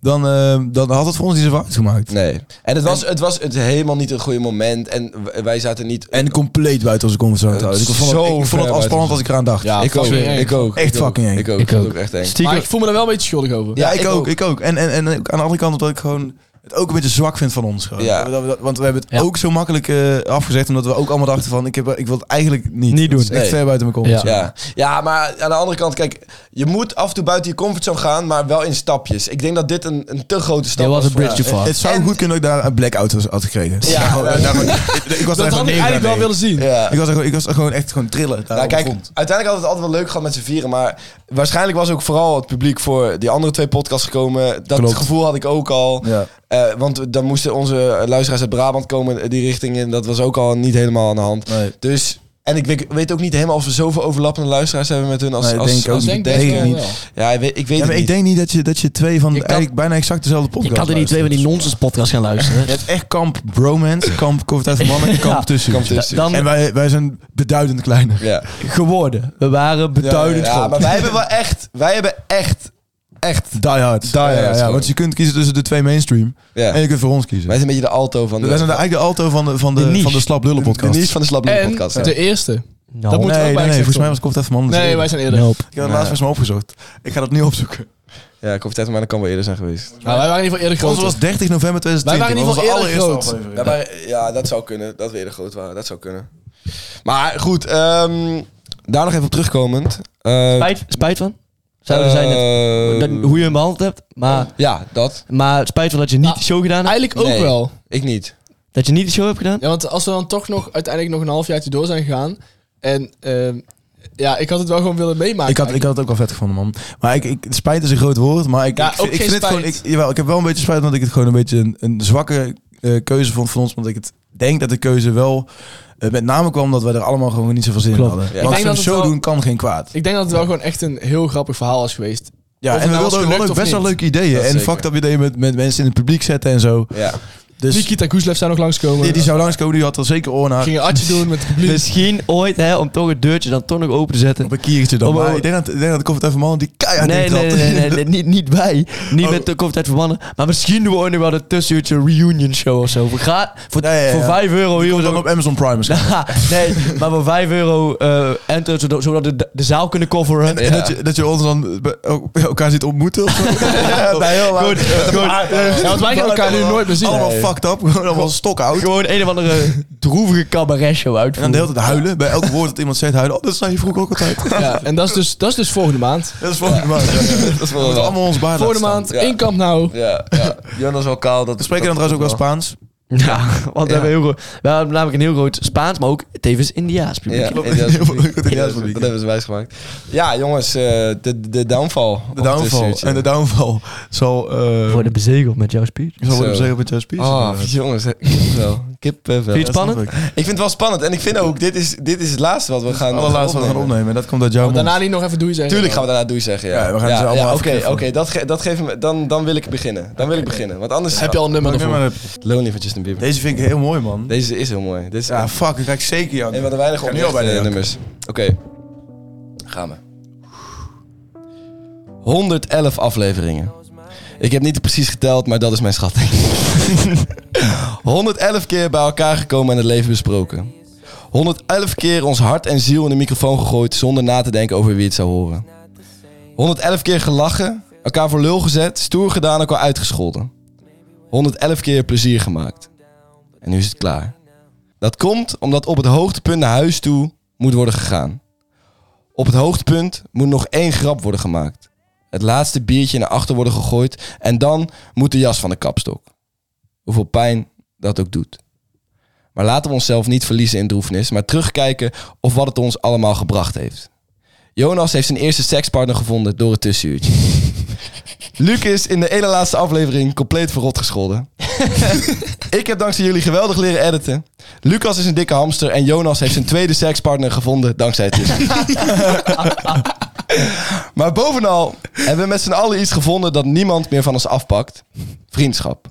[SPEAKER 3] dan, ehm, dan had het voor ons niet zoveel uitgemaakt.
[SPEAKER 1] Nee. En het was, het was het helemaal niet een goede moment. En w- wij zaten niet...
[SPEAKER 3] En compleet buiten onze comfortzone trouwens. Ik vond het,
[SPEAKER 1] Zo
[SPEAKER 3] ik vond
[SPEAKER 1] ver
[SPEAKER 3] het al spannend
[SPEAKER 1] buiten.
[SPEAKER 3] als ik eraan dacht.
[SPEAKER 5] Ja,
[SPEAKER 1] ik, ook,
[SPEAKER 5] fucking eng.
[SPEAKER 1] ik ook.
[SPEAKER 3] Echt
[SPEAKER 1] ik ook,
[SPEAKER 3] fucking eng.
[SPEAKER 1] Ik ook.
[SPEAKER 4] Ik
[SPEAKER 1] Ik ook.
[SPEAKER 4] ook.
[SPEAKER 1] Echt eng.
[SPEAKER 5] Maar ik
[SPEAKER 4] Stiekem,
[SPEAKER 5] voel me er wel een beetje schuldig over.
[SPEAKER 3] Ja,
[SPEAKER 1] Ja,
[SPEAKER 3] ik,
[SPEAKER 1] ik
[SPEAKER 3] ook,
[SPEAKER 1] ook.
[SPEAKER 3] ik ook. En, en, en ook aan de andere kant dat ik gewoon het ook een beetje zwak vind van ons. Gewoon.
[SPEAKER 1] Ja.
[SPEAKER 3] Dat we dat- want we hebben het
[SPEAKER 4] Ja.
[SPEAKER 3] ook zo makkelijk eh, afgezegd, omdat we ook allemaal dachten van, ik, heb, ik wil het eigenlijk niet.
[SPEAKER 4] Niet
[SPEAKER 3] Dat is
[SPEAKER 4] doen.
[SPEAKER 3] echt
[SPEAKER 1] Nee.
[SPEAKER 3] ver buiten mijn comfortzone.
[SPEAKER 1] Ja. ja, maar aan de andere kant, kijk, je moet af en toe buiten je comfortzone gaan, maar wel in stapjes. Ik denk dat dit een, een te grote stap
[SPEAKER 4] Dit was een
[SPEAKER 1] voor-
[SPEAKER 4] bridge too far.
[SPEAKER 3] Het zou
[SPEAKER 1] En-
[SPEAKER 3] goed kunnen dat ik daar een blackout was- had gekregen.
[SPEAKER 1] Ja,
[SPEAKER 3] Gewoon,
[SPEAKER 1] ja.
[SPEAKER 3] eh, daar gewoon- ik- ik was daar
[SPEAKER 5] Dat
[SPEAKER 3] gewoon
[SPEAKER 5] had ik
[SPEAKER 3] negen
[SPEAKER 5] eigenlijk wel
[SPEAKER 3] mee.
[SPEAKER 5] willen zien.
[SPEAKER 1] Ja.
[SPEAKER 3] Ik was, er gewoon, ik was er gewoon echt gewoon trillen. Daar
[SPEAKER 1] Nou,
[SPEAKER 3] op de
[SPEAKER 1] kijk,
[SPEAKER 3] grond.
[SPEAKER 1] uiteindelijk had het altijd wel leuk gehad met z'n vieren. Maar waarschijnlijk was ook vooral het publiek voor die andere twee podcasts gekomen. Dat
[SPEAKER 3] Klopt.
[SPEAKER 1] gevoel had ik ook al.
[SPEAKER 3] Ja.
[SPEAKER 1] Eh, want dan moesten onze luisteraars uit Brabant komen eh, die richting in. Dat was ook al niet helemaal aan de hand.
[SPEAKER 3] Nee.
[SPEAKER 1] Dus, en ik weet, weet ook niet helemaal of we zoveel overlappende luisteraars hebben met hun. Als,
[SPEAKER 3] Nee,
[SPEAKER 1] als,
[SPEAKER 3] denk ik ook
[SPEAKER 1] als-
[SPEAKER 3] niet.
[SPEAKER 5] denk
[SPEAKER 3] Denk
[SPEAKER 5] best
[SPEAKER 3] ik
[SPEAKER 5] wel
[SPEAKER 3] niet.
[SPEAKER 5] wel.
[SPEAKER 1] Ja, ik weet, ik weet
[SPEAKER 3] Ja, maar
[SPEAKER 1] het
[SPEAKER 3] ik
[SPEAKER 1] niet.
[SPEAKER 3] denk niet dat je, dat je twee van
[SPEAKER 4] Je kan-
[SPEAKER 3] eigenlijk bijna exact dezelfde
[SPEAKER 4] je
[SPEAKER 3] podcast
[SPEAKER 4] kan er niet twee van die nonsens podcasts gaan luisteren.
[SPEAKER 3] Je hebt echt kamp bromance, kamp koffietijd van mannen en kamp
[SPEAKER 4] Ja.
[SPEAKER 3] tussen.
[SPEAKER 1] Kamp tussen.
[SPEAKER 4] Dan
[SPEAKER 3] En wij, wij zijn beduidend kleiner.
[SPEAKER 1] Ja.
[SPEAKER 4] geworden. We waren beduidend
[SPEAKER 1] Ja,
[SPEAKER 4] groot.
[SPEAKER 1] maar wij hebben wel echt... Wij hebben echt... Echt.
[SPEAKER 3] Die Hard.
[SPEAKER 1] Die Hard,
[SPEAKER 3] Ja, ja, ja,
[SPEAKER 1] gewoon.
[SPEAKER 3] want je kunt kiezen tussen de twee mainstream.
[SPEAKER 1] Ja.
[SPEAKER 3] En je kunt voor ons kiezen.
[SPEAKER 1] Wij zijn een beetje de alto van de...
[SPEAKER 3] wij zijn eigenlijk de alto van de, van de,
[SPEAKER 4] De niche.
[SPEAKER 3] van de slap lullen
[SPEAKER 1] de
[SPEAKER 3] podcast.
[SPEAKER 1] niche van de Slappe
[SPEAKER 5] En
[SPEAKER 1] podcast. ja.
[SPEAKER 5] de eerste.
[SPEAKER 4] Nou,
[SPEAKER 5] dat moet-
[SPEAKER 3] nee,
[SPEAKER 5] moeten we ook
[SPEAKER 3] nee,
[SPEAKER 5] bij
[SPEAKER 3] nee,
[SPEAKER 5] zeggen,
[SPEAKER 3] volgens mij was
[SPEAKER 5] toch?
[SPEAKER 3] Koffietijd van mannen.
[SPEAKER 5] Nee,
[SPEAKER 3] eerder.
[SPEAKER 5] wij zijn eerder.
[SPEAKER 4] nope.
[SPEAKER 3] Ik heb het laatst volgens mij opgezocht. Ik ga dat nu opzoeken.
[SPEAKER 1] Ja, Koffietijd maar dat kan wel eerder zijn geweest.
[SPEAKER 5] Nou, wij waren in ieder geval eerder
[SPEAKER 3] Ons
[SPEAKER 5] groot.
[SPEAKER 3] was 30 november 2020.
[SPEAKER 5] Wij waren in
[SPEAKER 3] Dat
[SPEAKER 5] ieder
[SPEAKER 3] was
[SPEAKER 5] geval
[SPEAKER 3] de
[SPEAKER 5] eerder
[SPEAKER 3] allereerste
[SPEAKER 5] groot.
[SPEAKER 3] aflevering.
[SPEAKER 1] Ja, maar, ja, dat zou kunnen. Dat we eerder groot waren. Dat zou kunnen. Maar goed, ehm, daar nog even op terugkomend. Eh,
[SPEAKER 4] Spijt, spijt van? Zouden zijn het,
[SPEAKER 1] eh,
[SPEAKER 4] dat- hoe je hem behandeld hebt. Maar,
[SPEAKER 1] Ja, dat.
[SPEAKER 4] maar spijt van dat je niet
[SPEAKER 5] Nou,
[SPEAKER 4] de show gedaan hebt.
[SPEAKER 5] Eigenlijk ook
[SPEAKER 1] Nee.
[SPEAKER 5] wel.
[SPEAKER 1] Ik niet.
[SPEAKER 4] Dat je niet de show hebt gedaan.
[SPEAKER 5] Ja, want als we dan toch nog uiteindelijk nog een half jaar door zijn gegaan. En ehm, ja, ik had het wel gewoon willen meemaken.
[SPEAKER 3] Ik had, ik had het ook wel vet gevonden, man. Maar ik, ik, spijt is een groot woord, maar ik,
[SPEAKER 5] Ja,
[SPEAKER 3] ik,
[SPEAKER 5] ook
[SPEAKER 3] ik
[SPEAKER 5] geen
[SPEAKER 3] vind het
[SPEAKER 5] spijt.
[SPEAKER 3] gewoon... Ik, jawel, ik heb wel een beetje spijt, want ik het gewoon een beetje een, een zwakke eh, keuze vond van ons. Want ik het, denk dat de keuze wel eh, met name kwam dat wij er allemaal gewoon niet zoveel zin
[SPEAKER 4] Klopt.
[SPEAKER 3] in hadden.
[SPEAKER 1] Ja. Ik
[SPEAKER 3] Want
[SPEAKER 5] denk
[SPEAKER 3] zo'n
[SPEAKER 5] dat het
[SPEAKER 3] show
[SPEAKER 5] wel-
[SPEAKER 3] doen kan geen kwaad.
[SPEAKER 5] Ik denk dat het wel gewoon echt een heel grappig verhaal was geweest.
[SPEAKER 3] Ja,
[SPEAKER 5] Of
[SPEAKER 3] en
[SPEAKER 5] het
[SPEAKER 3] we
[SPEAKER 5] nou
[SPEAKER 3] wilden
[SPEAKER 5] was
[SPEAKER 3] ook- we hadden
[SPEAKER 5] gelukt
[SPEAKER 3] ook
[SPEAKER 5] of
[SPEAKER 3] best wel
[SPEAKER 5] niet.
[SPEAKER 3] leuke ideeën.
[SPEAKER 1] Dat
[SPEAKER 3] en
[SPEAKER 1] zeker.
[SPEAKER 3] fucked up ideeën met, met mensen in het publiek zetten en zo.
[SPEAKER 1] Ja.
[SPEAKER 3] Dus
[SPEAKER 5] Nikita Koeslev zou nog langskomen.
[SPEAKER 3] die, die zou langskomen, die had er zeker oor naar.
[SPEAKER 5] Ging een atje doen met het publiek.
[SPEAKER 4] Misschien ooit, hè, om toch het deurtje dan toch nog open te zetten.
[SPEAKER 3] Op een kiertje dan.
[SPEAKER 4] Oh, oh.
[SPEAKER 3] Maar ik denk dat, ik denk dat de koffietijd van mannen die keihard
[SPEAKER 4] Nee, nee,
[SPEAKER 3] intrapt.
[SPEAKER 4] nee, nee, nee, niet, niet wij. Niet
[SPEAKER 3] Oh.
[SPEAKER 4] met de koffietijd van mannen. Maar misschien doen we ooit nog wel een tussenuurtje reunion show of zo. We gaan voor,
[SPEAKER 3] Ja, ja, ja.
[SPEAKER 4] voor 5 euro hier
[SPEAKER 3] Komt
[SPEAKER 4] zo-
[SPEAKER 3] dan op Amazon Prime misschien.
[SPEAKER 4] Ja, nee, maar voor 5 euro eh enter, zodat, zodat we de, de zaal kunnen coveren.
[SPEAKER 3] En dat, je, dat je ons dan bij- el- bij elkaar ziet ontmoeten of zo.
[SPEAKER 4] bij heel
[SPEAKER 3] Gewoon-
[SPEAKER 5] Ja, want wij gaan elkaar nu nooit meer zien.
[SPEAKER 3] Allemaal
[SPEAKER 5] Nee.
[SPEAKER 3] fucked up, gewoon allemaal stokoud. En
[SPEAKER 4] Gewoon een of andere droevige cabaret show
[SPEAKER 3] dan de
[SPEAKER 4] uitvoeren.
[SPEAKER 3] hele tijd huilen. Bij elk woord dat iemand zegt huilen. Oh, dat zei je vroeger ook altijd.
[SPEAKER 5] Ja, en dat is, dus, dat is dus volgende maand.
[SPEAKER 3] Dat is volgende maand. Ja, ja.
[SPEAKER 1] Dat is
[SPEAKER 3] We
[SPEAKER 1] wel
[SPEAKER 3] moeten
[SPEAKER 1] wel.
[SPEAKER 3] allemaal ons baard
[SPEAKER 5] Volgende
[SPEAKER 3] laten staan.
[SPEAKER 5] maand,
[SPEAKER 1] ja.
[SPEAKER 5] in kamp nou.
[SPEAKER 1] Ja, ja. Jonas wel kaal. Dat
[SPEAKER 3] We spreken dan trouwens ook wel Spaans.
[SPEAKER 4] Ja, want we, hebben heel, gro- we hebben namelijk een heel groot Spaans, maar ook tevens Indiaas publiek.
[SPEAKER 1] Ja,
[SPEAKER 3] Klopt.
[SPEAKER 1] Indiaas
[SPEAKER 3] Heel veel
[SPEAKER 1] publiek.
[SPEAKER 3] leuk met Indiaas
[SPEAKER 1] Dat
[SPEAKER 3] publiek.
[SPEAKER 1] hebben ze wijsgemaakt. Ja, jongens, eh, de, de downfall.
[SPEAKER 3] De downfall. En de downfall zal... eh
[SPEAKER 4] Worden bezegeld met jouw speech.
[SPEAKER 3] zal worden
[SPEAKER 1] Zo.
[SPEAKER 5] Ah,
[SPEAKER 3] bezegeld met jouw speech.
[SPEAKER 1] Oh,
[SPEAKER 3] inderdaad.
[SPEAKER 1] jongens. hè. Wel. Kippenvel.
[SPEAKER 4] Vind je het spannend?
[SPEAKER 1] Ik vind het wel spannend. En ik vind ook, dit is, dit is het laatste wat we gaan
[SPEAKER 3] Allerlaatste wat we gaan opnemen. En dat komt uit jouw mond.
[SPEAKER 5] Daarna niet nog even doe zeggen.
[SPEAKER 1] Tuurlijk gaan we daarna doei zeggen, ja.
[SPEAKER 3] Ja, we gaan ze allemaal
[SPEAKER 1] ja,
[SPEAKER 3] even
[SPEAKER 1] Oké, oké,
[SPEAKER 3] knuffelen. dat
[SPEAKER 1] dat, ge- dat geef me, dan, dan wil ik beginnen. Dan wil ik beginnen. Want anders...
[SPEAKER 5] Heb je al een nummer
[SPEAKER 3] maakt
[SPEAKER 5] ervoor?
[SPEAKER 3] helemaal-
[SPEAKER 1] Lonely van Justin Bieber.
[SPEAKER 3] Deze vind ik heel mooi, man.
[SPEAKER 1] Deze is heel mooi. Dit is
[SPEAKER 3] Ja, fuck, ik ga ik zeker jou.
[SPEAKER 1] een van de weinige
[SPEAKER 3] Ik ga nu al
[SPEAKER 1] oprechte
[SPEAKER 3] bijna janken.
[SPEAKER 1] nummers. Oké. Gaan we. 111 afleveringen. Ik heb niet precies geteld, maar dat is mijn schatting. 111 keer bij elkaar gekomen en het leven besproken. 111 keer ons hart en ziel in de microfoon gegooid zonder na te denken over wie het zou horen. 111 keer gelachen, elkaar voor lul gezet, stoer gedaan, elkaar uitgescholden. 111 keer plezier gemaakt. En nu is het klaar. Dat komt omdat op het hoogtepunt naar huis toe moet worden gegaan. Op het hoogtepunt moet nog één grap worden gemaakt. Het laatste biertje naar achter worden gegooid en dan moet de jas van de kapstok. Hoeveel pijn dat ook doet. Maar laten we onszelf niet verliezen in droefnis, maar terugkijken of wat het ons allemaal gebracht heeft. Jonas heeft zijn eerste sekspartner gevonden door het tussenuurtje. Luc is in de ene laatste aflevering compleet verrot gescholden. Ik heb dankzij jullie geweldig leren editen. Lucas is een dikke hamster en Jonas heeft zijn tweede sekspartner gevonden dankzij het internet. maar bovenal hebben we met z'n allen iets gevonden dat niemand meer van ons afpakt. Vriendschap.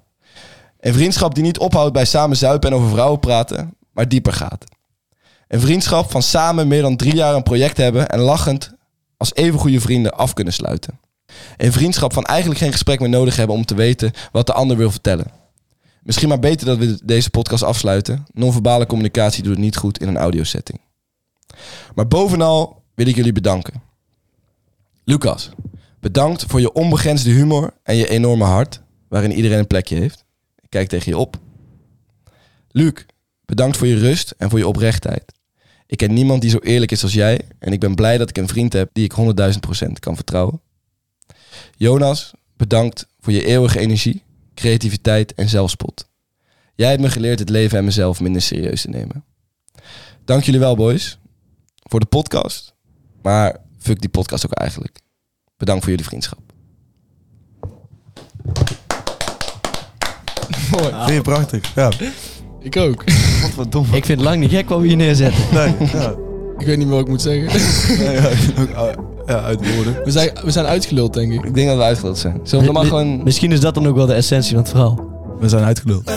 [SPEAKER 1] Een vriendschap die niet ophoudt bij samen zuipen en over vrouwen praten, maar dieper gaat. Een vriendschap van samen meer dan drie jaar een project hebben en lachend als even goede vrienden af kunnen sluiten. Een vriendschap van eigenlijk geen gesprek meer nodig hebben om te weten wat de ander wil vertellen. Misschien maar beter dat we deze podcast afsluiten. Non-verbale communicatie doet het niet goed in een audiosetting. Maar bovenal wil ik jullie bedanken. Lucas, bedankt voor je onbegrensde humor en je enorme hart, waarin iedereen een plekje heeft. Ik kijk tegen je op. Luc, bedankt voor je rust en voor je oprechtheid. Ik ken niemand die zo eerlijk is als jij en ik ben blij dat ik een vriend heb die ik 100.000% kan vertrouwen. Jonas, bedankt voor je eeuwige energie creativiteit en zelfspot. Jij hebt me geleerd het leven en mezelf minder serieus te nemen. Dank jullie wel, boys, voor de podcast. Maar fuck die podcast ook eigenlijk. Bedankt voor jullie vriendschap.
[SPEAKER 5] Mooi.
[SPEAKER 3] Vind je prachtig? Ja.
[SPEAKER 5] Ik ook.
[SPEAKER 3] Wat dom.
[SPEAKER 4] Ik vind het lang niet gek wat we hier neerzetten.
[SPEAKER 3] Nee, ja.
[SPEAKER 5] Ik weet niet meer wat ik moet zeggen.
[SPEAKER 3] Nee, ja, ik vind ook, uh, ja, uit woorden.
[SPEAKER 5] We zijn, we zijn uitgeluld, denk ik.
[SPEAKER 1] Ik denk dat we uitgeluld zijn. Zullen we dan maar gewoon...
[SPEAKER 4] Misschien is dat dan ook wel de essentie van het verhaal.
[SPEAKER 3] We zijn uitgeluld.